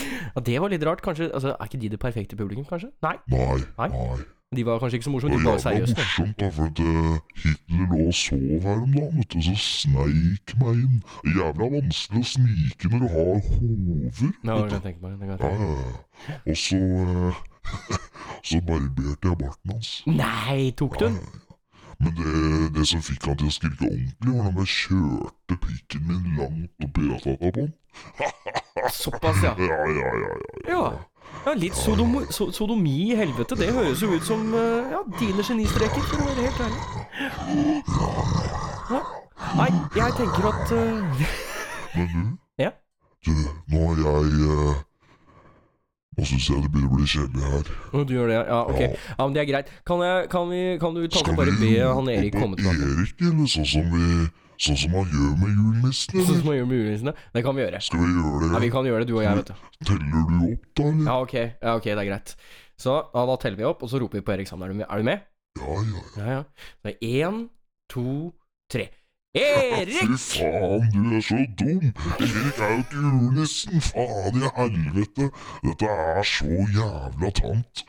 Speaker 3: Ja, det var litt rart, kanskje. Altså, er ikke de det perfekte publikum, kanskje? Nei?
Speaker 9: Nei,
Speaker 3: Nei.
Speaker 9: nei.
Speaker 3: De var kanskje ikke så
Speaker 9: Det
Speaker 3: morsomme,
Speaker 9: er
Speaker 3: de var
Speaker 9: jævla
Speaker 3: seriøse.
Speaker 9: morsomt, da, for at eh, Hitler lå og sov her om dagen, vet du, så sneik meg inn. Det er Jævla vanskelig å snike når du har hover.
Speaker 3: Ja, det kan jeg
Speaker 9: vet du.
Speaker 3: tenke meg. Det kan jeg
Speaker 9: Ja,
Speaker 3: tenke meg.
Speaker 9: ja, ja. Og så eh, Så barberte jeg barten hans.
Speaker 3: Nei, tok du den?
Speaker 9: Men det, det som fikk han til å skrike ordentlig, var da jeg kjørte pikken min langt opp i ratata på han.
Speaker 3: Såpass, ja.
Speaker 9: Ja, ja, ja, ja.
Speaker 3: Ja. ja litt sodomo, so, sodomi i helvete. Det høres jo ut som eh, ja, dine genistreker, for å være helt ærlig. Ja. Nei, jeg tenker at eh,
Speaker 9: Men du?
Speaker 3: Ja?
Speaker 9: Du, nå er jeg eh, Nå syns jeg det begynner å bli kjedelig her.
Speaker 3: Å, Du gjør det, ja. ja. Ok. Ja, men det er greit. Kan, jeg, kan, vi, kan du ta
Speaker 9: Skal
Speaker 3: og bare
Speaker 9: vi
Speaker 3: be han Erik
Speaker 9: rope
Speaker 3: komme tilbake?
Speaker 9: Erik, eller sånn som vi Sånn som han gjør med julenissen,
Speaker 3: Sånn
Speaker 9: eller?
Speaker 3: som man gjør med julenissene? Det kan vi gjøre.
Speaker 9: Skal vi gjøre det?
Speaker 3: Ja, vi kan gjøre det, du og jeg, vet du.
Speaker 9: Teller du opp, da, eller?
Speaker 3: Ja, ok. Ja, ok, det er greit. Så ja, da teller vi opp, og så roper vi på Erik sammen. Er du med? Er du med?
Speaker 9: Ja, ja.
Speaker 3: Ja, ja. Det er én, to, tre.
Speaker 9: Fy
Speaker 3: Erik!
Speaker 9: faen, du er så dum! Erik er jo ikke julenissen! Faen i helvete! Dette er så jævla tamt.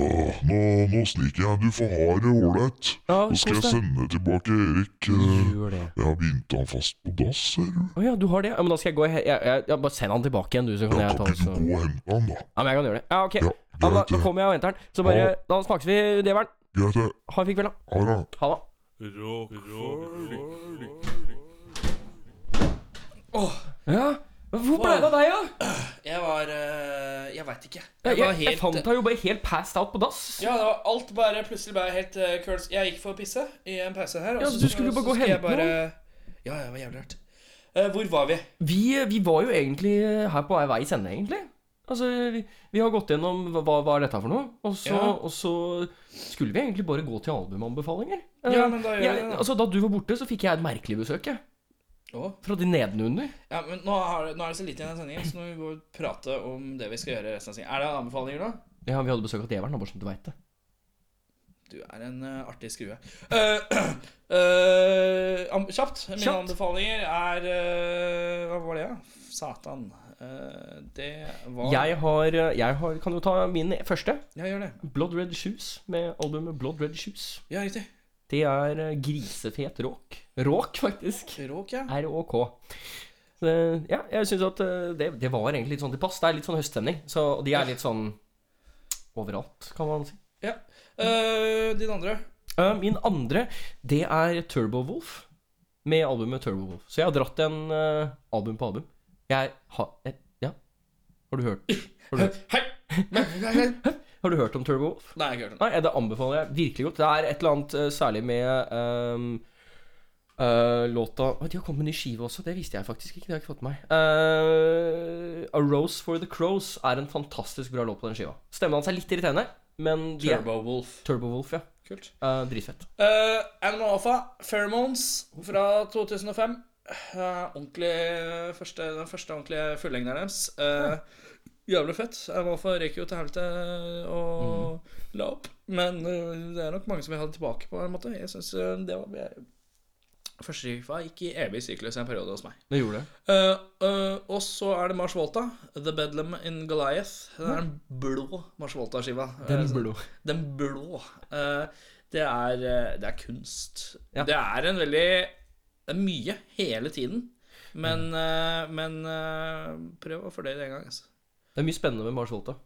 Speaker 9: Åh, nå, nå sniker jeg. Du får ha det ålreit.
Speaker 3: Ja,
Speaker 9: Nå skal jeg
Speaker 3: kos deg. Mm.
Speaker 9: sende tilbake Erik. eh,
Speaker 3: Gjør det.
Speaker 9: Jeg har bindt han fast på dass, ser du.
Speaker 3: Å ja, du har det? Ja, men da skal jeg gå he- jeg, jeg, jeg, Bare send han tilbake igjen, du, så kan
Speaker 9: Jeg
Speaker 3: jeg
Speaker 9: kan
Speaker 3: ta
Speaker 9: ikke
Speaker 3: så.
Speaker 9: du gå og hente han, da?
Speaker 3: Ja, men jeg kan gjøre det. Ja, ok.
Speaker 9: Ja,
Speaker 3: Ja, men da,
Speaker 9: greit
Speaker 3: da
Speaker 9: det.
Speaker 3: kommer jeg og henter den. Så bare Da snakkes vi, djevelen.
Speaker 9: Greit det.
Speaker 3: Ha en fin kveld, da.
Speaker 9: Ha det.
Speaker 3: Ha det. Ja? Hvor ble det av deg, da?
Speaker 2: Jeg var eh, Jeg veit ikke.
Speaker 3: Jeg,
Speaker 2: var
Speaker 3: jeg, jeg
Speaker 2: helt-
Speaker 3: fant deg jo bare helt passed out på dass.
Speaker 2: Ja, det var alt bare plutselig bare helt eh, curls. Jeg gikk for å pisse i en pause her. og
Speaker 3: Ja,
Speaker 2: så-
Speaker 3: du skulle jo bare
Speaker 2: så
Speaker 3: gå og
Speaker 2: skal jeg
Speaker 3: hente
Speaker 2: bare- Ja, ja, det var jævlig rart. Eh, hvor var vi?
Speaker 3: Vi, vi var jo egentlig her på vei ende, egentlig. Altså, vi, vi har gått gjennom hva, hva- hva er dette for noe, og så,
Speaker 2: Ja.
Speaker 3: og så skulle vi egentlig bare gå til albumanbefalinger.
Speaker 2: Ja, men da gjør
Speaker 3: jeg,
Speaker 2: vi det, da.
Speaker 3: Altså, da du var borte, så fikk jeg et merkelig besøk, jeg.
Speaker 2: Å?
Speaker 3: Fra de nedenunder.
Speaker 2: Ja, men nå, har, det- nå er det så lite igjen av sendingen, så nå må vi gå og prate om det vi skal gjøre resten av sendingen. Er det anbefalinger nå?
Speaker 3: Ja, vi hadde besøk av djevelen, bare sånn at du veit det.
Speaker 2: Du er en eh, artig skrue. Eh, eh, am- kjapt. Mine
Speaker 3: Kjapt.
Speaker 2: anbefalinger er eh, Hva var det, da? Satan. Eh, det var
Speaker 3: Jeg har, jeg har Kan jo ta min første.
Speaker 2: Ja, gjør det.
Speaker 3: Blood Red Shoes, med albumet Blood Red Shoes.
Speaker 2: Ja, riktig.
Speaker 3: Det er eh, grisefet råk. Råk, faktisk.
Speaker 2: Råk, ja.
Speaker 3: R-Å-K. Så, Ja, jeg syns at eh, det, det var egentlig litt sånn til pass. Det er litt sånn høststemning. Så og de er litt sånn overalt, kan man si.
Speaker 2: ja. Eh, din andre?
Speaker 3: Eh, Min andre, det er Turbo Wolf. Med albumet Turbo Wolf. Så jeg har dratt en eh, album på album. Jeg har eh, Ja. Har du hørt, har du hørt,
Speaker 2: Hei!
Speaker 3: har du hørt om Turbo Wolf?
Speaker 2: Nei, jeg har ikke hørt den.
Speaker 3: Nei, det anbefaler jeg virkelig godt. Det er et eller annet eh, særlig med ehm, eh, låta Å, De har kommet med ny skive også, det visste jeg faktisk ikke. Det har jeg ikke fått med meg. Eh, A Rose for the Crows er en fantastisk bra låt på den skiva. Stemmen hans er litt irriterende, men de er-
Speaker 2: Turbo Wolf.
Speaker 3: Turbo Wolf, ja.
Speaker 2: Kult.
Speaker 3: Eh, dritfett.
Speaker 2: Eh, Animal Alpha, Pheromones fra 2005. Eh, ordentlig første, Den første ordentlige fullengden deres. Eh, jævlig fett. Animal Alpha røyk jo til helvete og la opp. Men eh, det er nok mange som vil ha det tilbake på en måte. Jeg synes eh, det var jeg, Første rifa gikk i evig syklus en periode hos meg.
Speaker 3: Det gjorde det.
Speaker 2: Eh, eh, og så er det Mars Volta, The Bedlam in Goliath. Det er den blå Mars Volta-skiva. Eh, så- den blå. eh, det, er, eh, det er kunst.
Speaker 3: Ja.
Speaker 2: Det er en veldig Det er mye hele tiden. Men, eh, men eh, prøv å fordøye det en gang. Altså. Ah,
Speaker 3: Det er mye spennende med Mars Volta.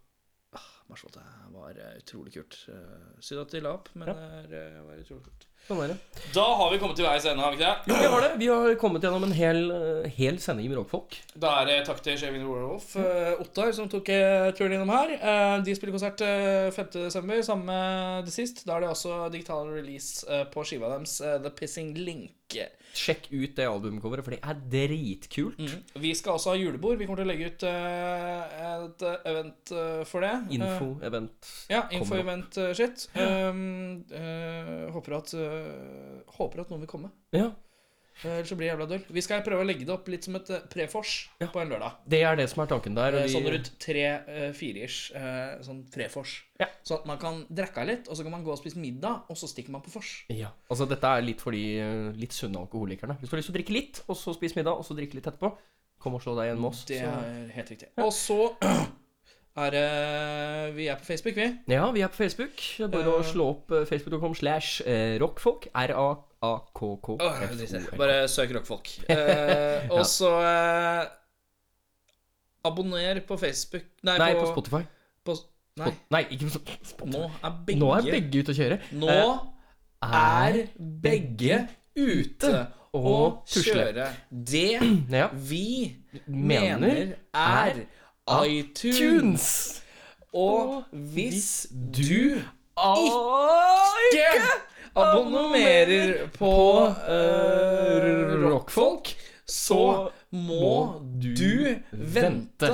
Speaker 2: Mars Volta var eh, utrolig kult. Eh, Synd at de la opp, men det er, eh, var utrolig kult.
Speaker 3: Sånn er det.
Speaker 2: Da har vi kommet til veis ende, har vi ikke
Speaker 3: Jo, vi har det. Vi har kommet gjennom en hel, eh, hel sending med rockfolk.
Speaker 2: Da er det takk til Shaving the Werewolf, eh, Ottar, som tok eh, turen innom her. Eh, De spiller konsert eh, 5. desember, sammen med The Sist. Da er det også digital release eh, på skiva deres, eh, The Pissing Link.
Speaker 3: Sjekk ut det albumcoveret, for det er dritkult.
Speaker 2: Mm. Vi skal også ha julebord. Vi kommer til å legge ut eh, et eh, event eh, for
Speaker 3: Mm.
Speaker 2: det. Eh,
Speaker 3: Info-event.
Speaker 2: Ja, info-event-shit. Um, eh, håper, at, eh, håper at noen vil komme.
Speaker 3: Ja.
Speaker 2: Eh, Ellers så blir det jævla døll. Vi skal prøve å legge det opp litt som et eh, prefors på en lørdag.
Speaker 3: Det er det som er tanken der.
Speaker 2: Eh, Sånn rundt tre-fire-ish. sånn tre-fors. Sånn at man kan drikke litt, og så kan man gå og spise middag, og så stikker man på vors.
Speaker 3: Ja, altså Dette er litt for de eh, litt sunne alkoholikerne. Hvis du har lyst til å drikke litt, og så spise middag, og så drikke litt etterpå, kom og slå deg igjen med oss.
Speaker 2: Det
Speaker 3: så-
Speaker 2: er helt riktig. Og så er det Vi er på Facebook, vi.
Speaker 3: Ja, vi er på Facebook. Det er Bare å
Speaker 2: Eh.
Speaker 3: slå opp eh, facebook.com slash eh, rockfolk.
Speaker 2: Åh, jeg driter i det.
Speaker 3: R-a-a-k-k-f-o-l.
Speaker 2: Bare søk rockfolk. Eh, og
Speaker 3: Ja.
Speaker 2: så eh, Abonner på Facebook Nei,
Speaker 3: Nei, på Spotify.
Speaker 2: På, nei,
Speaker 3: Spot- Nei, ikke på Spotify.
Speaker 2: nå er begge
Speaker 3: Nå er begge ute å kjøre.
Speaker 2: Nå
Speaker 3: Eh,
Speaker 2: er begge ute og
Speaker 3: og tusle.
Speaker 2: kjøre. Det
Speaker 3: eh, Ja.
Speaker 2: vi
Speaker 3: Mener
Speaker 2: mener er iTunes. Og hvis du ikke abonnerer på eh, rockfolk, så må du vente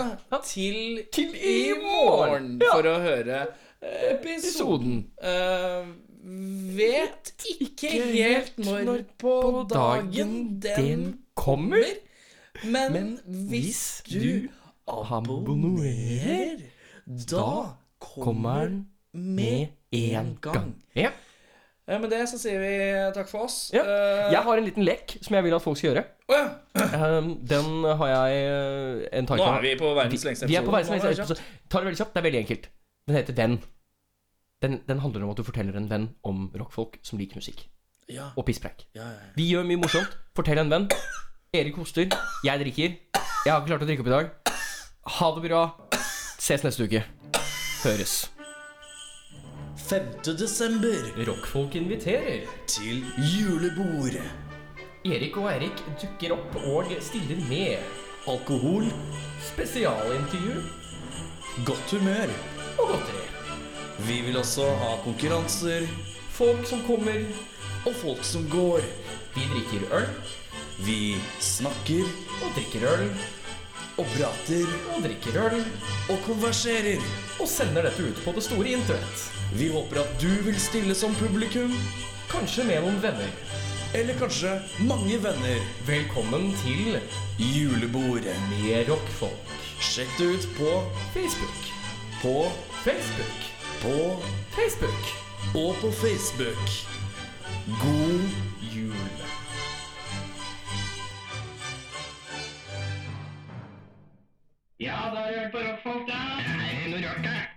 Speaker 2: til, i morgen for å høre eh, episoden. Eh, vet ikke helt når på dagen den
Speaker 3: kommer,
Speaker 2: men
Speaker 3: men
Speaker 2: hvis du
Speaker 3: abonnerer,
Speaker 2: abonnerer, da
Speaker 3: kommer
Speaker 2: kommer
Speaker 3: den
Speaker 2: med
Speaker 3: en
Speaker 2: en gang.
Speaker 3: Ja.
Speaker 2: Eh, Med det så sier vi takk for oss.
Speaker 3: Ja.
Speaker 2: Eh,
Speaker 3: Jeg har en liten lek som jeg vil at folk skal gjøre.
Speaker 2: Åja.
Speaker 3: Um, den har jeg eh, en tanke
Speaker 2: Nå
Speaker 3: om.
Speaker 2: er vi på verdens lengste
Speaker 3: Vi er på
Speaker 2: episode.
Speaker 3: verdens
Speaker 2: Nå
Speaker 3: lengste
Speaker 2: er det
Speaker 3: episode. Ta det veldig kjapt. Det er veldig enkelt. Den heter Den. Den, den handler om at du forteller en venn om rockfolk som liker musikk.
Speaker 2: Ja.
Speaker 3: Og pisspreik.
Speaker 2: Ja, ja,
Speaker 3: Vi gjør mye morsomt. Fortell en venn. Erik hoster. Jeg drikker. Jeg har ikke klart å drikke opp i dag. Ha det bra. Ses neste uke. Høres.
Speaker 2: 5. desember
Speaker 3: Rockfolk inviterer.
Speaker 2: til julebord.
Speaker 3: Erik og Eirik dukker opp og stiller med
Speaker 2: Alkohol,
Speaker 3: spesialintervju
Speaker 2: godt humør.
Speaker 3: og godteri.
Speaker 2: Vi vil også ha konkurranser
Speaker 3: Folk som kommer.
Speaker 2: og folk som går.
Speaker 3: Vi drikker øl
Speaker 2: Vi snakker
Speaker 3: og drikker øl
Speaker 2: og prater
Speaker 3: og drikker øl.
Speaker 2: og konverserer.
Speaker 3: og sender dette ut på det store internett.
Speaker 2: Vi håper at du vil stille som publikum,
Speaker 3: Kanskje med noen venner.
Speaker 2: eller kanskje mange venner.
Speaker 3: Velkommen til
Speaker 2: Julebordet.
Speaker 3: Med rockfolk.
Speaker 2: Sjekk det ut på,
Speaker 3: Facebook,
Speaker 2: på,
Speaker 3: Facebook,
Speaker 2: på
Speaker 3: Facebook.
Speaker 2: og på Facebook. God
Speaker 3: Jul.
Speaker 8: Ja, da har jeg hørt på rockfolk, da. Det er noe rart, det.